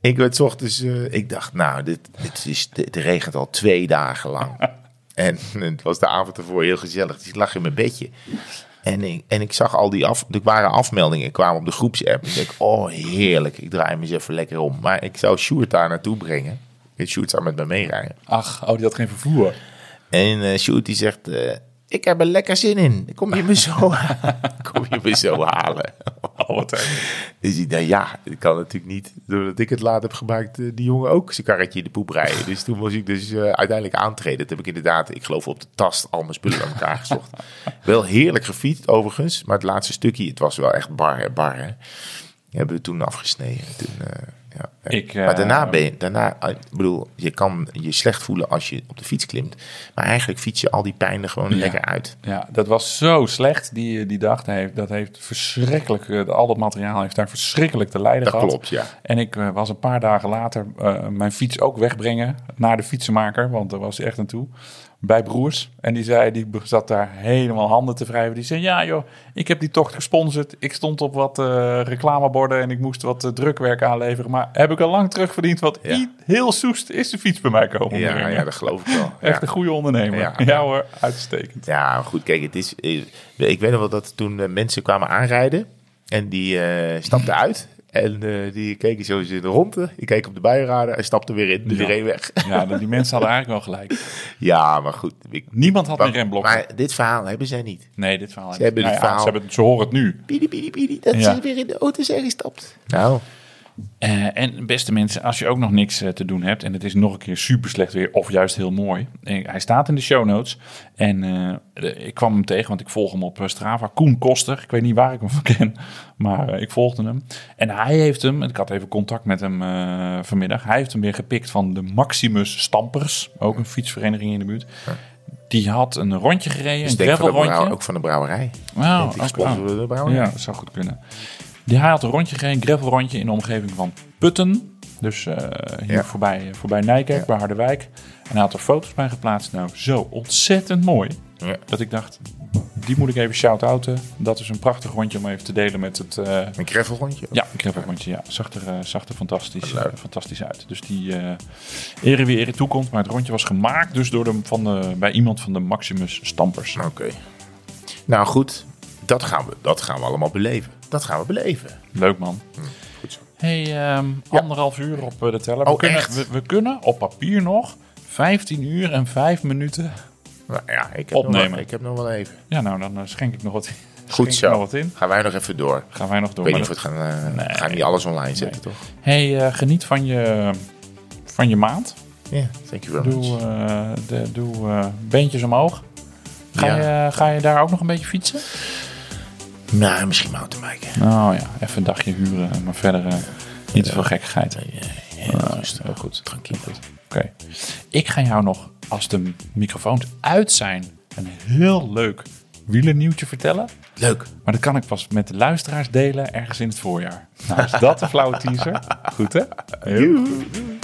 Speaker 2: Ik werd 's ochtends, eh, ik dacht, nou, dit, dit is, dit regent al twee dagen lang. En het was de avond ervoor heel gezellig. Dus ik lag in mijn bedje. En ik, en ik zag al die af, er waren afmeldingen kwamen op de groepsapp. Ik denk, oh heerlijk, ik draai me eens even lekker om. Maar ik zou Sjoerd daar naartoe brengen. Ik Sjoerd zou met me meerijden.
Speaker 1: Ach, oh, die had geen vervoer.
Speaker 2: En eh Sjoerd die zegt, eh, ik heb er lekker zin in. Kom je me zo, [laughs] kom je me zo halen?
Speaker 1: [laughs] Oh, wat erg.
Speaker 2: Dus ik dacht, ja, ik kan natuurlijk niet, doordat ik het laat heb gemaakt, eh, die jongen ook zijn karretje in de poep rijden. Dus toen was ik dus eh, uiteindelijk aantreden. Dat heb ik inderdaad, ik geloof op de tast, al mijn spullen aan elkaar
Speaker 1: [laughs]
Speaker 2: gezocht. wel heerlijk gefietst overigens, maar het laatste stukje, het was wel echt bar, hè, bar. Hè. Hebben we toen afgesneden. Toen, eh, ja.
Speaker 1: Ik, eh,
Speaker 2: maar daarna ben je, daarna, eh, ik bedoel, je kan je slecht voelen als je op de fiets klimt. Maar eigenlijk fiets je al die pijn er gewoon lekker uit.
Speaker 1: Ja, dat was zo slecht, die, die dag. Dat heeft, dat heeft verschrikkelijk, eh, al dat materiaal heeft daar verschrikkelijk te lijden
Speaker 2: Dat
Speaker 1: gehad.
Speaker 2: klopt, ja.
Speaker 1: En ik eh, was een paar dagen later eh, mijn fiets ook wegbrengen naar de fietsenmaker, want daar was hij echt aan toe. Bij broers. En die zei, die zat daar helemaal handen te wrijven. Die zei: Ja, joh, ik heb die tocht gesponsord. Ik stond op wat eh, reclameborden en ik moest wat eh, drukwerk aanleveren. Maar heb ik al lang terugverdiend, want
Speaker 2: Ja.
Speaker 1: i- heel soest is de fiets bij mij komen.
Speaker 2: Ja,
Speaker 1: brengen.
Speaker 2: ja, dat geloof ik wel.
Speaker 1: [laughs] Echt
Speaker 2: ja.
Speaker 1: een goede ondernemer.
Speaker 2: Ja.
Speaker 1: ja hoor, uitstekend.
Speaker 2: Ja, maar goed, kijk, het is, eh, ik weet nog wel dat toen eh, mensen kwamen aanrijden en die eh, stapten uit. En eh, die keken zo eens in de ronde. Ik keek op de bijraden en stapte weer in. Dus
Speaker 1: Ja.
Speaker 2: die reed weg.
Speaker 1: Ja, dat- die mensen hadden eigenlijk wel gelijk.
Speaker 2: [laughs] Ja, maar goed. Ik,
Speaker 1: Niemand had meer
Speaker 2: maar,
Speaker 1: remblokken.
Speaker 2: dit verhaal hebben zij niet.
Speaker 1: Nee, dit verhaal.
Speaker 2: Ze hebben
Speaker 1: nou
Speaker 2: dit
Speaker 1: ja,
Speaker 2: verhaal.
Speaker 1: Ze, hebben het- ze horen het nu.
Speaker 2: Pidi, pidi, pidi, dat
Speaker 1: Ja.
Speaker 2: ze weer in de auto zijn gestapt. Nou,
Speaker 1: Eh, en beste mensen, als je ook nog niks eh, te doen hebt en het is nog een keer super slecht weer of juist heel mooi. eh, hij staat in de show notes en eh, de- ik kwam hem tegen, want ik volg hem op eh, Strava. Koen Koster, ik weet niet waar ik hem [laughs] van ken, maar eh, ik volgde hem. En hij heeft hem, ik had even contact met hem eh, vanmiddag, hij heeft hem weer gepikt van de Maximus Stampers, ook een fietsvereniging in de buurt. Die had een rondje gereden,
Speaker 2: dus
Speaker 1: een
Speaker 2: denk van de
Speaker 1: gravelrondje.
Speaker 2: brouwer, ook van de brouwerij.
Speaker 1: Wauw,
Speaker 2: Denk ik,
Speaker 1: ook-
Speaker 2: sponsoren
Speaker 1: ah.
Speaker 2: we de brouwerij?
Speaker 1: Ja, dat zou goed kunnen. Die, hij had een rondje gereden, een gravelrondje in de omgeving van Putten. Dus eh, hier
Speaker 2: Ja.
Speaker 1: voorbij, voorbij Nijkerk, bij Harderwijk. En hij had er foto's bij geplaatst. Nou, zo ontzettend mooi.
Speaker 2: Ja.
Speaker 1: Dat ik dacht, die moet ik even shout-outen. Dat is een prachtig rondje om even te delen met het... eh,
Speaker 2: Een greffelrondje.
Speaker 1: ja, een gravelrondje, ja. Zag er, eh, zag er fantastisch,
Speaker 2: Leuk.
Speaker 1: eh, fantastisch uit. Dus die eh ere wie ere toekomt. Maar het rondje was gemaakt dus door de, van de, bij iemand van de Maximus Stampers.
Speaker 2: Oké. Nou goed, dat gaan, we, dat gaan we allemaal beleven. Dat gaan we beleven.
Speaker 1: Leuk man.
Speaker 2: Mm, Goed zo.
Speaker 1: Hey, ehm, anderhalf uur op eh, de teller. we,
Speaker 2: Oh,
Speaker 1: kunnen,
Speaker 2: echt?
Speaker 1: We, we kunnen op papier nog 15 uur en 5 minuten.
Speaker 2: Nou ja, ik heb, Nog,
Speaker 1: Opnemen.
Speaker 2: wel- ik heb nog wel even.
Speaker 1: Ja, nou, dan eh, schenk ik nog wat in. Schenk
Speaker 2: Goed
Speaker 1: ik
Speaker 2: zo.
Speaker 1: nog wat in.
Speaker 2: Gaan wij nog even door.
Speaker 1: Gaan wij nog door.
Speaker 2: Ik weet
Speaker 1: maar
Speaker 2: niet of we
Speaker 1: dat-
Speaker 2: het gaan, eh, gaan niet alles online zetten, toch?
Speaker 1: Hey, eh, geniet van je, van je maand.
Speaker 2: Ja, thank you very much.
Speaker 1: Doe, eh, de, doe eh, beentjes omhoog. Ga,
Speaker 2: Ja.
Speaker 1: je, eh, ga je daar ook nog een beetje fietsen?
Speaker 2: Nou, misschien mountainbiken.
Speaker 1: Nou ja, even een dagje huren. Maar verder eh, niet te veel gekkigheid. Ah,
Speaker 2: Heel rustig. Heel goed. Tranquil.
Speaker 1: Oké. Ik ga jou nog, als de microfoons uit zijn, een heel leuk wielernieuwtje vertellen.
Speaker 2: Leuk.
Speaker 1: Maar dat kan ik pas met de luisteraars delen ergens in het voorjaar. Nou, is dat een flauwe teaser? Goed hè? Heel goed.